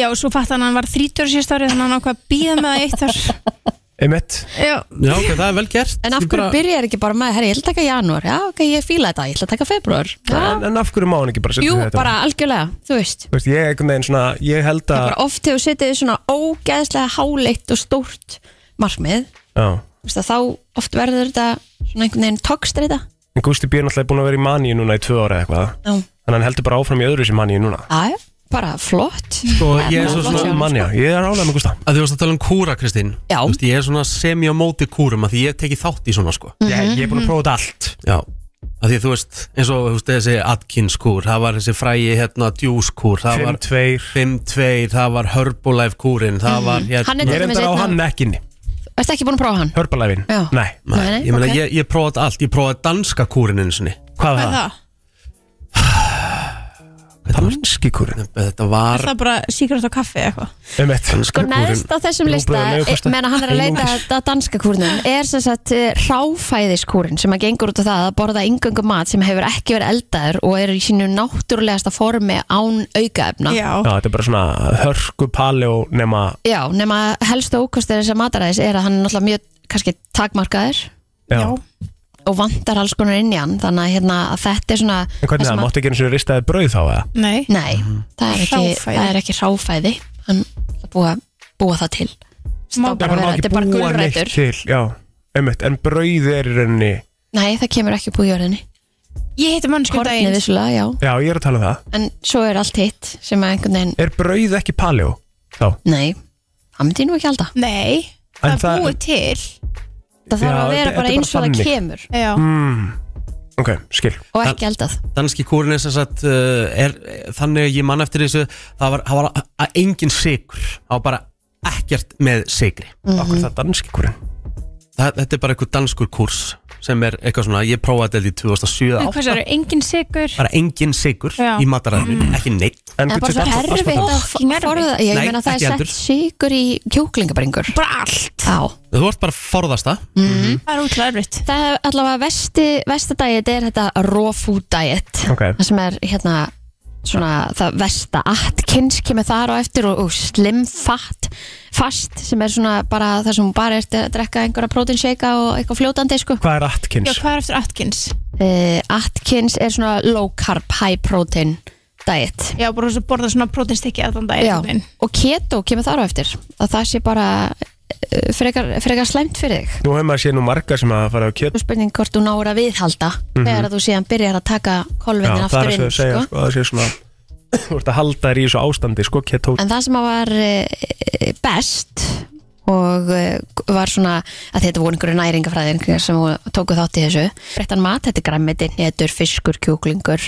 Speaker 10: Já, og svo fatt hann að hann var 30 síðast árið þannig að hann ákvað að býða með það í eitt ár
Speaker 1: Einmitt
Speaker 10: Já,
Speaker 3: Já, ok, það er vel gert
Speaker 2: Mhm. en af
Speaker 3: Ég
Speaker 2: hverju
Speaker 3: bara-
Speaker 2: byrjar ekki bara með herri, ég ætla að taka janúar, já ok, ég fíla þetta ég ætla að taka februar, já,
Speaker 1: en, en af hverju má hann ekki bara setja
Speaker 2: jú,
Speaker 1: þetta
Speaker 2: bara algjörlega þú veist,
Speaker 1: Þú veist, ég er einhvern veginn svona, ég held að
Speaker 2: bara oft hefur setið þér svona ógeðslega háleitt og stórt markmið,
Speaker 1: Já,
Speaker 2: þú veist að þá oft verður þetta svona einhvern veginn togstreita
Speaker 1: en Gusti B er náttúrulega búin að vera í maníu núna í tvö ára eitthvað
Speaker 2: Já.
Speaker 1: Þannig að hann heldur bara áfram í öðru sem maníu núna
Speaker 2: Æ, bara flott
Speaker 3: Sko, ég er
Speaker 2: Bara flott
Speaker 3: svo
Speaker 2: hjá
Speaker 3: svona
Speaker 2: honum,
Speaker 1: Manja, ég er álega með Gusta
Speaker 3: að þú varst að tala um kúra, Kristín
Speaker 2: Já.
Speaker 3: Þú veist, Ég er svona semi á móti kúrum að því ég teki þátt í svona sko
Speaker 2: Mhm.
Speaker 1: ég, ég er búin að prófa þetta allt
Speaker 3: Já, að því að þú veist eins og þú veist, þessi Atkins kúr það var þessi frægi hérna Djús kúr það var
Speaker 1: 5-2
Speaker 3: 5-2 það var Herbalife kúrin það var
Speaker 2: Hann
Speaker 3: hérna
Speaker 2: er
Speaker 1: Ég er
Speaker 2: dæmis
Speaker 1: enda á
Speaker 2: einn af-
Speaker 1: hann ekkinni
Speaker 2: Ertu ekki búin að prófa hann?
Speaker 1: Hörbalæfin
Speaker 2: Já.
Speaker 1: Nei
Speaker 3: Nei,
Speaker 2: Nei, nei,
Speaker 3: ég meina,
Speaker 2: ok.
Speaker 3: ég, ég prófaði allt, ég prófaði danska kúrin einu sinni
Speaker 1: Hvað var
Speaker 10: hvað er
Speaker 1: það?
Speaker 10: það?
Speaker 1: Danski kúrin
Speaker 3: Þetta
Speaker 10: Er
Speaker 3: var
Speaker 10: það bara síkrast á kaffi eða eitthvað?
Speaker 1: Einmitt
Speaker 2: Sko neðst á þessum lista, e- meðan hann er að leita að danska kúrnum, er sem sagt eh, ráfæðiskúrin sem að gengur út á það að borða yngöngu mat sem hefur ekki verið eldaður og er í sínu náttúrulegasta formi án aukaefna.
Speaker 10: Já,
Speaker 1: Já, þetta er bara svona hörku pali og nema
Speaker 2: Já, nema helstu ókostir þess að mataræðis er að hann er náttúrulega mjög kannski takmarkaður
Speaker 1: Já,
Speaker 10: Já.
Speaker 2: og vantar alls konar inn í hann, þannig að, hérna, að þetta er svona...
Speaker 1: En hvernig
Speaker 2: það
Speaker 1: það,
Speaker 2: sem að-
Speaker 1: máttu ekki eins og ristaði brauð þá eða?
Speaker 10: nei
Speaker 2: Nei, það er ekki,
Speaker 10: Hráfæði.
Speaker 2: það er ekki ráfæði, hann er búið að búa það til.
Speaker 10: Má
Speaker 1: maður má
Speaker 2: Bara vera-
Speaker 1: ekki
Speaker 2: þetta er bara
Speaker 1: búa neitt
Speaker 2: gulrætur.
Speaker 1: til, Já, einmitt, en brauð er í rauninni
Speaker 2: Nei, það kemur ekki upp úr jörðinni.
Speaker 10: Ég hitti mannskjöld
Speaker 2: Kornið
Speaker 10: daginn
Speaker 2: vissulega, já.
Speaker 1: Já, ég er að tala um það
Speaker 2: En svo er allt hitt sem að einhvern veginn,
Speaker 1: Er brauð ekki paleo? Þá
Speaker 2: nei, það myndi ég nú ekki halda.
Speaker 10: Nei, það
Speaker 1: En
Speaker 10: er
Speaker 1: það-
Speaker 10: búið til
Speaker 2: Það þarf
Speaker 1: Já,
Speaker 2: að vera
Speaker 1: þetta- þetta
Speaker 2: bara
Speaker 1: er
Speaker 2: eins og
Speaker 1: bara
Speaker 2: það
Speaker 1: þannig.
Speaker 2: kemur
Speaker 10: Já,
Speaker 1: Mm. Ok, skil
Speaker 2: og ekki eldað.
Speaker 3: danski kúrin er sem sagt uh, er, þannig að ég man eftir þessu það var, það var að, að engin sigur það var bara ekkert með sigri
Speaker 1: Akkur er það danski kúrin
Speaker 3: það, þetta er bara einhver danskur kúrs sem er eitthvað svona, ég prófaði þetta í 2007
Speaker 10: en hvað sér, engin sigur
Speaker 3: bara engin sigur
Speaker 10: Já.
Speaker 3: í mataræðinu, ekki neitt
Speaker 2: En bara svo erfitt að
Speaker 10: Fucking erfitt.
Speaker 2: forða, ég
Speaker 3: Nei,
Speaker 2: meina það
Speaker 3: ekki
Speaker 2: er
Speaker 3: heldur.
Speaker 2: sett sigur í kjúklingabringur.
Speaker 10: Bara allt,
Speaker 2: Já,
Speaker 3: þú ert bara að forðast það
Speaker 10: það er útla erfitt
Speaker 2: það er allavega vesti, vesta dæið er þetta raw food diet.
Speaker 1: Ok.
Speaker 2: Það sem er hérna svona það vesta Atkins kemur þar á eftir og, og slim fat fast sem er svona bara það sem hún bara ert að drekka einhverja proteinshake og eitthvað fljótandi sko.
Speaker 1: Hvað er
Speaker 10: Já,
Speaker 1: Atkins?
Speaker 10: hvað er eftir Atkins?
Speaker 2: uh, Atkins er svona low carb, high protein diet
Speaker 10: Já, bara svo borða svona prótinstekki allan
Speaker 2: Já,
Speaker 10: daginn
Speaker 2: og keto kemur þar á eftir að það sé bara uh, frekar, frekar slæmt fyrir þig
Speaker 1: Nú hefur maður séð nú margar sem að fara á kjöt
Speaker 2: Þú spurning hvort þú náur að viðhalda þegar að þú síðan byrjar að taka kolvinnin
Speaker 1: Mhm. það
Speaker 2: aftur
Speaker 1: er
Speaker 2: inn
Speaker 1: að segja,
Speaker 2: sko.
Speaker 1: sko, það sé svona Þú ert að halda þér í þessu ástandi, sko, keto
Speaker 2: en það sem að var uh, best og uh, var svona að þetta voru einhverju næringafræðir sem voru- tóku þátt í þessu breyttan mat, þetta er græmiti, netur, fiskur, kjúklingur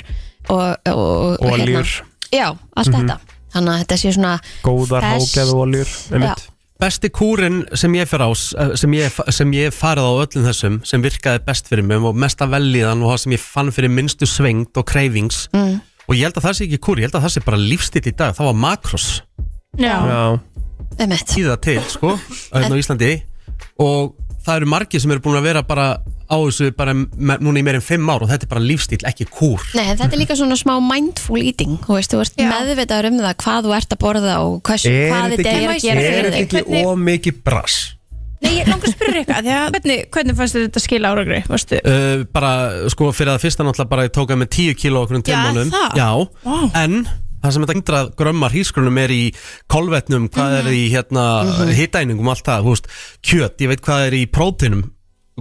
Speaker 2: og, og, og, hérna. og
Speaker 1: Oljur.
Speaker 2: já, allt þetta þannig að þetta sé svona
Speaker 1: Góðar
Speaker 2: fest-
Speaker 1: hágæðu oljur, einmitt
Speaker 2: Já.
Speaker 3: Besti kúrin sem ég fer á eh, sem ég, sem ég hef farið á öllum þessum sem virkaði best fyrir mig og mesta velliðan og það sem ég fann fyrir minnstu svengt og kreyfings og ég held að það sé ekki kúr ég held að það sé bara lífstil í dag, það var makros
Speaker 10: Já,
Speaker 1: Já,
Speaker 2: Einmitt.
Speaker 3: tíða til, sko, auðvitað á Íslandi hérna og það eru margir sem eru búin að vera bara á þessu bara me- núna í meirinn fimm ár og þetta er bara lífstíl, ekki kúr
Speaker 2: Nei, en þetta er líka svona smá mindful eating Þú veist, þú ert meðvitaður um það hvað þú ert að borða og hvers, hvað þetta er að gera
Speaker 3: er
Speaker 2: fyrir
Speaker 3: þetta
Speaker 2: þig
Speaker 3: ekki
Speaker 10: Hvernig-
Speaker 3: ómikið brass?
Speaker 10: Nei, ég langar að spyrja ykkur að því að hvernig, hvernig fannst þér þetta skila árangri, veistu?
Speaker 3: uh, bara sko fyrir það fyrsta náttúrulega bara ég tók að með 10 kíló okkur um
Speaker 10: Já,
Speaker 3: tveimónum
Speaker 10: það?
Speaker 3: já,
Speaker 10: Vá.
Speaker 3: en það sem þetta 100 grömmar hísgrunum er í kolvetnum, hvað er í hérna mm
Speaker 1: Mhm.
Speaker 3: hitæningum, allt það, þú veist kjöt, ég veit hvað er í prótinum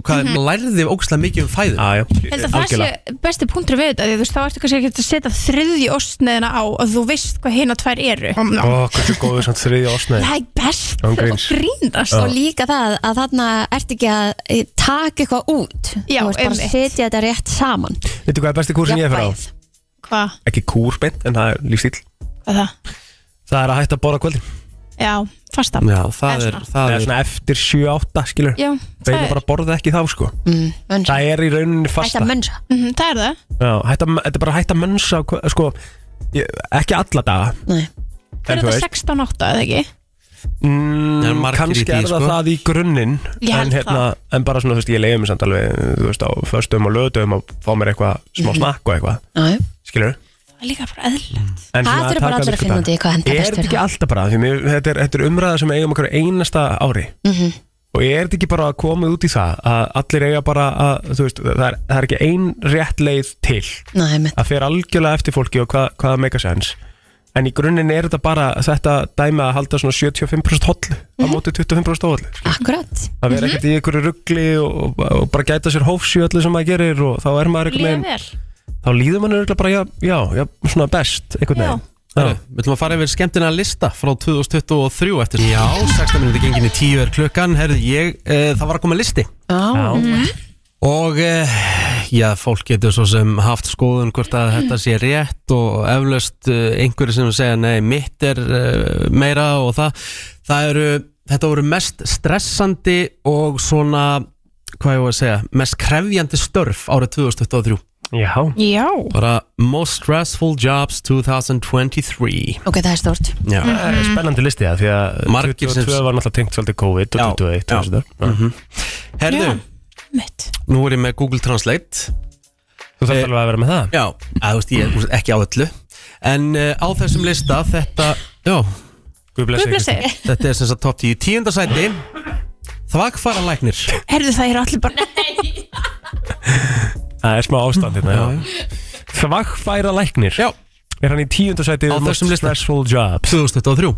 Speaker 3: og hvað mm
Speaker 10: Mhm.
Speaker 3: -hmm. lærði við ógæslega mikið um fæðu ah,
Speaker 10: Ég held að það sé besti punktur við þetta því að þú veist, þá ertu kannski ekki að setja þriðji ostneðina á og þú veist hvað hérna tvær eru
Speaker 1: Ó, hversu góður samt þriði ásnei
Speaker 10: Það er best
Speaker 1: Án gríns.
Speaker 10: og grínast
Speaker 1: Já.
Speaker 2: og líka það að þarna ert ekki að eh, taka eitthvað út
Speaker 10: Já,
Speaker 2: þú ert bara
Speaker 10: einmitt.
Speaker 2: að setja þetta rétt saman
Speaker 1: Veitu hvað er besti kúr sem ég er fyrir á?
Speaker 10: Hvað?
Speaker 1: Ekki kúr beint, en það er lífstíl
Speaker 10: Hvað er það?
Speaker 1: Það er að hætta að borða á kvöldin
Speaker 10: Já, fasta
Speaker 3: Já, það er, það
Speaker 1: Það er
Speaker 3: er
Speaker 1: svona eftir 7-8 skilur
Speaker 10: Já,
Speaker 1: Það
Speaker 10: það er-
Speaker 1: er bara að borða ekki þá sko
Speaker 2: mm,
Speaker 1: Það er í rauninni fasta
Speaker 2: mönsa
Speaker 10: Mhm, Það er það
Speaker 1: Já, hætta, þetta er bara að hætta að mönsa á kvö- sko, ég, ekki alla daga
Speaker 2: Nei.
Speaker 10: Hvernig þetta 16-8 eða ekki?
Speaker 1: Mm,
Speaker 3: Það eru margir í
Speaker 1: kannski
Speaker 3: því,
Speaker 1: er það
Speaker 3: sko.
Speaker 1: það í grunninn
Speaker 10: Ég
Speaker 1: en, hérna,
Speaker 10: held
Speaker 1: en bara svona, þú veist, ég leiði mér samt alveg þú veist, á föstum og lögutum að fá mér eitthvað smá
Speaker 2: Mhm.
Speaker 1: snakk og eitthvað
Speaker 2: Já, já.
Speaker 1: skilur
Speaker 10: Það er líka bara eðl
Speaker 1: En
Speaker 2: Það
Speaker 1: svona
Speaker 2: þurfa bara
Speaker 1: taka
Speaker 2: allir að
Speaker 1: virka
Speaker 2: finna
Speaker 1: daga.
Speaker 2: út í hvað hentar
Speaker 1: Er
Speaker 2: best
Speaker 1: þetta
Speaker 2: fyrir
Speaker 1: ekki
Speaker 2: þá.
Speaker 1: alltaf bara, því mér, þetta, er, þetta er umræða sem við eigum okkur einasta ári
Speaker 2: Mhm.
Speaker 1: og er þetta ekki bara að koma út í það að allir eiga bara að, þú veist, það er, það er ekki ein rétt leið til
Speaker 2: Nei, einmitt.
Speaker 1: að fer algjörlega eftir fólki og hvað, hvað make a sense en í grunninn er þetta bara þetta dæmi að halda svona 75% hollu á
Speaker 10: Mhm.
Speaker 1: móti 25% hollu
Speaker 2: Akkurat
Speaker 1: að vera ekkert í einhverju ruggli og, og, og bara gæta sér hófs í öllu sem maður gerir og þá er maður
Speaker 10: Líða
Speaker 1: einhvern
Speaker 10: vel
Speaker 1: veginn þá líður maður örgulega bara já, já, já, svona best einhvern veginn
Speaker 3: Herru, Við ætlum að fara yfir skemmtina lista frá 2023 eftir Já, 16 minúti gengin í 10 er klukkan Herðu, ég, e, það var að koma listi
Speaker 2: Já.
Speaker 3: Og e, já, fólk getur svo sem haft skoðun hvort að þetta sé rétt og eflaust e, einhverju sem segja nei, mitt er e, meira og það Það eru, þetta voru mest stressandi og svona, hvað ég var að segja mest krefjandi störf árið 2023
Speaker 1: Já
Speaker 10: Já
Speaker 3: Bara most stressful jobs 2023
Speaker 2: Ok, það er stórt
Speaker 3: Já.
Speaker 1: Það
Speaker 10: Mhm.
Speaker 1: er spennandi listi það því að
Speaker 3: Margir sem-
Speaker 1: 22 var náttúrulega tengt svolítið COVID og 21 og svona mm
Speaker 3: Mhm.
Speaker 1: -hmm.
Speaker 3: Herðu, nú er ég með Google Translate
Speaker 1: Þú
Speaker 3: Eh,
Speaker 1: þarf alveg að vera með það
Speaker 3: Já, að, þú veist, ég er ekki á öllu En uh, á þessum lista þetta Já
Speaker 1: Guð
Speaker 10: blessi Guð blessi. Kristín.
Speaker 3: Þetta er sem sagt top 10 Tíunda sæti Þvagfara læknir
Speaker 10: Herðu það eru allir bara
Speaker 1: Það er smá ástand hérna já. Þvagfæra læknir
Speaker 3: Já
Speaker 1: Er hann í tíundasæti
Speaker 3: Á
Speaker 1: most
Speaker 3: þessum lista.
Speaker 1: stressful jobs
Speaker 3: 2023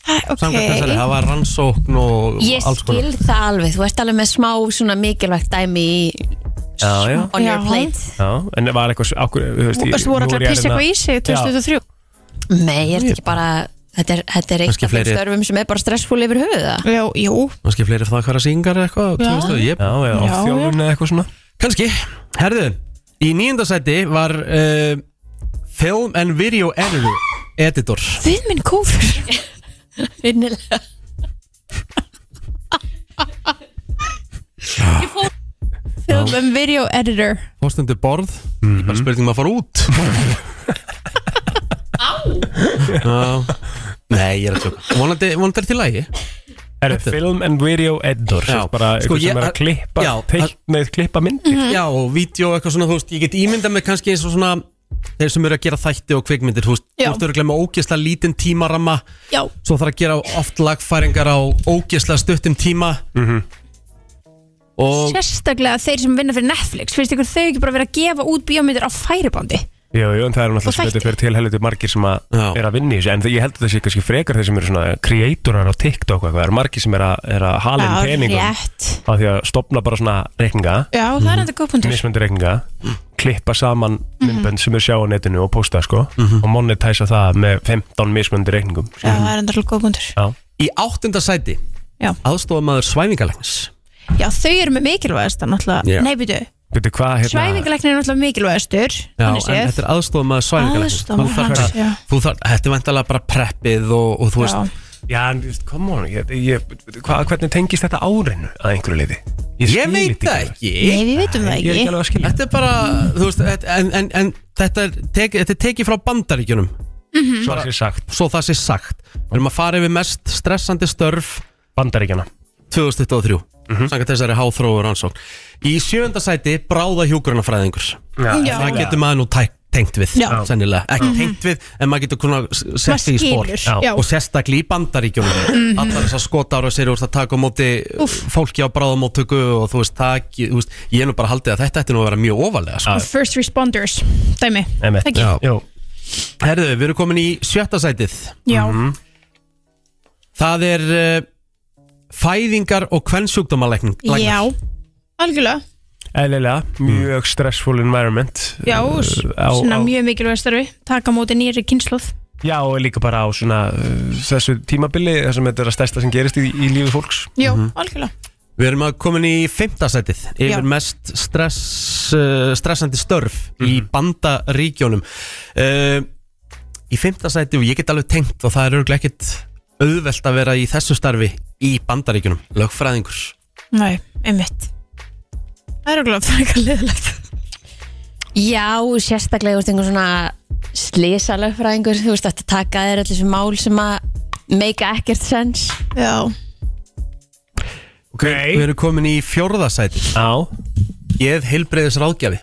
Speaker 10: Það-
Speaker 3: Samkvæmt þessari,
Speaker 10: Ok
Speaker 3: það var rannsókn og
Speaker 2: Ég
Speaker 3: alls konar
Speaker 2: skil það alveg, þú ert alveg með smá svona mikilvægt dæmi í
Speaker 1: Já, já
Speaker 2: on your plate
Speaker 1: Já, en var eitthvað ákveð, þú veist,
Speaker 10: Og svo voru allir að pissa
Speaker 1: hérna-
Speaker 10: eitthvað í sig 2023
Speaker 2: Nei, er þetta ekki bara Þetta er, þetta er eitt
Speaker 3: Kannski
Speaker 2: af þeim
Speaker 3: fleiri-
Speaker 2: störfum sem er bara stressfúl yfir höfuð það
Speaker 10: Já, jú
Speaker 3: Kanski fleiri þvagfara syngar eitthvað
Speaker 2: Já.
Speaker 3: Já, yep.
Speaker 1: Já, já,
Speaker 10: Já,
Speaker 1: þjálfun eða eitthvað svona
Speaker 3: Kanski Herðu, í níunda sæti var uh, Film and Video Editor Editor
Speaker 10: Við minn kófur
Speaker 2: Vinnilega
Speaker 10: Film and um video editor
Speaker 3: Hóstendur borð Ég bara spurði um að fara út Á Nei, ég er að tjóka Vonandi, vonandi er til lægi
Speaker 1: Er það film and video editor
Speaker 3: Já.
Speaker 1: sem bara
Speaker 3: Sko,
Speaker 1: eitthvað
Speaker 3: ég-
Speaker 1: sem er að klippa
Speaker 3: Já, Mm.
Speaker 1: teiknað klippa myndir
Speaker 10: Mhm.
Speaker 3: Já, og vídeo og eitthvað svona, þú veist Ég get ímyndað mig kannski eins og svona Þeir sem eru að gera þætti og kvikmyndir Þú veist, þú
Speaker 10: Já.
Speaker 3: veist, eru með ógeðslega lítinn tímaramma
Speaker 10: Já,
Speaker 3: Svo þarf að gera oft lagfæringar á ógeðslega stuttum tíma
Speaker 1: Mhm.
Speaker 3: Og
Speaker 10: sérstaklega þeir sem vinna fyrir Netflix finnst ykkur þau ekki bara vera að gefa út bíómyndir á færibandi
Speaker 1: Jú, jú, en það eru
Speaker 10: Og
Speaker 1: náttúrulega sem
Speaker 10: þættir.
Speaker 1: betur fyrir til helviti margir sem að
Speaker 3: Já.
Speaker 1: er að vinna í þessu en ég held að það sé kannski frekar þeir sem eru svona kreatorar á TikTok og eitthvað, það eru margir sem er að, er að hala inn peningum
Speaker 10: rétt
Speaker 1: á því að stopna bara svona reikninga
Speaker 10: Já, það er enda góð punktur
Speaker 1: mismöndu reikninga, klippa saman
Speaker 10: Mhm.
Speaker 1: myndbönd sem er sjá á netinu og posta sko,
Speaker 3: Mhm.
Speaker 1: og monetæsa það með 15 mismöndu reikningum
Speaker 10: Já, það er enda alveg góð punktur
Speaker 1: Já,
Speaker 3: í áttunda sæti
Speaker 10: Já.
Speaker 3: Aðstofamaður svæfingalegnis
Speaker 10: Já, þau eru með mikilvægast
Speaker 3: Já.
Speaker 10: náttúrulega Nei, byrju,
Speaker 1: veitu hvað hérna
Speaker 10: svæfingalæknir er náttúrulega mikilvægastur
Speaker 3: Já, en
Speaker 10: þannig séð.
Speaker 3: þetta er aðstofamaður svæfingalegnis
Speaker 10: Aðstoðarmaður hans, já.
Speaker 3: Þetta er vantalega bara preppið og, og þú veist
Speaker 10: Já.
Speaker 1: Já, en þú veist, come on, ég, ég, hva, hvernig tengist þetta árinu að einhverju liði?
Speaker 3: Ég veit það ekki
Speaker 10: Nei, við veitum
Speaker 1: Ég
Speaker 10: það
Speaker 1: er ekki
Speaker 10: ekki
Speaker 1: alveg að skilja
Speaker 3: Þetta er bara, þú veist, þetta- en, en, en þetta, er tek, þetta er tekið frá bandaríkjunum Mhm.
Speaker 1: Svo er sér sagt,
Speaker 3: Svo það sé sagt Við erum að fara yfir mest stressandi störf
Speaker 1: bandaríkjana
Speaker 3: 2023 mm
Speaker 10: Mhm.
Speaker 3: -hmm. Sangat þessari háþróur rannsókn Í sjönda sæti bráða hjúgrunafræðingur
Speaker 10: Já. Já.
Speaker 3: Það getur maður nú tæk, tengt við
Speaker 10: Já.
Speaker 3: Sennilega, ekki
Speaker 10: Mhm.
Speaker 3: tengt við En maður getur kunna sett sig í spór
Speaker 10: skilur, já.
Speaker 3: Og sérstaklega í bandaríkjunum
Speaker 10: Mhm.
Speaker 3: Allar þessar skotára sér úr það taka á móti Fólki á bráðamóttöku Og þú veist, það, ekki- þú veist, ég er nú bara haldið að þetta ætti nú að vera mjög ofalega sko.
Speaker 10: Og first responders, dæmi Ekki?
Speaker 3: Já. Herðu, við erum komin í sjötta sætið
Speaker 10: Já.
Speaker 3: Mhm. Það er uh, Fæðingar og kvennsjúkdómalækning
Speaker 10: Já, algjörlega
Speaker 1: Eðlilega, mjög stressful environment
Speaker 10: Já,
Speaker 1: Uh, á-
Speaker 10: svona
Speaker 1: á-
Speaker 10: mjög mikilvæg starfi Taka á móti nýri kynnslóð
Speaker 1: Já, og líka bara á svona uh, þessu tímabili, þessum þetta er að stærsta sem gerist í, í lífi fólks
Speaker 10: Jó,
Speaker 3: Mhm.
Speaker 10: algjörlega
Speaker 3: Við erum að komin í fymta sætið Yfir
Speaker 10: Já.
Speaker 3: mest stress, uh, stressandi störf Í bandaríkjónum uh, Í fymta sæti og ég get alveg tengt Og það er örgulega ekkit auðvelt að vera í þessu starfi Í bandaríkjónum, lögfræðingur
Speaker 10: Nei, einmitt Það er okkur að fara eitthvað liðlegt
Speaker 2: Já, sérstaklega úr einhver svona slisalögfræðingur þú veist þetta taka þér allir þessi mál sem að make ekkert sens
Speaker 10: Já
Speaker 3: okay. Við erum komin í fjórða sæti
Speaker 1: Já
Speaker 3: Geð heilbreyðis ráðgjafi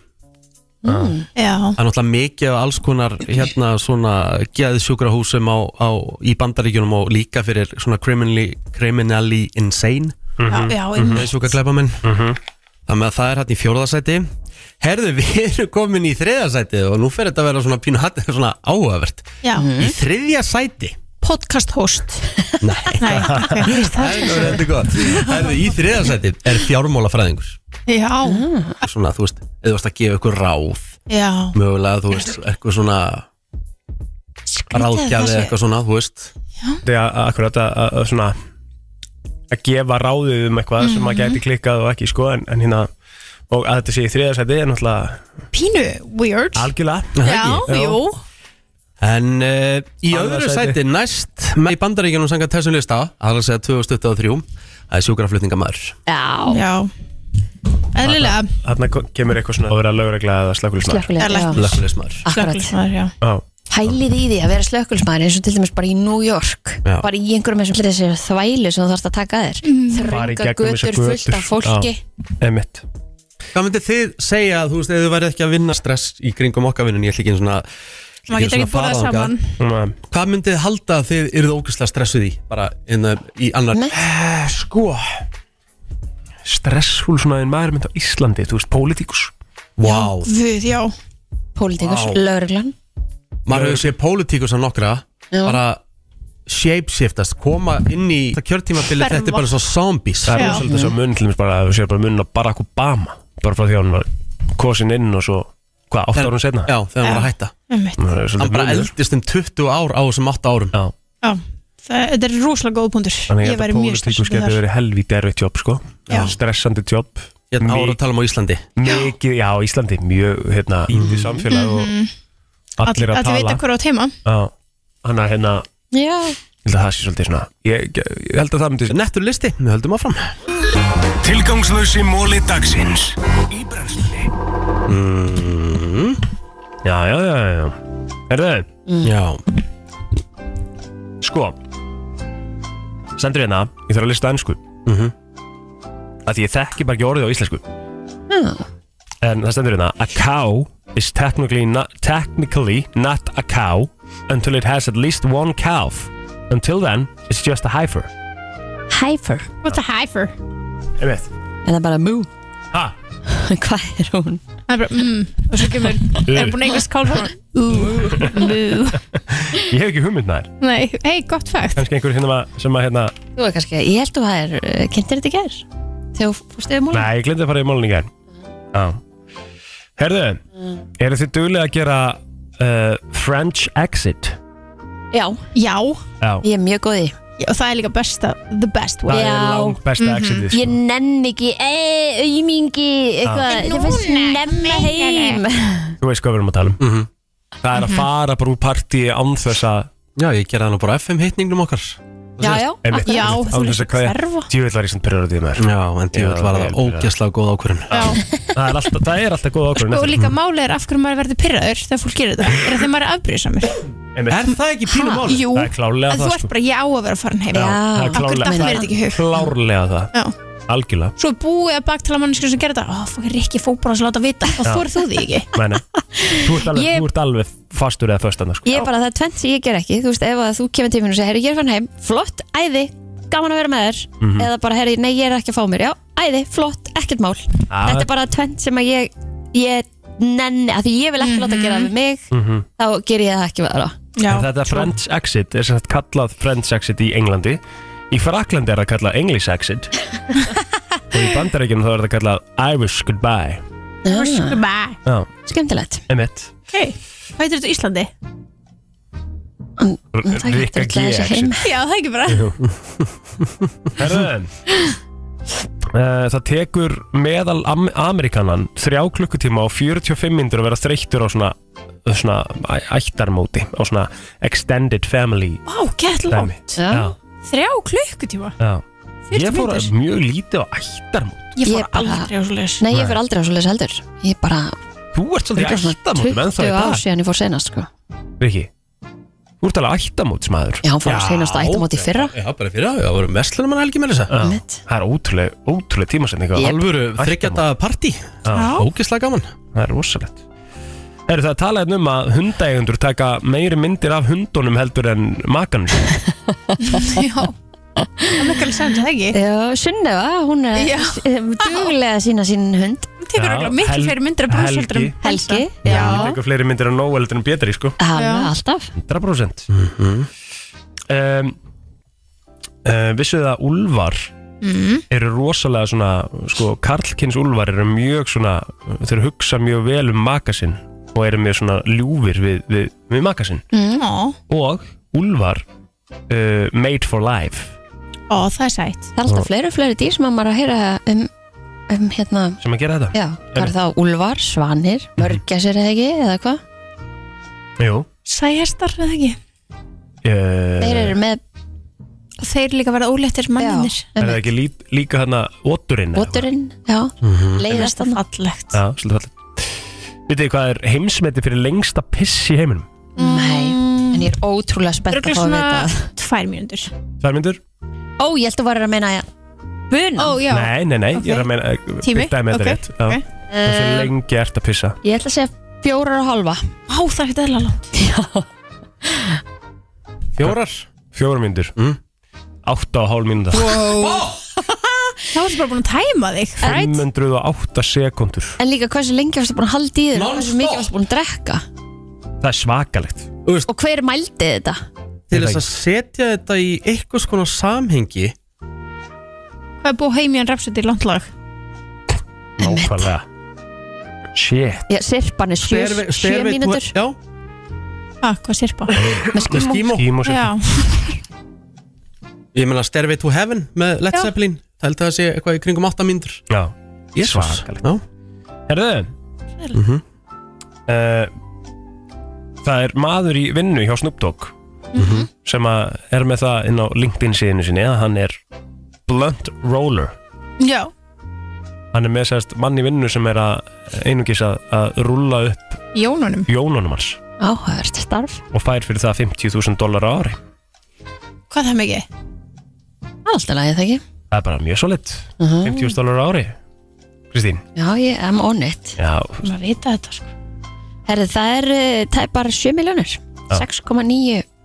Speaker 10: Mm. Já.
Speaker 3: Það er náttúrulega mikið af alls konar hérna svona geðsjúkrahúsum á, á, í bandaríkjunum og líka fyrir svona criminally, criminally insane
Speaker 10: Mhm. Já, já, einmitt.
Speaker 3: Geðsjúkaklæpamenn Þannig að það er hérna í fjórðasæti Herðu, við erum komin í þriðasæti og nú fer þetta að vera svona pínu hatt svona áhugavert
Speaker 1: Mhm.
Speaker 10: Já.
Speaker 3: Í þriðja sæti
Speaker 10: Podcast host Nei, ok, víst það
Speaker 3: Æ, nú er Þetta er gott Herðu, í þriðasæti er fjármálafræðingur
Speaker 10: Já,
Speaker 3: Svona, þú veist, eða þú varst að gefa ykkur ráð
Speaker 10: já
Speaker 3: mögulega, þú veist, eitthvað svona
Speaker 10: það
Speaker 3: ráðgjafi
Speaker 10: sé.
Speaker 3: eitthvað svona, þú veist
Speaker 1: Þetta er a- akkurat að- að að svona að gefa ráðið um eitthvað sem
Speaker 2: Mhm.
Speaker 1: maður gæti klikkað og ekki sko en, en hérna og að þetta sé í þriðarsæti er náttúrulega
Speaker 10: Pínu weird
Speaker 1: algjörlega
Speaker 10: Já, jú
Speaker 3: En uh, í
Speaker 1: Annað
Speaker 3: öðru
Speaker 1: sæti.
Speaker 3: sæti, næst með í bandaríkjunum sanga þessum lista, það er að segja 2023 það er sjúkraflutningamæður
Speaker 2: Já,
Speaker 10: já. Eðlilega
Speaker 1: Þarna ko- kemur eitthvað svona að vera lögregla eða slökulismar
Speaker 2: Slökkvilið, já.
Speaker 3: Slökkulismæður
Speaker 10: Ah.
Speaker 2: Akkurat
Speaker 10: já.
Speaker 1: Já,
Speaker 2: Hælið í því að vera slökkulsmaður eins og til dæmis bara í New York
Speaker 1: Já.
Speaker 2: bara í einhverjum þessum þessi þvælu sem þú þarfst að taka að þér mm.
Speaker 1: fara í
Speaker 2: þrönga
Speaker 1: gegnum
Speaker 2: götur,
Speaker 1: þessar
Speaker 2: fullt af fólki
Speaker 1: Já, Einmitt
Speaker 3: Hvað myndið þið segja, þú veist, ef þið værið ekki að vinna stress í kringum okkar vinnun, ég ætla ekki einu svona
Speaker 10: Maður getur ekki borðað saman.
Speaker 1: saman
Speaker 3: Hvað myndið þið halda að þið eruð ógæslega stressuð í, bara in, í annar
Speaker 1: Eh, Sko Stressful svona environment á Íslandi Þú veist, pólitíkus
Speaker 3: Vá,
Speaker 10: Við, já
Speaker 2: Pólitíkus,
Speaker 3: Vá.
Speaker 2: lögreglan
Speaker 3: maður hefur séð pólitíkus á nokkra
Speaker 2: Já.
Speaker 3: bara shapeshiftast koma inn í það kjörtímabilið
Speaker 10: Hverfa.
Speaker 3: þetta er bara svo zombies
Speaker 1: Það er svolítið
Speaker 2: Mhm.
Speaker 1: svo munn til þess bara að þú sér bara munn á Barack Obama bara frá því að hann var kosin inn og svo hvað, 8 árum setna
Speaker 3: já, þegar hann var að hætta
Speaker 10: Einmitt.
Speaker 1: Það er
Speaker 3: hann
Speaker 1: svolítið
Speaker 3: bara
Speaker 1: munur.
Speaker 3: eldist um 20 ár á þessum 8 árum
Speaker 1: Já.
Speaker 10: Já, það, þetta er rosalega góð punktur
Speaker 1: Þannig
Speaker 10: Ég
Speaker 1: að
Speaker 10: væri
Speaker 1: þetta
Speaker 10: mjög
Speaker 1: pólitíkus
Speaker 10: stressuð
Speaker 1: getur
Speaker 10: þar
Speaker 1: verið helvítið erfitt jobb sko stressandi jobb
Speaker 3: hérna
Speaker 1: Mik-
Speaker 3: ára að tala um á Íslandi
Speaker 1: mikið, já, Íslandi mjög hérna, ítið samfélag og
Speaker 10: Mhm.
Speaker 1: allir að
Speaker 10: Allir
Speaker 1: tala
Speaker 10: vita hver átt heima
Speaker 1: Já, hann að hérna
Speaker 2: Já,
Speaker 1: ég held að það sé svolítið svona ég, ég held að það myndi
Speaker 3: nettur listi, við höldum áfram
Speaker 9: Tilgangslösi móli dagsins Í brennslunni
Speaker 3: mm.
Speaker 1: já, já, já, já, já. Herðu,
Speaker 3: já,
Speaker 1: sko sendur hérna, ég þarf að lista ennsku mm
Speaker 3: Mhm.
Speaker 1: að því ég þekki bara ekki orðið á íslensku en það stendur hérna a cow is technically not, technically not a cow until it has at least one calf until then it's just a heifer
Speaker 2: hæfur
Speaker 10: What's a heifer?
Speaker 1: einmitt
Speaker 2: eða bara mú
Speaker 1: ha
Speaker 2: Hvað er hún?
Speaker 10: Það er bara, mm, og svo kemur Það er búin að eignast kálf Ú, mú
Speaker 1: ég hef ekki hugmynd nær
Speaker 10: Nei, hei, gott fægt
Speaker 1: kannski einhver hérna ma- sem að hérna
Speaker 2: Þú er kannski, ég held að það er, kynntir þetta í gær Þegar þú fórst yfir múlum?
Speaker 1: nei ég glemdi að fara í málun í gær já herðu
Speaker 2: Mm.
Speaker 1: eru þið duglega að gera uh, French exit
Speaker 2: Já,
Speaker 10: Já,
Speaker 1: já
Speaker 2: ég er mjög góð í
Speaker 10: Já, og það er líka besta The best way
Speaker 1: það er
Speaker 2: Já. Mhm.
Speaker 1: langt besta exitið
Speaker 2: Ég nenn ekki, ei, aumingi eitthvað,
Speaker 10: En
Speaker 2: það finnst
Speaker 10: núna,
Speaker 2: nefna heim
Speaker 1: Þú veist hvað við erum að tala um
Speaker 3: Mhm.
Speaker 1: Það er að fara bara úr partíi án þess að
Speaker 3: já, ég gerði hann á bara FM hitningnum okkar
Speaker 2: Já, já,
Speaker 1: einmitt,
Speaker 10: Já,
Speaker 1: einmitt,
Speaker 10: þú
Speaker 1: án
Speaker 10: er
Speaker 1: þess að
Speaker 10: ekki að hverfa
Speaker 1: Djúvill var ég sem perur á því maður
Speaker 3: já, en djúvel
Speaker 1: Já,
Speaker 3: var
Speaker 1: vel,
Speaker 3: það
Speaker 1: vel.
Speaker 3: ógæslega góð ákvörun
Speaker 10: Já,
Speaker 1: Það er alltaf,
Speaker 10: Sko,
Speaker 1: það er alltaf góð ákvörðun
Speaker 10: og líka máli er af hverju maður verður pyrraður þegar fólk gerir þetta Er að þegar maður er afbrýðsamur
Speaker 1: Er það ekki pínum
Speaker 10: Ha,
Speaker 1: mál?
Speaker 10: Jú,
Speaker 1: það er klárlega
Speaker 10: en
Speaker 1: það sko.
Speaker 10: þú ert bara, ég á að vera farin heim
Speaker 1: Já, það er
Speaker 10: Akkur datt mér þetta ekki í
Speaker 1: klárlega
Speaker 10: hug
Speaker 1: Klárlega það
Speaker 10: Já.
Speaker 1: Algjörlega
Speaker 10: Svo er búið að baktala manneskur sem gerir þetta Ó, fokkin Rikki fór bara að láta vita Og
Speaker 1: Já.
Speaker 10: þú þú því ekki
Speaker 1: Nei, nei. Þú ert alveg,
Speaker 2: Ég-
Speaker 1: þú ert alveg fastur eða föstanna sko.
Speaker 2: Ég er bara, það er tvent sem ég ger ekki Þú veist, ef að þú kemur til mín og segir Herri, ég er fann heim, flott, æði, gaman að vera með þér
Speaker 1: Mhm.
Speaker 2: Eða bara, herri, nei, ég er ekki að fá mér Já, æði, flott, ekkert mál
Speaker 1: Ah.
Speaker 2: Þetta er bara tvent sem að ég Ég nenni, af því ég vil ekki láta gera það við mig
Speaker 1: Mhm. Ah.
Speaker 2: Þá ger ég það ekki við aðra
Speaker 1: En Þetta French Exit er sem sagt kallað French Exit í Englandi Í Fraklandi er það kallað English Exit Og í Bandaríkjunum þá er það kallað Irish Goodbye
Speaker 10: Goodbye.
Speaker 1: Já,
Speaker 2: Skemmtilegt
Speaker 1: emitt
Speaker 10: Ok, hvað heitir þetta á Íslandi?
Speaker 1: Rikka G Exit
Speaker 10: Já, það er ekki bara
Speaker 1: Herðu Uh, það tekur meðal am Amerikanan þrjá klukkutíma og 45 myndur að vera þreyttur á svona, svona æ- ættarmóti á svona extended family
Speaker 10: Vá, gett
Speaker 1: dæmi.
Speaker 10: langt Þrjá klukkutíma
Speaker 1: Já. Ég
Speaker 10: 40
Speaker 1: fór að-
Speaker 10: mínútur.
Speaker 1: mjög lítið á ættarmót
Speaker 10: Ég fór aldrei á svo leis
Speaker 2: Nei, ég fyrir aldrei á svo leis heldur Ég bara,
Speaker 1: Þú ert svolítið
Speaker 2: Líka
Speaker 1: í
Speaker 2: svona
Speaker 1: ættarmótum en það
Speaker 2: 20
Speaker 1: er
Speaker 2: ár
Speaker 1: dag
Speaker 2: síðan ég fór senast sko.
Speaker 1: Riki, þú ert alveg ættamótsmaður
Speaker 2: Já, hann fór á seinasta ættamót í fyrra.
Speaker 3: Já, bara í fyrra, já, voru vestlunum hann helgi með þess
Speaker 1: að Það er ótrúlega, ótrúlega tímasending
Speaker 3: Yep. Alvöru þryggjata partí Ógislega gaman
Speaker 1: Það er rosalegt Er það talað um að hundægundur taka meiri myndir af hundunum heldur en makanum sínum?
Speaker 10: Já, það er mikil sens, það ekki?
Speaker 2: Já, Sunneva, hún er
Speaker 10: Já.
Speaker 2: um, duglega að sína sín hund
Speaker 10: Hún tekur
Speaker 1: Já,
Speaker 10: örugglega miklu
Speaker 1: Hel-
Speaker 10: fleiri myndir af Bruce
Speaker 1: Helgi.
Speaker 10: heldur en Elsa.
Speaker 2: Helgi,
Speaker 1: Já, ég tekur fleiri myndir af nóg heldur en betri, sko
Speaker 2: alveg alltaf
Speaker 1: 100% mm -hmm. um, uh, Vissuð það að úlvar
Speaker 10: Mhm.
Speaker 1: eru rosalega svona sko, karlkins úlvar eru mjög svona þeir hugsa mjög vel um makasinn og eru mjög svona ljúfir við, við, við makasinn
Speaker 10: Já,
Speaker 1: og úlvar uh, made for life
Speaker 10: Ó, það er sætt
Speaker 2: Það er alltaf fleiri og fleiri dýr sem að maður er að heyra um, um hérna,
Speaker 1: sem að gera þetta
Speaker 2: já, það eru þá úlvar, svanir, mörgæsir eða ekki, eða hvað?
Speaker 1: Jú,
Speaker 10: Sæhestar, eða ekki?
Speaker 1: uh,
Speaker 2: Þeir eru með
Speaker 10: Þeir líka verða óléttir manninir
Speaker 1: er það ekki lí, líka þarna oturinn eða eitthvað?
Speaker 2: boturinn, já,
Speaker 1: Mhm.
Speaker 2: leiðast
Speaker 10: Það er
Speaker 2: þannig.
Speaker 10: fallegt
Speaker 1: Já, svolítið fallið Vitið þið hvað er heimsmeti fyrir lengsta piss í heiminum?
Speaker 2: Nei, en ég er ótrúlega spennt að
Speaker 10: Röglega
Speaker 2: fá að
Speaker 10: svona
Speaker 2: vita það.
Speaker 10: tvær mínútur
Speaker 1: Tvær myndur?
Speaker 2: Ó, ég held að þú varir að meina bunan.
Speaker 10: Ó, já
Speaker 1: Nei, nei, nei, ég er að meina
Speaker 10: Tími?
Speaker 1: Byttaði með
Speaker 10: Ok,
Speaker 1: þetta rétt já.
Speaker 10: ok. Eh.
Speaker 1: Hversu lengi ert að pissa?
Speaker 2: Ég ætla að segja fjórar og halva.
Speaker 10: Á, það er eitthvað eðla langt
Speaker 3: Fjórar
Speaker 1: Fjórum myndur
Speaker 3: Mm.
Speaker 1: Átta og hálf mínúta
Speaker 10: Þá ertu bara búin að tæma þig right?
Speaker 1: 508 sekundur
Speaker 2: En líka hversu lengi varstu búin að halda í þér og hversu mikið varstu búin að drekka
Speaker 1: Það er svakalegt
Speaker 2: og hver mældi þetta?
Speaker 3: Til þess að setja þetta í eitthvað skona samhengi
Speaker 10: Hvað er búið heimíðan rapsut í landlag?
Speaker 1: Nákvæmlega Shit
Speaker 2: Já, sirpan er sjö,
Speaker 3: Stairway-
Speaker 2: sjö
Speaker 3: Stairway to-
Speaker 2: mínútur
Speaker 3: Já,
Speaker 10: Ah, hvað sirpa?
Speaker 2: með skimó.
Speaker 3: skímó
Speaker 1: Skím og sér
Speaker 10: Já,
Speaker 3: Ég meina Stairway to Heaven með Led
Speaker 10: Já.
Speaker 3: Zeppelin Það held að það sé eitthvað í kringum 8 mínútur
Speaker 1: Já
Speaker 3: Jesus.
Speaker 1: Svakalegt.
Speaker 3: Já.
Speaker 1: Herðu
Speaker 10: Mm-hmm.
Speaker 1: uh, Það er maður í vinnu hjá Snoop Dogg
Speaker 10: Mm-hmm.
Speaker 1: sem að er með það inn á LinkedIn síðinu sinni að hann er blunt roller
Speaker 10: já
Speaker 1: hann er með sérst mann í vinnu sem er að einungis að, að rúlla upp
Speaker 10: Jónunum
Speaker 1: jónunum hans
Speaker 2: Áhugavert starf.
Speaker 1: og fær fyrir það 50.000 dólar á ári
Speaker 10: Hvað er það mikið?
Speaker 2: Það er alltaf lagið það ekki.
Speaker 1: það er bara mjög solitt 50.000 dólar á ári Kristín
Speaker 2: Já, ég am on it.
Speaker 1: já,
Speaker 10: Maður vita þetta sko
Speaker 2: Herði, það er eh, tæpar 7 miljónir 6,9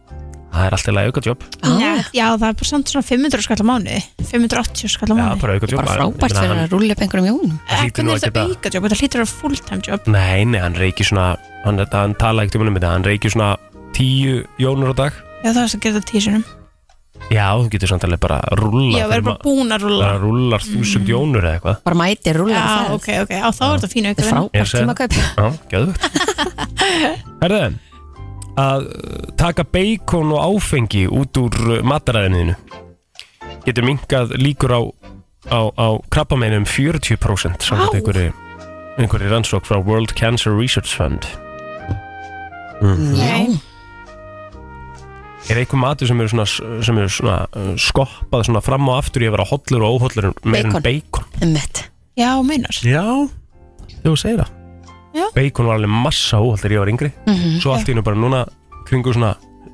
Speaker 1: það er alltaf auka jobb
Speaker 2: Ah.
Speaker 10: Já, Já, það er bara samt svona 500 skall á mánu 580 skall á
Speaker 1: já,
Speaker 10: mánu
Speaker 1: bara auka jobb
Speaker 2: bara frábært fyrir að rúlla upp einhverjum jónum
Speaker 1: það hlýtur nú
Speaker 10: Hvernig er
Speaker 1: að
Speaker 10: þetta
Speaker 1: geta-
Speaker 10: auka jobb? Þetta hlýtur að vera fulltime job
Speaker 1: nei, nei, hann reykir svona hann, hann tala ekkert um hann um þetta hann reykir svona 10 jónur á dag
Speaker 10: Já, það er það að gera þetta tísunum
Speaker 1: já, þú getur samt alveg bara að rúlla
Speaker 10: Já, verður bara búin að rúlla
Speaker 1: bara rúllar 1000 jónur eða eitthvað
Speaker 2: bara mæti, rúlla upp
Speaker 10: Já,
Speaker 2: það
Speaker 10: ok, ok, á þá er þetta fínu
Speaker 2: Þetta er
Speaker 1: Ég
Speaker 2: frábært
Speaker 10: auka vinna.
Speaker 1: segi það.
Speaker 2: tímakaup
Speaker 1: Já, gæðvögt Herðu að uh, taka beikon og áfengi út úr uh, mataræðinu getur minkað líkur á, á, á krabbameinu um 40% samkvæmt
Speaker 10: Vá.
Speaker 1: einhverju einhverju rannsók frá World Cancer Research Fund
Speaker 2: Já.
Speaker 10: Nei.
Speaker 1: Er einhver matur sem eru svona, sem eru svona uh, skoppað svona fram og aftur í að vera hollur og óhollur meir en
Speaker 2: Beikon.
Speaker 1: beikon
Speaker 2: einmitt.
Speaker 10: Já, meinar
Speaker 3: Já, þú segir það
Speaker 1: Beikon var alveg massa óhollt þegar ég var yngri
Speaker 2: Mhm.
Speaker 1: svo allt í hennu bara núna kringu svona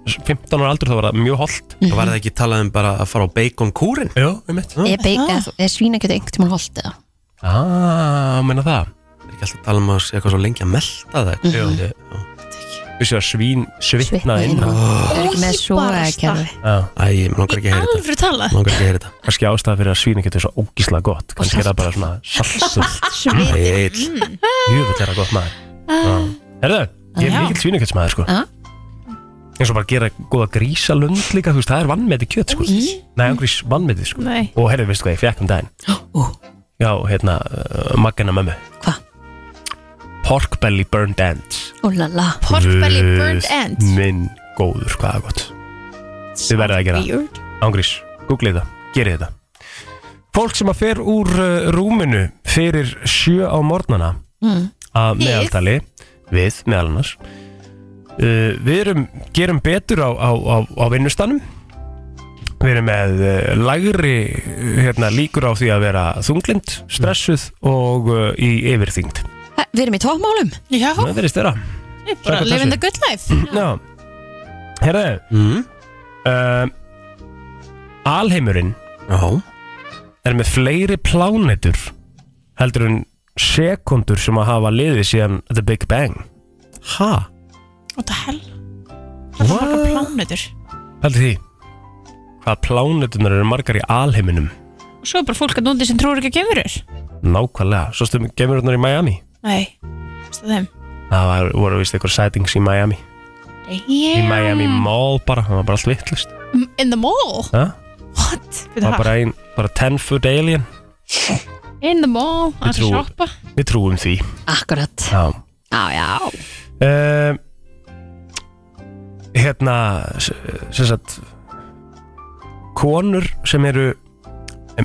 Speaker 1: 15 ára aldur þá var það mjög holdt
Speaker 2: Mhm. Var það
Speaker 1: ekki talað um bara að fara á baconkúrin? Jó, um mitt
Speaker 2: Er, beik, er, er svínakjöt einhvern tímann holdt eða?
Speaker 3: Ah, menna það Er ekki alltaf að tala um að sé eitthvað svo lengi að melta það
Speaker 2: Mhm.
Speaker 3: Já.
Speaker 1: Vissi að svín svitna
Speaker 2: Svitnaði
Speaker 1: inn
Speaker 2: inn. Er ekki með sogakerfi.
Speaker 1: Æ, ég langar ekki að heyra
Speaker 12: Alvöru tala
Speaker 1: langar ekki að heyra þetta Kannski ástæða fyrir að svínu getur svo ógíslega gott Kannski er það bara svona salsult
Speaker 12: Svitinn.
Speaker 1: Eill Jöfell er það gott maður Já. Herðu, ég er
Speaker 12: Já.
Speaker 1: mikill svínu sko
Speaker 2: Já.
Speaker 1: eins og bara gera góða grísalund líka þú veist, það er vannmeti kjöt sko Nei, angrís vannmeti sko
Speaker 10: Nei.
Speaker 1: Og herðu, veistu hvað ég fekk um daginn Já, hérna, uh, maggana mömmu
Speaker 2: Hva?
Speaker 1: Pork belly burned ends
Speaker 2: Úlala.
Speaker 10: Pork belly
Speaker 1: Guð
Speaker 10: burned ends.
Speaker 1: Minn góður, hvað er gott Þið verðið að gera
Speaker 10: weird.
Speaker 1: það. Ángrís, googlið það, gerið þetta Fólk sem að fer úr uh, rúminu fyrir sjö á morgnana
Speaker 12: Mm.
Speaker 1: að
Speaker 12: Við.
Speaker 1: meðaltali við meðal annars uh, við erum, gerum betur á, á, á, á vinnustanum við erum með uh, lægri uh, hérna, líkur á því að vera þunglind, stressuð og uh, í yfirþyngd
Speaker 2: Ha, Við erum í tókmálum.
Speaker 12: Já.
Speaker 1: það verðist þeirra
Speaker 12: Bara
Speaker 1: Samkvæmt
Speaker 12: living
Speaker 1: þessu.
Speaker 12: the good life
Speaker 1: Já Herðu mm. Alheimurinn Já. er með fleiri plánetur heldur en sekundur sem að hafa liðið síðan The Big Bang Ha?
Speaker 12: What the hell? Það er marga plánutur
Speaker 1: Heldur því Hvað plánetunar eru margar í alheiminum
Speaker 12: Og svo er bara fólk að núti sem trúir ekki að gefur
Speaker 1: Nákvæmlega, svo stum gemururnar í Miami
Speaker 12: Nei, veistu það þeim
Speaker 1: Það var, voru vist eitthvað sightings í Miami Í
Speaker 12: Damn.
Speaker 1: Miami Mall bara, það var bara allt vittlust
Speaker 12: M- In the mall
Speaker 1: Það
Speaker 12: What? Bíddu,
Speaker 1: var
Speaker 12: ha?
Speaker 1: bara ein, bara 10 foot alien
Speaker 12: In the mall,
Speaker 1: Við
Speaker 12: að
Speaker 1: trúum-
Speaker 12: shoppa
Speaker 1: Við trúum því
Speaker 2: Akkurat.
Speaker 1: Já
Speaker 2: Já, já.
Speaker 1: uh, hérna s- sem sagt konur sem eru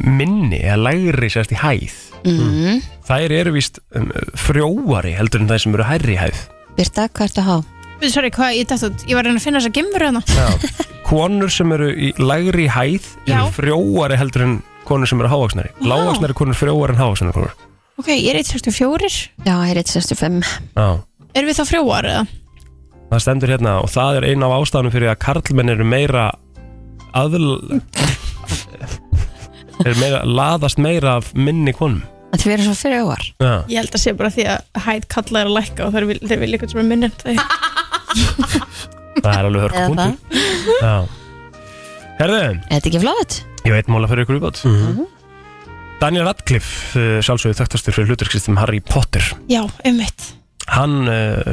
Speaker 1: minni eða lægri sérst í hæð
Speaker 2: Mm.
Speaker 1: þær eru víst um, frjóari heldur en þær sem eru hærri í hæð
Speaker 2: Birta, hvað ertu að hafa?
Speaker 12: Við, sorry, hvað, ég dætt út Ég var að reyna að finna þess að gemur hana
Speaker 1: konur sem eru í lægri í hæð
Speaker 12: Já.
Speaker 1: eru frjóari heldur en konur sem eru hávaksnari
Speaker 12: Vá.
Speaker 1: lávaksnari konur frjóari en hávaksnari konur
Speaker 12: Ok, ég er 1.64
Speaker 2: Já, ég er 1.65
Speaker 1: Já.
Speaker 12: Erum við þá frjóar eða?
Speaker 1: það stendur hérna og það er eina af ástæðanum fyrir að karlmenn eru meira aðl er meira, laðast meira af minni konum
Speaker 2: Að þið verður svo fyrir óvar.
Speaker 1: Já.
Speaker 12: Ég held að sé bara því að hæð kalla er að lækka og þeir vil, þeir vil eitthvað sem er minni en þeir
Speaker 1: það er alveg
Speaker 2: Eða það.
Speaker 1: hörkupunktur Herðu,
Speaker 2: Er þetta ekki flott?
Speaker 1: ég veit mála fyrir ykkur viðbátt
Speaker 3: Mhm,
Speaker 1: Daniel Radcliffe, uh, sjálfsögðu þekktastur fyrir hluturkristum Harry Potter
Speaker 12: Já, um mitt
Speaker 1: hann uh,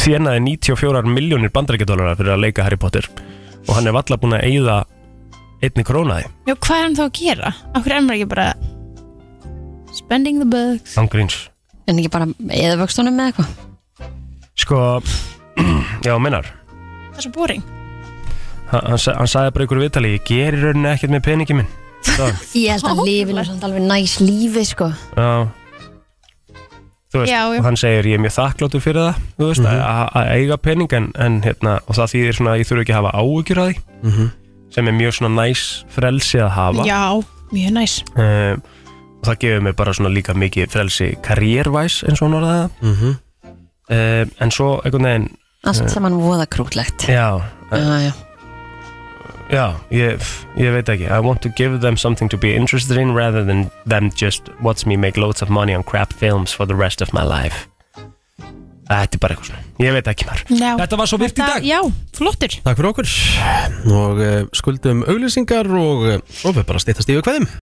Speaker 1: þjenaði 94 miljónir bandarækjadólarar fyrir að leika Harry Potter og hann er valla búin að eigða einni krónaði
Speaker 12: Já, hvað er hann þá að gera? Akkur er maður ekki bara Spending the bucks
Speaker 1: Angríns
Speaker 2: En ekki bara eða vöxtunum með eitthvað?
Speaker 1: Sko, já, minnar
Speaker 12: Það er svo boring
Speaker 1: Hann, sa- hann sagði bara ykkur viðtali Ég gerir rauninni ekkert með peningi minn Svo,
Speaker 2: Ég held að lífinu er samt alveg næs lífi, sko.
Speaker 1: já Þú veist,
Speaker 2: Já, já.
Speaker 1: og hann segir ég er mjög þakkláttur fyrir það Þú veist, mm að eiga pening en, en hérna, og það þýðir svona að ég þurfi ekki að hafa áhugjur að því
Speaker 3: Mhm.
Speaker 1: sem er mjög svona næs frelsi að hafa
Speaker 12: Já, mjög næs
Speaker 1: Eh, og það gefur mér bara svona líka mikið frelsi karriérvæs eins og hún orðaði það mm
Speaker 3: mhm.
Speaker 1: en svo einhvern veginn
Speaker 2: Allt
Speaker 1: eh,
Speaker 2: saman voða krútlegt.
Speaker 1: Já,
Speaker 2: Já, já.
Speaker 1: Já, ég, ég veit ekki I want to give them something to be interested in rather than them just watch me make loads of money on crap films for the rest of my life Þetta er bara eitthvað svona Ég veit ekki maður
Speaker 12: Já.
Speaker 1: Þetta var svo virt í dag
Speaker 12: Já, flottur
Speaker 3: eh, Takk fyrir okkur og uh, skuldum auglýsingar og uh, svo eh, við bara stýttast yfir hverðum